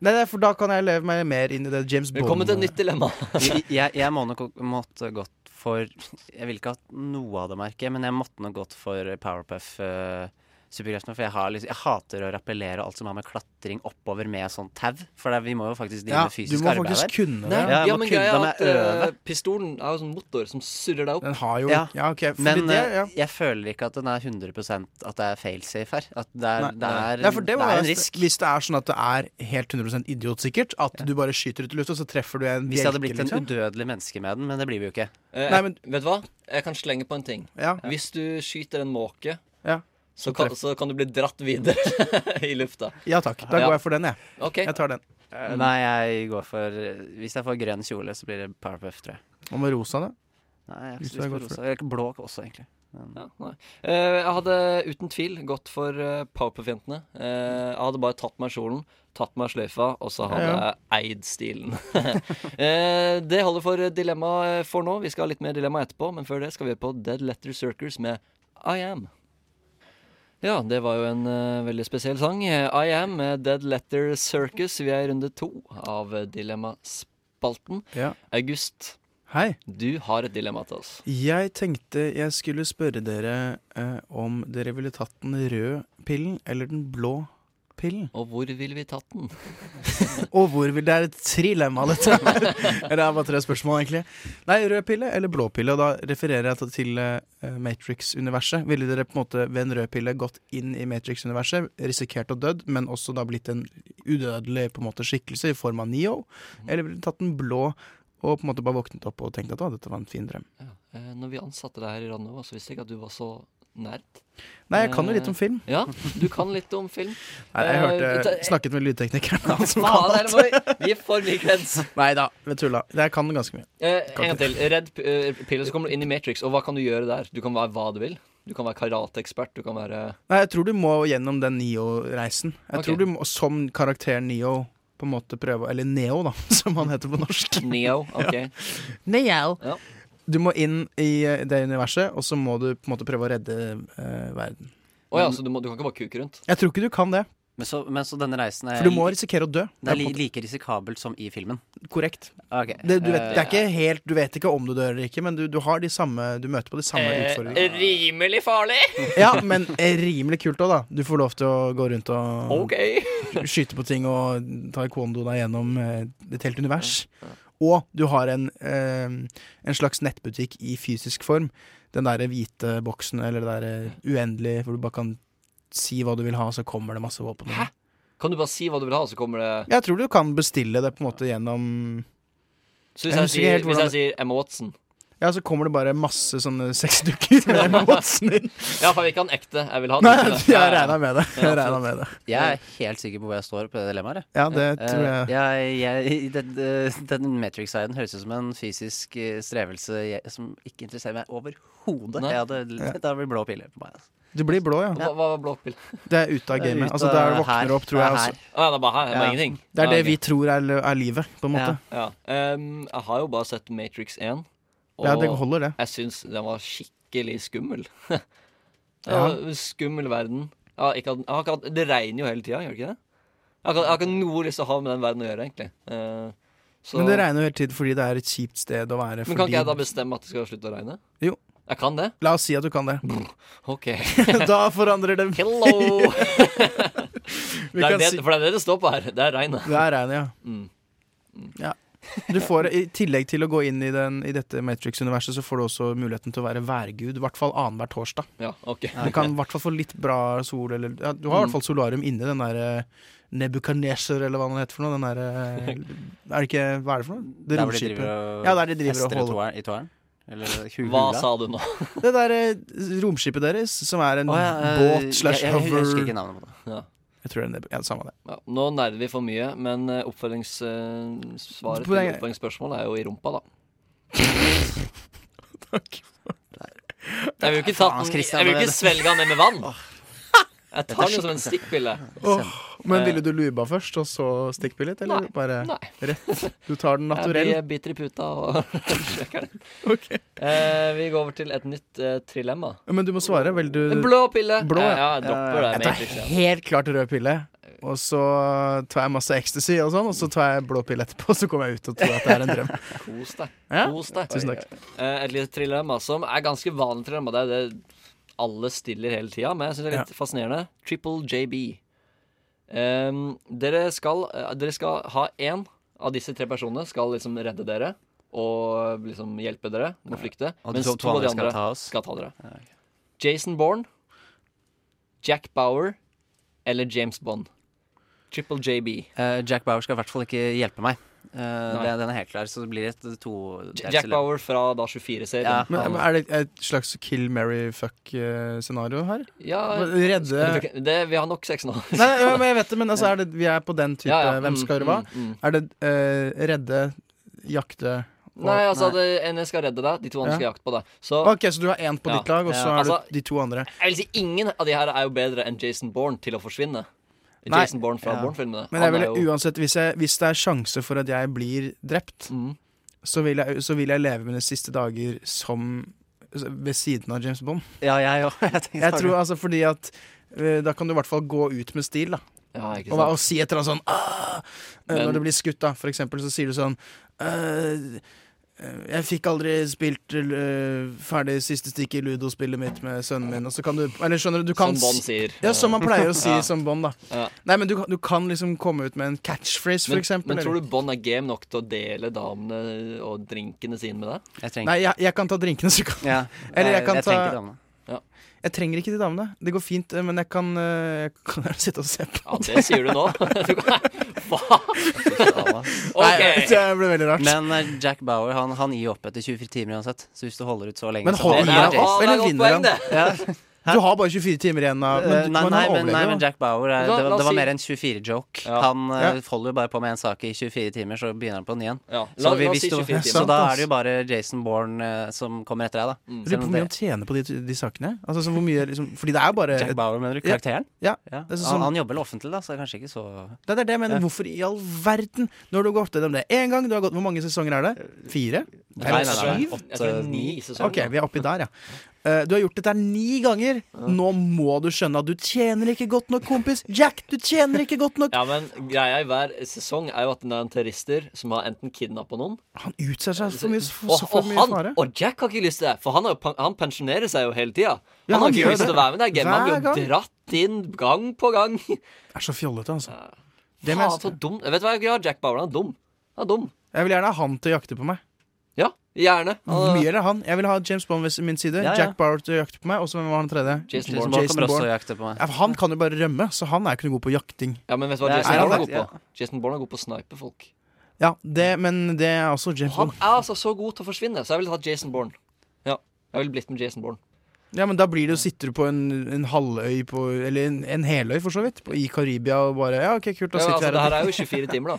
Speaker 2: Nei, nei, for da kan jeg leve meg mer inn i det James Bond
Speaker 1: Velkommen til et nytt dilemma.
Speaker 3: jeg, jeg- jeg må nok måtte gått for Jeg ville ikke hatt noe av det merket, men jeg måtte nok gått for Powerpuff. Uh, Superkreftene, for jeg, har, liksom- jeg hater å rappellere alt som har med klatring oppover med sånn tau. For det, er- vi må jo faktisk drive
Speaker 2: Ja,
Speaker 3: med fysisk
Speaker 2: du må
Speaker 3: arbeid
Speaker 2: faktisk
Speaker 3: her.
Speaker 2: kunne det.
Speaker 3: Ja,
Speaker 2: Nei,
Speaker 3: jeg må
Speaker 1: Ja, men
Speaker 3: kunne
Speaker 1: greia er
Speaker 3: det,
Speaker 1: at
Speaker 3: men øve.
Speaker 1: eh, pistolen er jo sånn motor som surrer deg opp.
Speaker 2: Den har jo
Speaker 3: Ja.
Speaker 2: Ja, ok. Fordi
Speaker 3: Men
Speaker 2: det,
Speaker 3: eh,
Speaker 2: ja.
Speaker 3: jeg føler ikke at den er 100 at det er failsafe her. At det er,
Speaker 2: Nei.
Speaker 3: det er,
Speaker 2: Nei, for det må
Speaker 3: det er
Speaker 2: være-
Speaker 3: en risk.
Speaker 2: Hvis det er sånn at det er helt 100 idiotsikkert, at du bare skyter ut i lufta, så treffer du en
Speaker 3: Hvis jeg hadde
Speaker 2: bjelke,
Speaker 3: blitt en
Speaker 2: liksom.
Speaker 3: udødelig menneske med den, men det blir vi jo ikke.
Speaker 1: Eh,
Speaker 2: Nei, men-
Speaker 1: Vet du hva? Jeg kan slenge på en ting.
Speaker 2: Ja.
Speaker 1: Hvis du skyter en måke,
Speaker 2: Ja.
Speaker 1: så, kan, så kan du bli dratt videre i lufta.
Speaker 2: Ja takk. Da
Speaker 1: Ja.
Speaker 2: går jeg for den, jeg.
Speaker 1: Ok.
Speaker 2: Jeg tar den.
Speaker 3: Eh, Nei, jeg går for Hvis jeg får grønn kjole, så blir det Powerpuff, tror jeg.
Speaker 2: Hva med rosa, da?
Speaker 3: Nei, jeg har
Speaker 2: Hvis
Speaker 3: ikke
Speaker 2: du
Speaker 3: lyst
Speaker 2: har
Speaker 3: på
Speaker 2: gått for
Speaker 3: rosa. Jeg er blå også, egentlig. Men-
Speaker 1: Ja, nei. Eh, jeg hadde uten tvil gått for uh, Powerpuff-jentene. Eh, jeg hadde bare tatt meg kjolen, tatt meg sløyfa, og så hadde
Speaker 3: Ja,
Speaker 1: jeg eid stilen. Eh, det holder for dilemma eh, for nå. Vi skal ha litt mer dilemma etterpå, men før det skal vi høre på Dead Letter Circus med I Am. Ja, det var jo en eh, veldig spesiell sang. Eh, I Am med Dead Letter Circus. Vi er i runde to av eh, Dilemmaspalten.
Speaker 2: Ja.
Speaker 1: August,
Speaker 2: Hei.
Speaker 1: du har et dilemma til oss.
Speaker 2: Jeg tenkte jeg skulle spørre dere eh, om dere ville tatt den røde pillen eller den blå pillen.
Speaker 1: Og hvor ville vi tatt den?
Speaker 2: Og hvor vil Det er et trilemma, dette her. Eller det er bare tre spørsmål, egentlig. Nei, rød pille eller blå pille? Og da refererer jeg til eh, Matrix-universet. Ville dere på en måte ved en rød pille gått inn i Matrix-universet, risikert å dødd, men også da blitt en udødelig på en måte skikkelse i form av Neo?
Speaker 1: Mhm.
Speaker 2: Eller ville dere tatt den blå og på en måte bare våknet opp og tenkt at å, dette var en fin drøm?
Speaker 1: Eh, Når vi ansatte deg her i Randova, så visste jeg ikke at du var så nært.
Speaker 2: Nei, jeg kan jo
Speaker 1: Eh,
Speaker 2: litt om film.
Speaker 1: Ja, du kan litt om film.
Speaker 2: Nei, jeg
Speaker 1: Eh,
Speaker 2: hørte,
Speaker 1: ta-
Speaker 2: snakket med lydteknikeren. han som
Speaker 1: Faen,
Speaker 2: kan
Speaker 1: her
Speaker 2: alt.
Speaker 1: må vi- vi er for lik rens.
Speaker 2: Nei da, vi tulla. Jeg kan ganske mye.
Speaker 1: Eh,
Speaker 2: Kan
Speaker 1: en gang til. Redd p- eh, pille, så kommer du inn i Matrix, og hva kan du gjøre der? Du kan være hva du vil. Du kan være karateekspert, du kan være
Speaker 2: Nei, jeg tror du må gjennom den Neo-reisen. Jeg
Speaker 1: Ok.
Speaker 2: tror du må, som karakteren Neo, på en måte prøve Eller Neo, da, som han heter på norsk.
Speaker 1: Neo. Ok.
Speaker 2: Ja. Neo.
Speaker 1: Ja.
Speaker 2: Du må inn i eh, det universet, og så må du på en måte prøve å redde eh, verden.
Speaker 1: Å ja, så du, må, du kan ikke bare kuke rundt?
Speaker 2: Jeg tror ikke du kan det,
Speaker 3: Men så, men så denne reisen er
Speaker 2: for du må risikere å dø.
Speaker 3: Det er li, like risikabelt som i filmen.
Speaker 2: Korrekt.
Speaker 3: Ok.
Speaker 2: Det, du, vet,
Speaker 3: Eh,
Speaker 2: det er ikke helt, du vet ikke om du dør eller ikke, men du, du, har de samme, du møter på de samme utfordringene.
Speaker 1: Eh, rimelig farlig!
Speaker 2: Ja, men eh, rimelig kult òg, da. Du får lov til å gå rundt og
Speaker 1: Ok.
Speaker 2: skyte på ting og taekwondo deg gjennom eh, et helt univers. Og du har en, eh, en slags nettbutikk i fysisk form. Den derre hvite boksen eller det derre uendelige hvor du bare kan si hva du vil ha, så kommer det masse våpen.
Speaker 1: Kan du bare si hva du vil ha, så kommer det
Speaker 2: Jeg tror du kan bestille det på en måte gjennom
Speaker 1: Så hvis
Speaker 2: Jeg
Speaker 1: jeg,
Speaker 2: husker ikke
Speaker 1: sier,
Speaker 2: helt
Speaker 1: hvis
Speaker 2: hvordan
Speaker 1: jeg sier Emma Watson
Speaker 2: Ja, så kommer det bare masse sånne sexdukker med Emma Watson din.
Speaker 1: Ja, for jeg vil ikke ha den ekte. Jeg vil ha den
Speaker 2: Nei,
Speaker 1: ekte.
Speaker 2: jeg
Speaker 1: Ja, ja.
Speaker 2: regna med det.
Speaker 1: Ja,
Speaker 2: Jeg regnet med det.
Speaker 3: Jeg er helt sikker på hvor jeg står på det dilemmaet. jeg.
Speaker 2: Ja, det tror jeg.
Speaker 3: Eh, jeg, jeg den, eh, den Matrix-siden høres ut som en fysisk eh, strevelse jeg, som ikke interesserer meg overhodet.
Speaker 1: Nei.
Speaker 3: Jeg hadde-
Speaker 2: Ja.
Speaker 3: Det hadde blitt blå piller på meg. Altså.
Speaker 2: Du blir blå, ja.
Speaker 1: Hva, hva var blokkbill?
Speaker 2: Det er ute av
Speaker 3: Det er
Speaker 2: gamet.
Speaker 3: ut
Speaker 2: Altså,
Speaker 3: av
Speaker 2: der du
Speaker 3: her.
Speaker 2: våkner opp, tror
Speaker 3: Det er
Speaker 2: jeg. altså.
Speaker 3: her.
Speaker 2: Også.
Speaker 1: Å ja, det er bare her. Det er
Speaker 2: Ja.
Speaker 1: bare ingenting.
Speaker 2: Det er det
Speaker 1: ok.
Speaker 2: vi tror er, er livet, på en måte.
Speaker 1: Ja. Ehm, jeg har jo bare sett Matrix 1.
Speaker 2: Ja, det holder det.
Speaker 1: Jeg syns den var skikkelig skummel. Det
Speaker 2: Ja.
Speaker 1: var en Skummel verden. Jeg har ikke, hatt- jeg har ikke, hatt- det regner jo hele tida, gjør det ikke det? Jeg har, ikke- jeg har ikke noe lyst til å ha med den verden å gjøre, egentlig. Eh, så-
Speaker 2: Men det regner jo hele tiden fordi det er et kjipt sted å være.
Speaker 1: Men kan
Speaker 2: fordi...
Speaker 1: ikke jeg da bestemme at det skal slutte å regne?
Speaker 2: Jo.
Speaker 1: Jeg kan det.
Speaker 2: La oss si at du kan det.
Speaker 1: OK.
Speaker 2: da forandrer det
Speaker 1: Hello!
Speaker 2: Vi
Speaker 1: Det er
Speaker 2: kan
Speaker 1: det,
Speaker 2: si-
Speaker 1: for det er det det står på her. Det er regnet.
Speaker 2: Det er regnet, ja.
Speaker 1: Mm.
Speaker 2: Ja. Du får, I tillegg til å gå inn i, den, i dette Matrix-universet, så får du også muligheten til å være værgud. I hvert fall annenhver torsdag.
Speaker 1: Ja, ok.
Speaker 2: Du kan i hvert fall få litt bra sol, eller ja, Du har i
Speaker 1: Mm.
Speaker 2: hvert fall solarium inne, den derre Nebuchadnezzar, eller hva den heter for noe. Den derre Er det ikke Hva er det for noe? Det
Speaker 3: Der hvor de
Speaker 2: romskipet.
Speaker 3: driver og
Speaker 2: Ja, der de driver og
Speaker 3: fester i
Speaker 2: holder
Speaker 3: toeren- i toeren? Eller hu-
Speaker 1: Hva
Speaker 3: hula?
Speaker 1: sa du nå?
Speaker 2: Det derre romskipet deres, som er en
Speaker 3: Å ja, eh,
Speaker 2: båt slash
Speaker 3: jeg- jeg
Speaker 2: hover
Speaker 3: husker ikke navnet på det.
Speaker 1: Ja.
Speaker 2: Jeg tror det er Neb- ja, det samme det.
Speaker 1: Ja, nå nerder vi for mye, men eh, oppfølgingssvaret til
Speaker 2: Poenget-
Speaker 1: oppfølgingsspørsmålet er jo i rumpa, da. Jeg vil jo ikke,
Speaker 3: Faen,
Speaker 1: tatt den,
Speaker 3: Christian,
Speaker 1: jeg vil
Speaker 3: det-
Speaker 1: ikke svelge den ned med vann. Jeg
Speaker 3: Dette er
Speaker 1: tar den jo
Speaker 3: så-
Speaker 1: som en stikkpille.
Speaker 2: Åh, men
Speaker 1: Eh,
Speaker 2: ville du luba først, og så stikkpille litt, eller
Speaker 1: Nei,
Speaker 2: bare
Speaker 1: nei.
Speaker 2: rett? Du tar den naturell?
Speaker 1: Jeg biter i puta og sjekker den. Eh, vi går over til et nytt eh, trilemma.
Speaker 2: Men du må svare. Vil du
Speaker 1: En blå pille.
Speaker 2: Blå,
Speaker 1: Eh, ja, jeg dropper det,
Speaker 2: Jeg tar
Speaker 1: Matrix, ja.
Speaker 2: helt klart rød pille. Og så tar jeg masse ecstasy og sånn, og så tar jeg blå pille etterpå, så kommer jeg ut og tror at det er en drøm.
Speaker 1: Kos deg.
Speaker 2: Ja,
Speaker 1: Kos deg.
Speaker 2: tusen takk.
Speaker 1: Eh, et lite trilemma som er ganske vanlig trilemma. Det er det alle stiller hele tida, men jeg syns det er litt fascinerende. Triple JB. Ehm, dere, skal, eh, dere skal ha én av disse tre personene skal liksom redde dere og liksom hjelpe dere med å flykte.
Speaker 3: Og de
Speaker 1: Mens
Speaker 3: to-
Speaker 1: to av de andre
Speaker 3: skal ta oss.
Speaker 1: skal ta dere. Jason Bourne, Jack Bauer eller James Bond. Triple JB.
Speaker 3: Eh, Jack Bauer skal i hvert fall ikke hjelpe meg. Eh, det, den er helt klar, så det blir et to
Speaker 1: Jack Bauer fra da 24-serien.
Speaker 3: Ja,
Speaker 2: Men men Er det et slags kill, marry, fuck-scenario her?
Speaker 1: Ja,
Speaker 2: Redde
Speaker 1: det, Vi har nok sex nå.
Speaker 2: Nei, ja, men jeg vet det, men altså, er det, vi er på den type
Speaker 1: Ja, ja,
Speaker 2: hvem
Speaker 1: mm,
Speaker 2: skal gjøre hva?
Speaker 1: mm, mm.
Speaker 2: Er det eh, redde, jakte og-
Speaker 1: Nei, altså det, en skal redde deg, de to andre
Speaker 2: Ja.
Speaker 1: skal jakte på deg. Så
Speaker 2: Ok, så du har én på
Speaker 1: Ja.
Speaker 2: ditt lag, og så
Speaker 1: Ja.
Speaker 2: har
Speaker 1: Altså,
Speaker 2: du de to andre.
Speaker 1: jeg vil si ingen av de her er jo bedre enn Jason Bourne til å forsvinne.
Speaker 2: Nei.
Speaker 1: Jason Bourne fra
Speaker 2: Ja.
Speaker 1: Bourne-filmene.
Speaker 2: Men jeg
Speaker 1: Han
Speaker 2: ville
Speaker 1: er jo-
Speaker 2: uansett, hvis, jeg, hvis det er sjanse for at jeg blir drept,
Speaker 1: Mm.
Speaker 2: så, vil jeg, så vil jeg leve mine siste dager som altså, ved siden av James Bond.
Speaker 3: Ja, jeg òg. Jeg, tenkte
Speaker 2: Jeg
Speaker 3: akkurat-
Speaker 2: tror altså fordi at eh, da kan du i hvert fall gå ut med stil, da.
Speaker 1: Ja, ikke
Speaker 2: og, hva-
Speaker 1: sant.
Speaker 2: og si et eller annet sånn «Ah!» eh,
Speaker 1: Men-
Speaker 2: Når du blir skutt, da, for eksempel, så sier du sånn «Eh, eh, jeg fikk aldri spilt eh, ferdig siste stikk i ludospillet mitt med sønnen min. Og så kan du, eller skjønner du, du kan
Speaker 1: Som Bond
Speaker 2: si-
Speaker 1: sier.
Speaker 2: Ja, som man pleier å si
Speaker 1: Ja.
Speaker 2: som Bond, da.
Speaker 1: Ja.
Speaker 2: Nei, men du, kan- du kan liksom komme ut med en catchphrase, for
Speaker 1: men,
Speaker 2: eksempel.
Speaker 1: men
Speaker 2: eller-
Speaker 1: tror du Bond er game nok til å dele damene og drinkene sine med deg?
Speaker 2: Nei, jeg, jeg kan ta drinkene, så kan
Speaker 3: Ja,
Speaker 2: Eller
Speaker 3: jeg-
Speaker 2: jeg kan
Speaker 3: jeg
Speaker 2: ta
Speaker 3: trenger ikke damene.
Speaker 1: Ja.
Speaker 2: Jeg trenger ikke de damene. Det går fint, eh, men jeg kan, eh, jeg kan sitte og se på.
Speaker 1: Ja, det sier du nå. Du kan- Hva?
Speaker 3: Nei,
Speaker 1: OK.
Speaker 2: det ble veldig rart.
Speaker 3: Men eh, Jack Bauer han, han gir opp etter 24 timer uansett. Så hvis du holder ut så lenge
Speaker 2: Men
Speaker 3: så
Speaker 2: holder
Speaker 3: blir
Speaker 2: han
Speaker 3: Jason-
Speaker 2: opp, eller vinner han? Du har bare 24 timer igjen av
Speaker 3: Eh,
Speaker 2: men, du-
Speaker 3: nei,
Speaker 2: men han
Speaker 3: nei, men,
Speaker 2: overlever,
Speaker 3: nei,
Speaker 2: da.
Speaker 3: men Jack Bauer eh,
Speaker 2: La-
Speaker 3: Det,
Speaker 2: la
Speaker 3: var-
Speaker 2: oss
Speaker 3: det var
Speaker 2: si-
Speaker 3: mer en 24-joke.
Speaker 2: Ja.
Speaker 3: Han eh,
Speaker 2: Ja.
Speaker 3: holder jo bare på med en sak i 24 timer, så begynner han på ny igjen.
Speaker 1: La-
Speaker 3: Så, vi-
Speaker 1: la oss
Speaker 3: hvis
Speaker 1: si
Speaker 3: du-
Speaker 1: 24 timer. Mm.
Speaker 3: så da er det
Speaker 1: Sant,
Speaker 3: jo bare Jason Bourne eh, som kommer etter deg, da.
Speaker 2: Jeg
Speaker 3: Selv
Speaker 2: Lurer på
Speaker 3: om
Speaker 2: hvor mye han tjener på de, de sakene. Altså, så hvor mye, liksom, fordi det er jo bare
Speaker 3: Jack Bauer, mener du?
Speaker 2: Ja.
Speaker 3: Karakteren?
Speaker 2: Ja.
Speaker 3: Ja.
Speaker 2: Det er sånn-
Speaker 3: Han, han jobber vel offentlig, da, så det er kanskje ikke så
Speaker 2: Det er det jeg mener.
Speaker 3: Ja.
Speaker 2: Hvorfor i all verden? Når du har gått gjennom det én gang du har gått, Hvor mange sesonger er det? Fire?
Speaker 3: Nei, nei, nei,
Speaker 2: Syv?
Speaker 3: åtte, Jeg tror det er ni sesonger,
Speaker 2: Ok, vi er oppi der, ja. Eh, Du har gjort dette ni ganger. Nå må du skjønne at du tjener ikke godt nok, kompis. Jack, du tjener ikke godt nok.
Speaker 1: Ja, men greia i hver sesong er jo at det er en terrorister som har enten kidnappa noen
Speaker 2: Han utsetter seg for mye, for,
Speaker 1: og,
Speaker 2: så
Speaker 1: og,
Speaker 2: for mye
Speaker 1: han,
Speaker 2: fare.
Speaker 1: og Jack har ikke lyst til det, for han, er jo, pen- han pensjonerer seg jo hele tida.
Speaker 2: Ja,
Speaker 1: Han
Speaker 2: han
Speaker 1: har
Speaker 2: gjør
Speaker 1: ikke lyst til
Speaker 2: det.
Speaker 1: å være med i det gamet. Han
Speaker 2: Hver
Speaker 1: blir jo dratt inn gang på gang.
Speaker 2: Det er så fjollete, altså. Det
Speaker 1: Faen,
Speaker 2: mest-
Speaker 1: så dum. Vet du hva jeg har? Jack Bauer han er dum. Han er dum.
Speaker 2: Jeg vil gjerne ha han til å jakte på meg.
Speaker 1: Ja, gjerne.
Speaker 2: Hvor
Speaker 1: Han-
Speaker 2: mye er det han? Jeg vil ha James Bond ved min side,
Speaker 1: Ja, ja.
Speaker 2: Jack Bauer til å jakte på meg, og så hvem var han tredje?
Speaker 1: Jason Bourne kommer også og jakter på meg.
Speaker 2: Ja, for han kan jo bare rømme, så han er jo ikke noe god på jakting.
Speaker 1: Ja, men vet du hva
Speaker 2: Nei,
Speaker 1: Jason
Speaker 2: er han
Speaker 1: Bourne er
Speaker 2: det?
Speaker 1: god på? Jason Bourne er god på å snipe folk.
Speaker 2: Ja, det, men det er også James
Speaker 1: Han
Speaker 2: Bond.
Speaker 1: er altså så god til å forsvinne, så jeg ville tatt Jason Bourne. Ja, jeg ville blitt med Jason Bourne.
Speaker 2: Ja, men da blir det jo sitter du på en, en halvøy på Eller en, en heløy, for så vidt, på, i Karibia og bare Ja, OK, kult, da
Speaker 1: Ja,
Speaker 2: sitter
Speaker 1: altså,
Speaker 2: vi
Speaker 1: det
Speaker 2: her.
Speaker 1: her er jo 24 timer, da.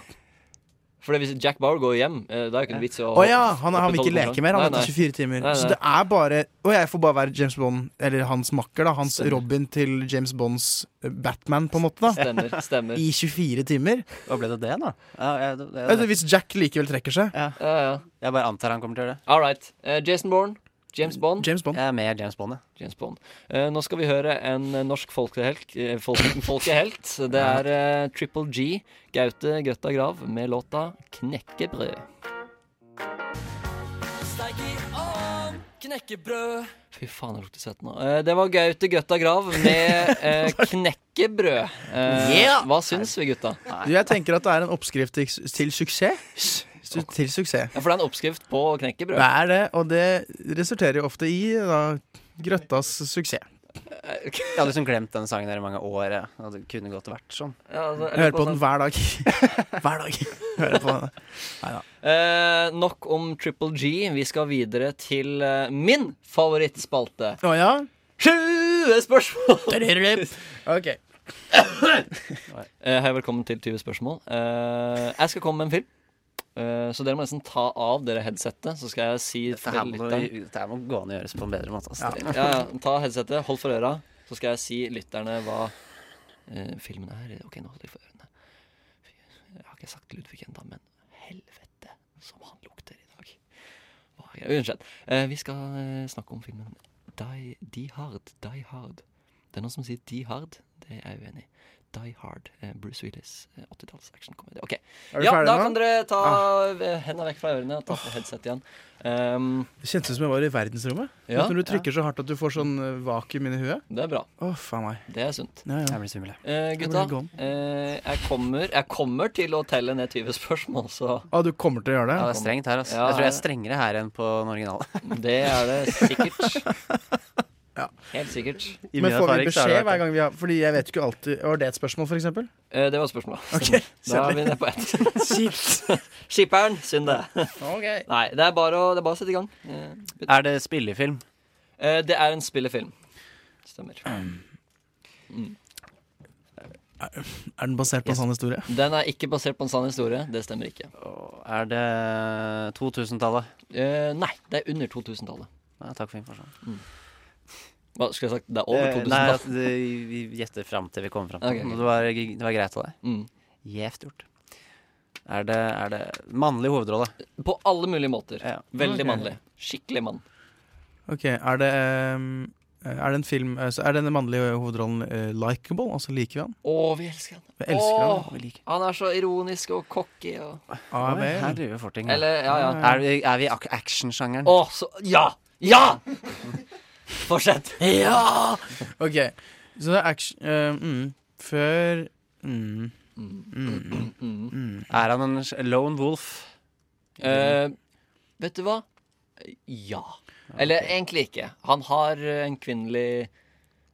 Speaker 1: For hvis Jack Bauer går hjem, eh, da er det ikke noe vits i å
Speaker 2: Å ja, han, han vil ikke
Speaker 1: opprettholde
Speaker 2: leke mer. Han
Speaker 1: konkurransen.
Speaker 2: venter 24 timer.
Speaker 1: Nei,
Speaker 2: Så
Speaker 1: nei.
Speaker 2: det er bare Og jeg får bare være James Bond, eller hans makker, da. Hans
Speaker 1: Stemmer.
Speaker 2: Robin til James Bonds eh, Batman, på en måte, da.
Speaker 1: Stemmer, stemmer.
Speaker 2: I 24 timer.
Speaker 3: Hva ble det det, da? Ja, jeg, det, det,
Speaker 2: Altså, hvis Jack likevel trekker seg.
Speaker 3: Ja. Jeg bare antar han kommer til å gjøre det.
Speaker 1: All right. Eh, Jason Bourne. James Bond.
Speaker 3: Jeg er med James Bond, ja.
Speaker 1: James Bond. Eh, nå skal vi høre en eh, norsk folkehelt. eh, folk, folkehelt. Det er eh, Triple G, Gaute Grøtta Grav, med låta 'Knekkebrød'.
Speaker 13: Steik i ovnen!
Speaker 1: Knekkebrød. Fy faen, jeg lukter svett nå. Eh, Det var Gaute Gøtta Grav med eh, knekkebrød. Eh,
Speaker 2: Yeah!
Speaker 1: Hva syns vi, gutta?
Speaker 2: Du, jeg tenker at det er en oppskrift til, til suksess. Su- Til suksess.
Speaker 1: Ja, for det er en oppskrift på knekkebrød.
Speaker 2: Det er det, og det resulterer jo ofte i da, grøttas suksess.
Speaker 1: Eh,
Speaker 3: Jeg hadde liksom glemt den sangen der i mange år. jeg. Og det kunne godt vært sånn.
Speaker 1: Ja, altså,
Speaker 2: Jeg hører på den hver dag. Hver dag. Hører på den. Neida.
Speaker 1: Eh, nok om Triple G. Vi skal videre til eh, min favorittspalte.
Speaker 2: Å ja?
Speaker 1: 20 spørsmål!
Speaker 2: Ok.
Speaker 1: Eh, Hei, velkommen til 20 spørsmål. Eh, jeg skal komme med en film. Eh, så dere må nesten ta av dere headsettet, så skal jeg si
Speaker 3: Dette her må, dette her må gå an å gjøres på en bedre måte. altså. ass.
Speaker 1: Ja, ja, ta headsetet, hold for øra, så skal jeg si lytterne hva eh, filmen er. Ok, nå holder de for ørene. Fy, Jeg har ikke sagt Ludvig ennå, men helvete som han lukter i dag. Hva er greia? Uansett. eh, vi skal eh, snakke om filmen Die, Die Hard. Die Hard. Det er noen som sier Die Hard. Det er jeg uenig i. Die Hard. eh, Bruce Willis. eh, 80-talls actionkomedie. Ok.
Speaker 2: Er du
Speaker 1: Ja,
Speaker 2: ferdig
Speaker 1: da
Speaker 2: nå? Ah.
Speaker 1: kan dere ta eh, hendene vekk fra ørene og ta headset igjen. Um,
Speaker 2: Det kjentes ut som jeg var i verdensrommet.
Speaker 1: Ja,
Speaker 2: når du trykker så hardt at du får sånn eh, vakuum inn i huet.
Speaker 1: det er bra.
Speaker 2: Å, faen meg.
Speaker 1: Det er sunt.
Speaker 2: Ja, ja.
Speaker 3: Jeg blir svimmel, jeg.
Speaker 1: Eh, gutta,
Speaker 2: Jeg blir gone.
Speaker 1: eh, jeg, kommer, jeg kommer til å telle ned 20 spørsmål, så
Speaker 2: Å, Ah, du kommer til å gjøre det?
Speaker 3: Ja, det er strengt her, ass.
Speaker 1: Ja,
Speaker 3: jeg tror jeg
Speaker 1: ja.
Speaker 3: er strengere her enn på den originale.
Speaker 1: det er det sikkert. Helt sikkert.
Speaker 3: I
Speaker 2: Men
Speaker 3: min
Speaker 2: får vi
Speaker 3: erfaring så har det
Speaker 2: beskjed
Speaker 3: vært
Speaker 2: hver gang vi har Fordi jeg vet ikke alltid Var det et spørsmål, for eksempel?
Speaker 1: Eh, det var spørsmålet.
Speaker 2: Ok,
Speaker 1: da er vi
Speaker 2: kjedelig.
Speaker 1: nede på ett. Skipperen. Synd det.
Speaker 2: Ok.
Speaker 1: Nei, det er bare å, det er bare å sette i gang. Eh, gutt.
Speaker 3: Er det spillefilm?
Speaker 1: Eh, det er en spillefilm. Stemmer.
Speaker 2: Er den basert på en
Speaker 1: Yes.
Speaker 2: sann historie?
Speaker 1: Den er ikke basert på en sann historie. Det stemmer ikke.
Speaker 3: Er det 2000-tallet?
Speaker 1: Eh, nei, det er under 2000-tallet.
Speaker 3: Ja, takk for informasjonen.
Speaker 1: Hva skulle jeg sagt? Det er over
Speaker 3: Eh, Nei, at
Speaker 1: 2000-tallet.
Speaker 3: det, vi gjetter fram til vi kommer fram til
Speaker 1: Ok,
Speaker 3: det.
Speaker 1: ok.
Speaker 3: Det var, det var greit av deg.
Speaker 1: Mm.
Speaker 3: Gjevt gjort. Er det, er det mannlig hovedrolle?
Speaker 1: På alle mulige måter.
Speaker 3: Ja.
Speaker 1: Veldig
Speaker 2: Ok.
Speaker 1: mannlig. Skikkelig mann.
Speaker 2: Ok, er det ehm, Er det en film eh, så Er den mannlige hovedrollen uh, likable? Altså liker vi han?
Speaker 1: Å, vi elsker han.
Speaker 2: Vi elsker han,
Speaker 1: Åh,
Speaker 3: og vi liker
Speaker 1: Han er så ironisk og cocky og
Speaker 2: Ah,
Speaker 3: Oi,
Speaker 2: vel.
Speaker 3: her driver vi forting. da.
Speaker 1: Eller, ja, ja.
Speaker 3: Er vi, er vi ak actionsjangeren?
Speaker 1: Å, så Ja! Ja! Fortsett.
Speaker 2: Ja! Ok, så det er action eh, mm, Før mm, mm, mm.
Speaker 3: Er han en lone wolf?
Speaker 1: Eh, vet du hva? Ja. Eller egentlig ikke. Han har eh, en kvinnelig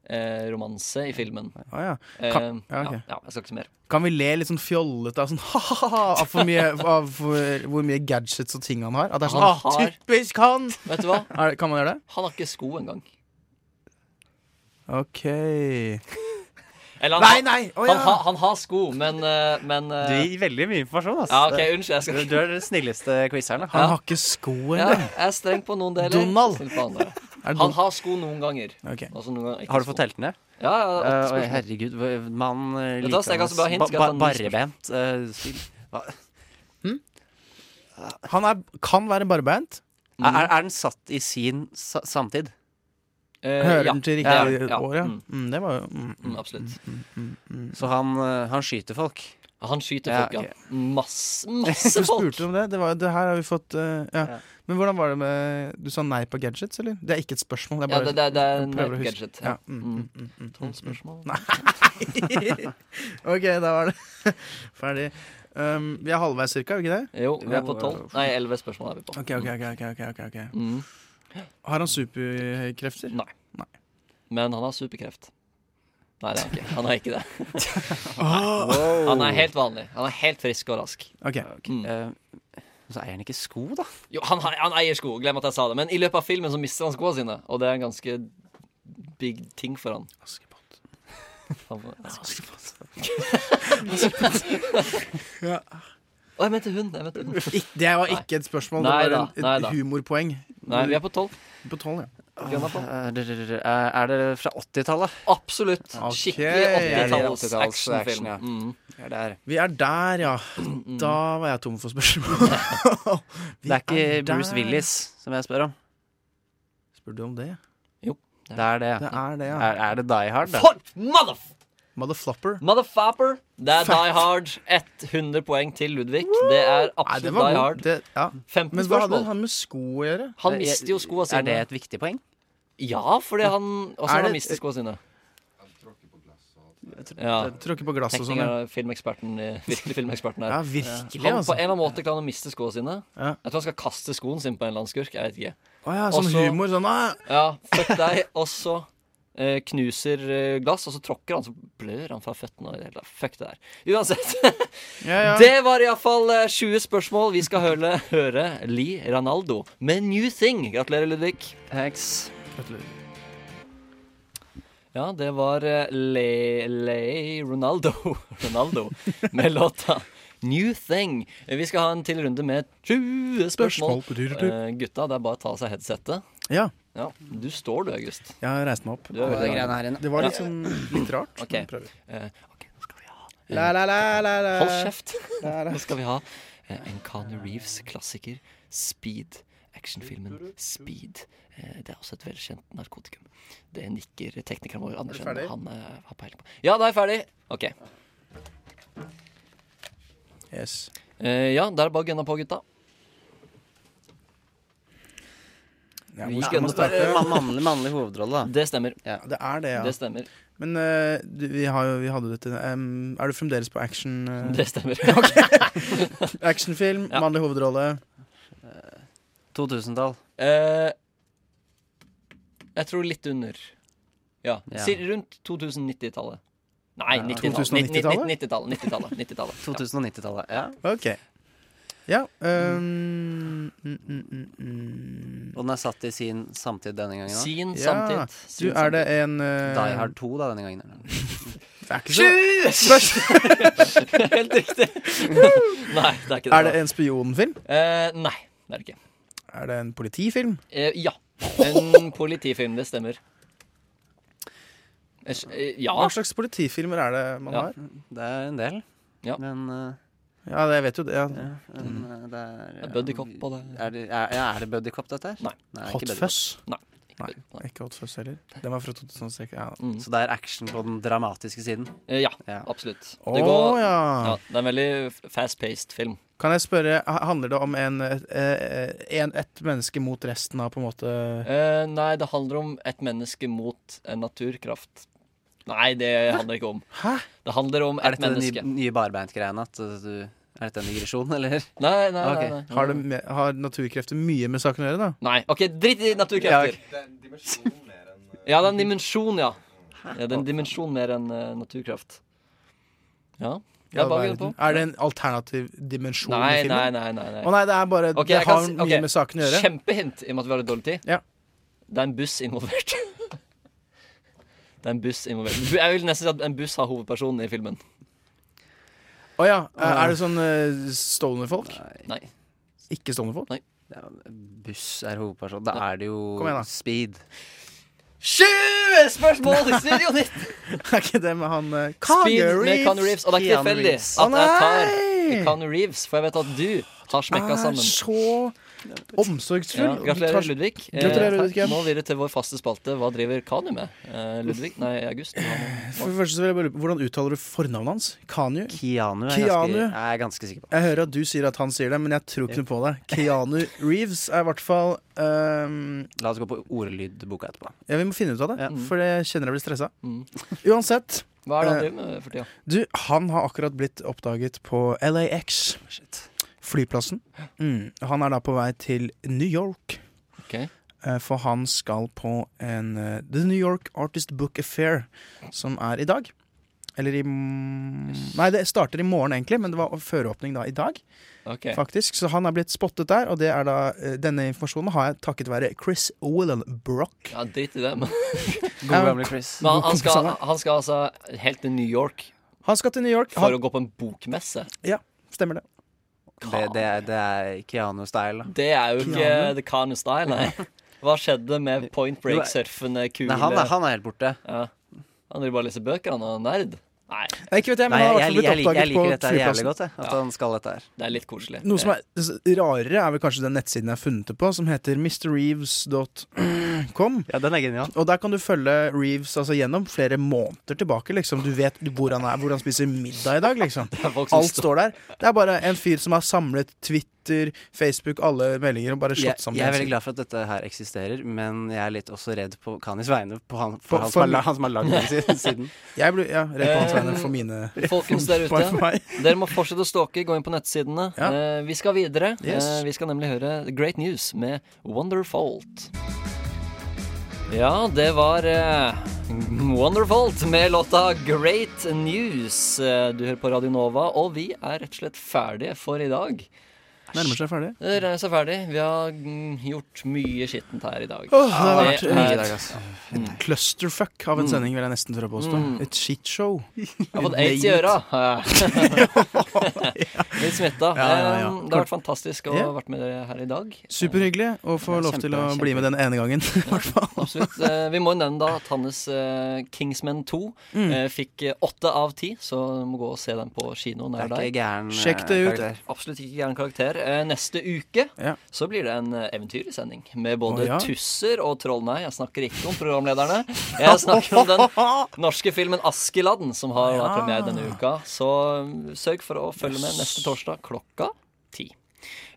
Speaker 1: eh, romanse i filmen.
Speaker 2: Ah, ja.
Speaker 1: Eh,
Speaker 2: Kan- ja, ok.
Speaker 1: ja, ja, jeg skal ikke si mer.
Speaker 2: Kan vi le litt sånn fjollete av sånn ha-ha-ha av, for mye, av for, hvor mye gadgets og ting han har? At det er sånn
Speaker 1: Han
Speaker 2: ah,
Speaker 1: har-
Speaker 2: typisk han!
Speaker 1: Vet du hva?
Speaker 2: Er, det- kan man gjøre det?
Speaker 1: Han har ikke sko engang.
Speaker 2: Ok
Speaker 1: Eller han,
Speaker 2: Nei, nei! Å
Speaker 1: han,
Speaker 2: ja!
Speaker 1: har- han har sko, men, eh, men eh,
Speaker 3: Du gir veldig mye informasjon, ass.
Speaker 1: Ja, OK, unnskyld. Jeg
Speaker 3: Du,
Speaker 1: skal
Speaker 3: du er den snilleste quizeren, da.
Speaker 2: Han har ikke sko
Speaker 1: ja,
Speaker 2: engang.
Speaker 1: Jeg er streng på noen deler.
Speaker 2: Donald.
Speaker 1: snill på andre.
Speaker 2: Er
Speaker 1: Han
Speaker 2: det Don-
Speaker 1: har sko noen ganger.
Speaker 2: Ok.
Speaker 1: Altså, noen ganger ikke
Speaker 3: Har du
Speaker 1: sko.
Speaker 3: fått telt ned?
Speaker 1: Ja, ja, åtte
Speaker 3: Eh, oi,
Speaker 1: spørsmål.
Speaker 3: herregud, hva- mann eh,
Speaker 1: Vet du hva, så jeg kan så bare hint,
Speaker 3: ba-
Speaker 1: skal jeg ta
Speaker 3: ba-
Speaker 1: nye
Speaker 3: Barbeint. eh, stil. Hva-
Speaker 2: Han er, kan være barbeint.
Speaker 1: Mm.
Speaker 3: Er, er- er den satt i sin sa samtid?
Speaker 1: Eh,
Speaker 2: Hører
Speaker 1: ja,
Speaker 2: den til
Speaker 1: ja,
Speaker 2: riktig
Speaker 1: ja,
Speaker 2: år, ja.
Speaker 1: Mm,
Speaker 2: Mm, det var jo mm,
Speaker 1: mm, absolutt. Mm.
Speaker 3: Så han, eh, han skyter folk.
Speaker 1: Han skyter
Speaker 3: Ja,
Speaker 1: folk, ja.
Speaker 3: ok.
Speaker 1: Masse,
Speaker 2: Du
Speaker 1: masse folk!
Speaker 2: spurte om det. Det, var, det her har vi fått eh, ja.
Speaker 3: Ja.
Speaker 2: Men hvordan var det med Du sa nei på gadgets, eller? Det er ikke et spørsmål. Det er
Speaker 1: Ja,
Speaker 2: bare
Speaker 1: det, det, det er
Speaker 2: jeg prøver å
Speaker 1: en
Speaker 2: huske.
Speaker 1: gadget.
Speaker 2: ja.
Speaker 1: Ja.
Speaker 2: mm,
Speaker 1: Mm.
Speaker 2: mm, mm, mm,
Speaker 1: Tolv
Speaker 2: mm,
Speaker 1: spørsmål.
Speaker 2: mm. OK, da var det ferdig. Um, vi er halvveis cirka, er vi ikke det?
Speaker 1: Jo, vi er på tolv. Nei, elleve spørsmål er vi på.
Speaker 2: Ok, ok, ok, ok, ok, ok, ok.
Speaker 1: Mm.
Speaker 2: Har han superkrefter?
Speaker 1: Nei. Men han har superkreft. Nei, det er han ikke. Han har ikke det. Han er helt vanlig. Han er helt frisk og rask.
Speaker 2: Ok,
Speaker 1: Mm.
Speaker 3: Eh, så eier han ikke sko, da.
Speaker 1: Jo, han, har- han eier sko, glem at jeg sa det. Men i løpet av filmen så mister han skoene sine, og det er en ganske big ting for han.
Speaker 2: Askepott.
Speaker 1: han må- ja.
Speaker 2: Ja.
Speaker 1: Å, jeg mente hun! Jeg mente hun.
Speaker 2: Ik- det var ikke et spørsmål,
Speaker 1: Nei
Speaker 2: det
Speaker 1: da,
Speaker 2: var en,
Speaker 1: nei
Speaker 2: et
Speaker 1: da.
Speaker 2: humorpoeng.
Speaker 1: Nei, vi er på tolv.
Speaker 2: På tolv, ja.
Speaker 1: Gunnar på.
Speaker 3: Eh, Er det- er det fra 80-tallet?
Speaker 1: Absolutt.
Speaker 2: Ah. Ok.
Speaker 1: Skikkelig
Speaker 3: Det er
Speaker 1: 80-talls
Speaker 3: 80-talls action,
Speaker 1: actionfilm.
Speaker 3: ja.
Speaker 1: Mm.
Speaker 3: Ja, det er
Speaker 2: Vi er der, ja. Da var jeg tom for spørsmål. Vi
Speaker 3: Det er ikke
Speaker 2: der.
Speaker 3: Bruce Willis som jeg spør om.
Speaker 2: Spør du om det?
Speaker 3: Det er det.
Speaker 2: Det er det, ja.
Speaker 3: Er, er det Die Hard, da?
Speaker 1: For motherf...
Speaker 2: Motherflopper.
Speaker 1: Motherfopper. Det er Die Hard. 100 poeng til Ludvig. Det er absolutt
Speaker 2: var
Speaker 1: Die
Speaker 2: god.
Speaker 1: Hard.
Speaker 2: Det- ja.
Speaker 1: 15
Speaker 2: Men hva hadde
Speaker 1: spørsmål.
Speaker 2: han med sko å gjøre?
Speaker 1: Han mister jo skoa sine.
Speaker 3: viktig poeng?
Speaker 1: Ja, fordi han
Speaker 2: Er
Speaker 1: også har
Speaker 2: det-
Speaker 1: han mistet skoa sine.
Speaker 2: Ja. Tråkker på glass og sånn. ja.
Speaker 1: Tekniker, filmeksperten, eh, virkelig filmeksperten her.
Speaker 2: Ja, virkelig,
Speaker 1: han,
Speaker 2: altså.
Speaker 1: På en eller annen måte klarer han å miste skoene sine.
Speaker 2: Ja.
Speaker 1: Jeg tror han skal kaste skoen sin på en eller annen skurk. Jeg vet ikke.
Speaker 2: Å ja, sånn
Speaker 1: Og så-
Speaker 2: humor. Sånn ah,
Speaker 1: Ja, fuck deg. Og så eh, knuser eh, glass, og så tråkker han, så blør han fra føttene. Og i det hele tatt. fuck det der. Uansett.
Speaker 2: ja.
Speaker 1: Det var iallfall 20 eh, spørsmål. Vi skal høre, høre Lee Ranaldo med New Thing. Gratulerer, Ludvig. Thanks. Ja, det var eh, Le, Le Ronaldo Ronaldo med låta New Thing. Eh, Vi skal ha en til runde med 20 spørsmål.
Speaker 2: Spørsmål. Du, du, du.
Speaker 1: Eh, gutta, det er bare å ta av seg headsetet.
Speaker 2: Ja.
Speaker 1: Ja, Du står du, August.
Speaker 2: Jeg har reist meg opp.
Speaker 1: Du er veldig bra.
Speaker 2: det var litt sånn litt rart.
Speaker 1: Ok.
Speaker 2: men prøver.
Speaker 1: Eh,
Speaker 2: La, la, la, la, la.
Speaker 1: Hold kjeft!
Speaker 2: La, la.
Speaker 1: Nå skal vi ha eh, en Connor Reeves-klassiker, Speed. Actionfilmen Speed. Eh, Det er også et velkjent narkotikum. Det nikker teknikeren vår Anders.
Speaker 2: ferdig?
Speaker 1: Han eh, har peiling på Ja, da er jeg ferdig. OK.
Speaker 2: Yes.
Speaker 1: Eh, ja, da er det bare å gunne på, gutta.
Speaker 2: Ja,
Speaker 1: Vi
Speaker 2: hvor
Speaker 1: skal
Speaker 2: skal man
Speaker 1: nå-
Speaker 2: starte?
Speaker 1: Man-
Speaker 3: Mannlig, mannlig hovedrolle, da.
Speaker 1: Det stemmer.
Speaker 2: Det er det, ja.
Speaker 1: Det stemmer.
Speaker 2: Men eh, du, vi, har, jo- vi hadde jo dette em, Er du fremdeles på action? eh?
Speaker 1: Det stemmer.
Speaker 2: Ok. Actionfilm,
Speaker 1: Ja.
Speaker 2: mannlig hovedrolle.
Speaker 3: 2000-tall.
Speaker 1: Eh, jeg tror litt under. Ja.
Speaker 3: Ja.
Speaker 1: si- Rundt 2090-tallet. Nei,
Speaker 3: Ja.
Speaker 1: 90-tallet.
Speaker 3: 2090-tallet?
Speaker 1: 90-tallet. 90-tallet. 90-tallet. Ja.
Speaker 3: 2090-tallet, ja.
Speaker 2: Ok. Ja. em, mm, mm, mm, mm.
Speaker 3: Og den er satt i sin samtid denne gangen. da.
Speaker 1: Sin
Speaker 2: Ja. Du, er det en eh,
Speaker 3: Die Hard 2, da, denne gangen. eller?
Speaker 2: Det er ikke så
Speaker 1: Sju! Helt riktig. Nei, det er ikke det.
Speaker 2: Er det en spionfilm?
Speaker 1: Eh, nei, det er det ikke.
Speaker 2: Er det en politifilm?
Speaker 1: Eh, ja. En politifilm, det stemmer. Eh, s- eh, ja.
Speaker 2: Hva slags politifilmer er det man
Speaker 1: Ja.
Speaker 2: har?
Speaker 3: Det er en del.
Speaker 1: Ja.
Speaker 3: Men eh,
Speaker 2: Ja, det, jeg vet jo det. Ja.
Speaker 3: men, eh, det er eh,
Speaker 1: Det er buddy cop og det
Speaker 3: Er det, er, ja, er det Buddy Cop, dette her?
Speaker 1: Nei.
Speaker 3: ikke
Speaker 2: Hot
Speaker 3: buddy cop.
Speaker 2: Fuzz?
Speaker 1: Nei. ikke
Speaker 2: Nei,
Speaker 1: det. Nei.
Speaker 2: ikke Hot Fuzz heller. Den var fra 2006. Ja.
Speaker 1: Mm.
Speaker 3: Så det er action på den dramatiske siden.
Speaker 1: Eh, ja,
Speaker 3: Ja.
Speaker 1: absolutt.
Speaker 2: Å
Speaker 1: Det går-
Speaker 2: ja.
Speaker 1: ja. Det er en veldig fast-paced film.
Speaker 2: Kan jeg spørre, ha- handler det om en, et, en, et menneske mot resten av på en måte
Speaker 1: Eh, nei, det handler om et menneske mot en naturkraft. Nei, det handler ikke om.
Speaker 2: Hæ?
Speaker 1: Det handler om
Speaker 3: Er
Speaker 1: et
Speaker 3: dette den
Speaker 1: menneske.
Speaker 3: nye, nye barbeint-greiene? At eh, du Er dette en digresjon, eller?
Speaker 1: Nei, nei, nei,
Speaker 3: Ok.
Speaker 1: nei.
Speaker 2: Har, det me, har naturkrefter mye med saken å gjøre, da?
Speaker 1: Nei, ok, dritt i naturkrefter. Ja, det er en dimensjon, ja. ja det er en dimensjon mer enn eh, naturkraft. Ja. Det
Speaker 2: Ja,
Speaker 1: er bare å
Speaker 2: verden.
Speaker 1: begynne på.
Speaker 2: er det en alternativ dimensjon
Speaker 1: Nei,
Speaker 2: i
Speaker 1: nei,
Speaker 2: filmen?
Speaker 1: nei. nei, nei.
Speaker 2: Å nei, det er bare
Speaker 1: Ok,
Speaker 2: Det
Speaker 1: jeg kan
Speaker 2: har
Speaker 1: si-
Speaker 2: mye
Speaker 1: ok,
Speaker 2: med saken å gjøre.
Speaker 1: Kjempehint i og med at vi har litt dårlig tid.
Speaker 2: Ja.
Speaker 1: Det er en buss involvert. Det er en buss involvert. Bu- Jeg vil nesten si at en buss har hovedpersonen i filmen.
Speaker 2: Å ja. Er er det sånn uh, stående folk?
Speaker 1: Nei.
Speaker 2: Ikke stående folk?
Speaker 3: Ja, buss er hovedperson. Da er det jo
Speaker 2: Kom igjen, da.
Speaker 3: Speed.
Speaker 1: 20 spørsmål i Studio 19!
Speaker 2: Er ikke det med han uh,
Speaker 1: Speed med Conor Reeves. Og det er ikke
Speaker 3: Keanu
Speaker 1: tilfeldig
Speaker 3: Reeves.
Speaker 1: at jeg
Speaker 2: Å, nei!
Speaker 1: tar Conor Reeves, for jeg vet at du har smekka
Speaker 2: Er
Speaker 1: sammen.
Speaker 2: så omsorgsfull.
Speaker 1: Ja,
Speaker 2: og du
Speaker 1: gratulerer,
Speaker 2: tar-
Speaker 1: Ludvig. Eh,
Speaker 2: Gratulerer,
Speaker 1: takk.
Speaker 2: Ludvig, ja.
Speaker 1: Nå videre til vår faste spalte. Hva driver Kanu med? Eh, Ludvig? Nei, August.
Speaker 2: For det første så vil jeg bare lure på, Hvordan uttaler du fornavnet hans? Kanyu?
Speaker 3: Keanu er,
Speaker 2: Keanu.
Speaker 3: Ganske, er jeg ganske sikker på.
Speaker 2: Jeg hører at du sier at han sier det, men jeg tror ikke noe på det. Keanu Reeves er i hvert fall øhm,
Speaker 3: La oss gå på ordlydboka etterpå.
Speaker 2: Ja, vi må finne ut av det,
Speaker 3: Ja.
Speaker 2: for jeg kjenner jeg blir stressa.
Speaker 1: Mm.
Speaker 2: Uansett.
Speaker 1: Hva er det han
Speaker 2: eh,
Speaker 1: driver med for tida?
Speaker 2: Du, han har akkurat blitt oppdaget på LAX,
Speaker 3: Shit.
Speaker 2: flyplassen. Mm. Han er da på vei til New York,
Speaker 1: Ok.
Speaker 2: eh, for han skal på en eh, The New York Artist Book Affair, som er i dag. Eller i m- Nei, det starter i morgen, egentlig, men det var føreåpning da i dag.
Speaker 1: Ok.
Speaker 2: faktisk. Så han er blitt spottet der, og det er da, eh, denne informasjonen har jeg takket være Chris Willenbrock.
Speaker 1: Ja, drit i det. Men
Speaker 3: God gamle Chris.
Speaker 1: Men han, han, skal,
Speaker 2: kompis,
Speaker 1: han skal altså helt til New York
Speaker 2: Han skal til New York.
Speaker 1: for
Speaker 2: Han,
Speaker 1: å gå på en bokmesse?
Speaker 2: ja, stemmer det.
Speaker 3: Det, det, er- det er Keanu-style. da.
Speaker 1: Det er jo ikke
Speaker 2: Keanu.
Speaker 1: the Kanu style, nei. Hva skjedde med point break-surfende kule
Speaker 3: Nei, han, er- han er helt borte.
Speaker 1: Ja. Han driver bare og leser bøker, han er nerd. Nei,
Speaker 2: Nei, ikke vet jeg, men han
Speaker 3: Nei, jeg,
Speaker 2: har i hvert
Speaker 3: jeg,
Speaker 2: fall blitt
Speaker 3: jeg, liker- jeg
Speaker 2: oppdaget på
Speaker 3: liker dette her jævlig
Speaker 2: flyplassen.
Speaker 3: godt, jeg. At
Speaker 1: Ja.
Speaker 3: han skal dette her.
Speaker 1: det er litt koselig.
Speaker 2: Noe som er s- rarere, er vel kanskje den nettsiden jeg har funnet det på, som heter mrreeves.com. kom.
Speaker 3: Ja, den er genial.
Speaker 2: Og der kan du følge Reeves altså, gjennom flere måneder tilbake. Liksom. Du vet hvor han er, hvor han spiser middag i dag. Liksom.
Speaker 1: folk som
Speaker 2: Alt
Speaker 1: står-
Speaker 2: står der. Det er bare en fyr som har samlet Twitter, Facebook, alle meldinger og bare
Speaker 3: Jeg,
Speaker 2: slått sammen.
Speaker 3: jeg er
Speaker 2: en
Speaker 3: veldig
Speaker 2: side.
Speaker 3: glad for at dette her eksisterer, men jeg er litt også redd på Kanis vegne på han,
Speaker 2: På-
Speaker 3: for, han, som
Speaker 2: for-
Speaker 3: har, la- han som har lagd den siden- siden.
Speaker 2: Jeg blir ja, redd på hans
Speaker 1: Eh,
Speaker 2: vegne for mine
Speaker 1: Folkens der
Speaker 2: for- for
Speaker 1: ute,
Speaker 2: meg.
Speaker 1: dere må fortsette å stalke. Gå inn på nettsidene.
Speaker 2: Ja.
Speaker 1: Eh, vi skal videre.
Speaker 2: Yes.
Speaker 1: Eh, vi skal nemlig høre Great News med Wonderfault. Ja, det var eh, Wonderfault med låta Great News. Eh, du hører på Radio Nova, og vi er rett og slett ferdige for i dag.
Speaker 2: Nærmer seg ferdig.
Speaker 1: Det er så ferdig. Vi har mm, gjort mye skittent her i dag. Eh, mm.
Speaker 2: Åh, det har vært
Speaker 1: er-
Speaker 2: et clusterfuck av en
Speaker 1: Mm.
Speaker 2: sending, vil jeg nesten tørre å påstå.
Speaker 1: Mm.
Speaker 2: Et shitshow.
Speaker 1: Jeg har fått aids i øra. Litt smitta.
Speaker 2: Ja, ja, ja.
Speaker 1: Eh, Det har vært fantastisk å ha
Speaker 2: Ja.
Speaker 1: vært med dere her i dag.
Speaker 2: Superhyggelig å få
Speaker 1: Ja,
Speaker 2: lov til å
Speaker 1: kjempe-
Speaker 2: bli med den ene gangen, i hvert fall.
Speaker 1: Absolutt. Eh, Vi må jo nevne da at hans eh, Kingsman 2
Speaker 2: Mm.
Speaker 1: eh, fikk eh, åtte av ti, så du må gå og se den på kino nær
Speaker 3: Det er ikke
Speaker 1: deg.
Speaker 3: gæren eh,
Speaker 2: Sjekk det ut.
Speaker 3: karakter.
Speaker 1: Absolutt ikke gæren karakter. Eh, Neste uke
Speaker 2: Ja.
Speaker 1: så blir det en eh, eventyrlig sending med både
Speaker 2: Å, ja.
Speaker 1: tusser og troll. Nei, jeg snakker ikke om programlederne. Jeg snakker om den norske filmen 'Askeladden', som har da premiere denne uka. Så mm, sørg for å følge med neste torsdag klokka ti.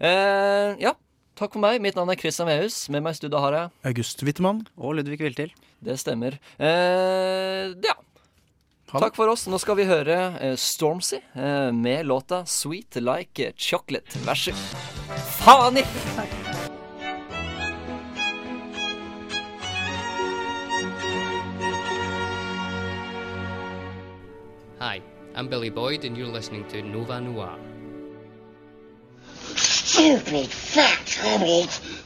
Speaker 1: Eh, ja, takk for meg. Mitt navn er Christian Mehus. Med meg i studio har jeg
Speaker 2: August Wittmann.
Speaker 3: Og Ludvig Viltil.
Speaker 1: det stemmer. Eh, ja.
Speaker 2: Ha det.
Speaker 1: Takk for oss. Nå skal vi høre eh, Stormzy eh, med låta 'Sweet Like Chocolate'. Vær så Faen i!
Speaker 14: Hi, I'm Billy Boyd, and you're listening to Nova Noir.
Speaker 15: Stupid fat hobbits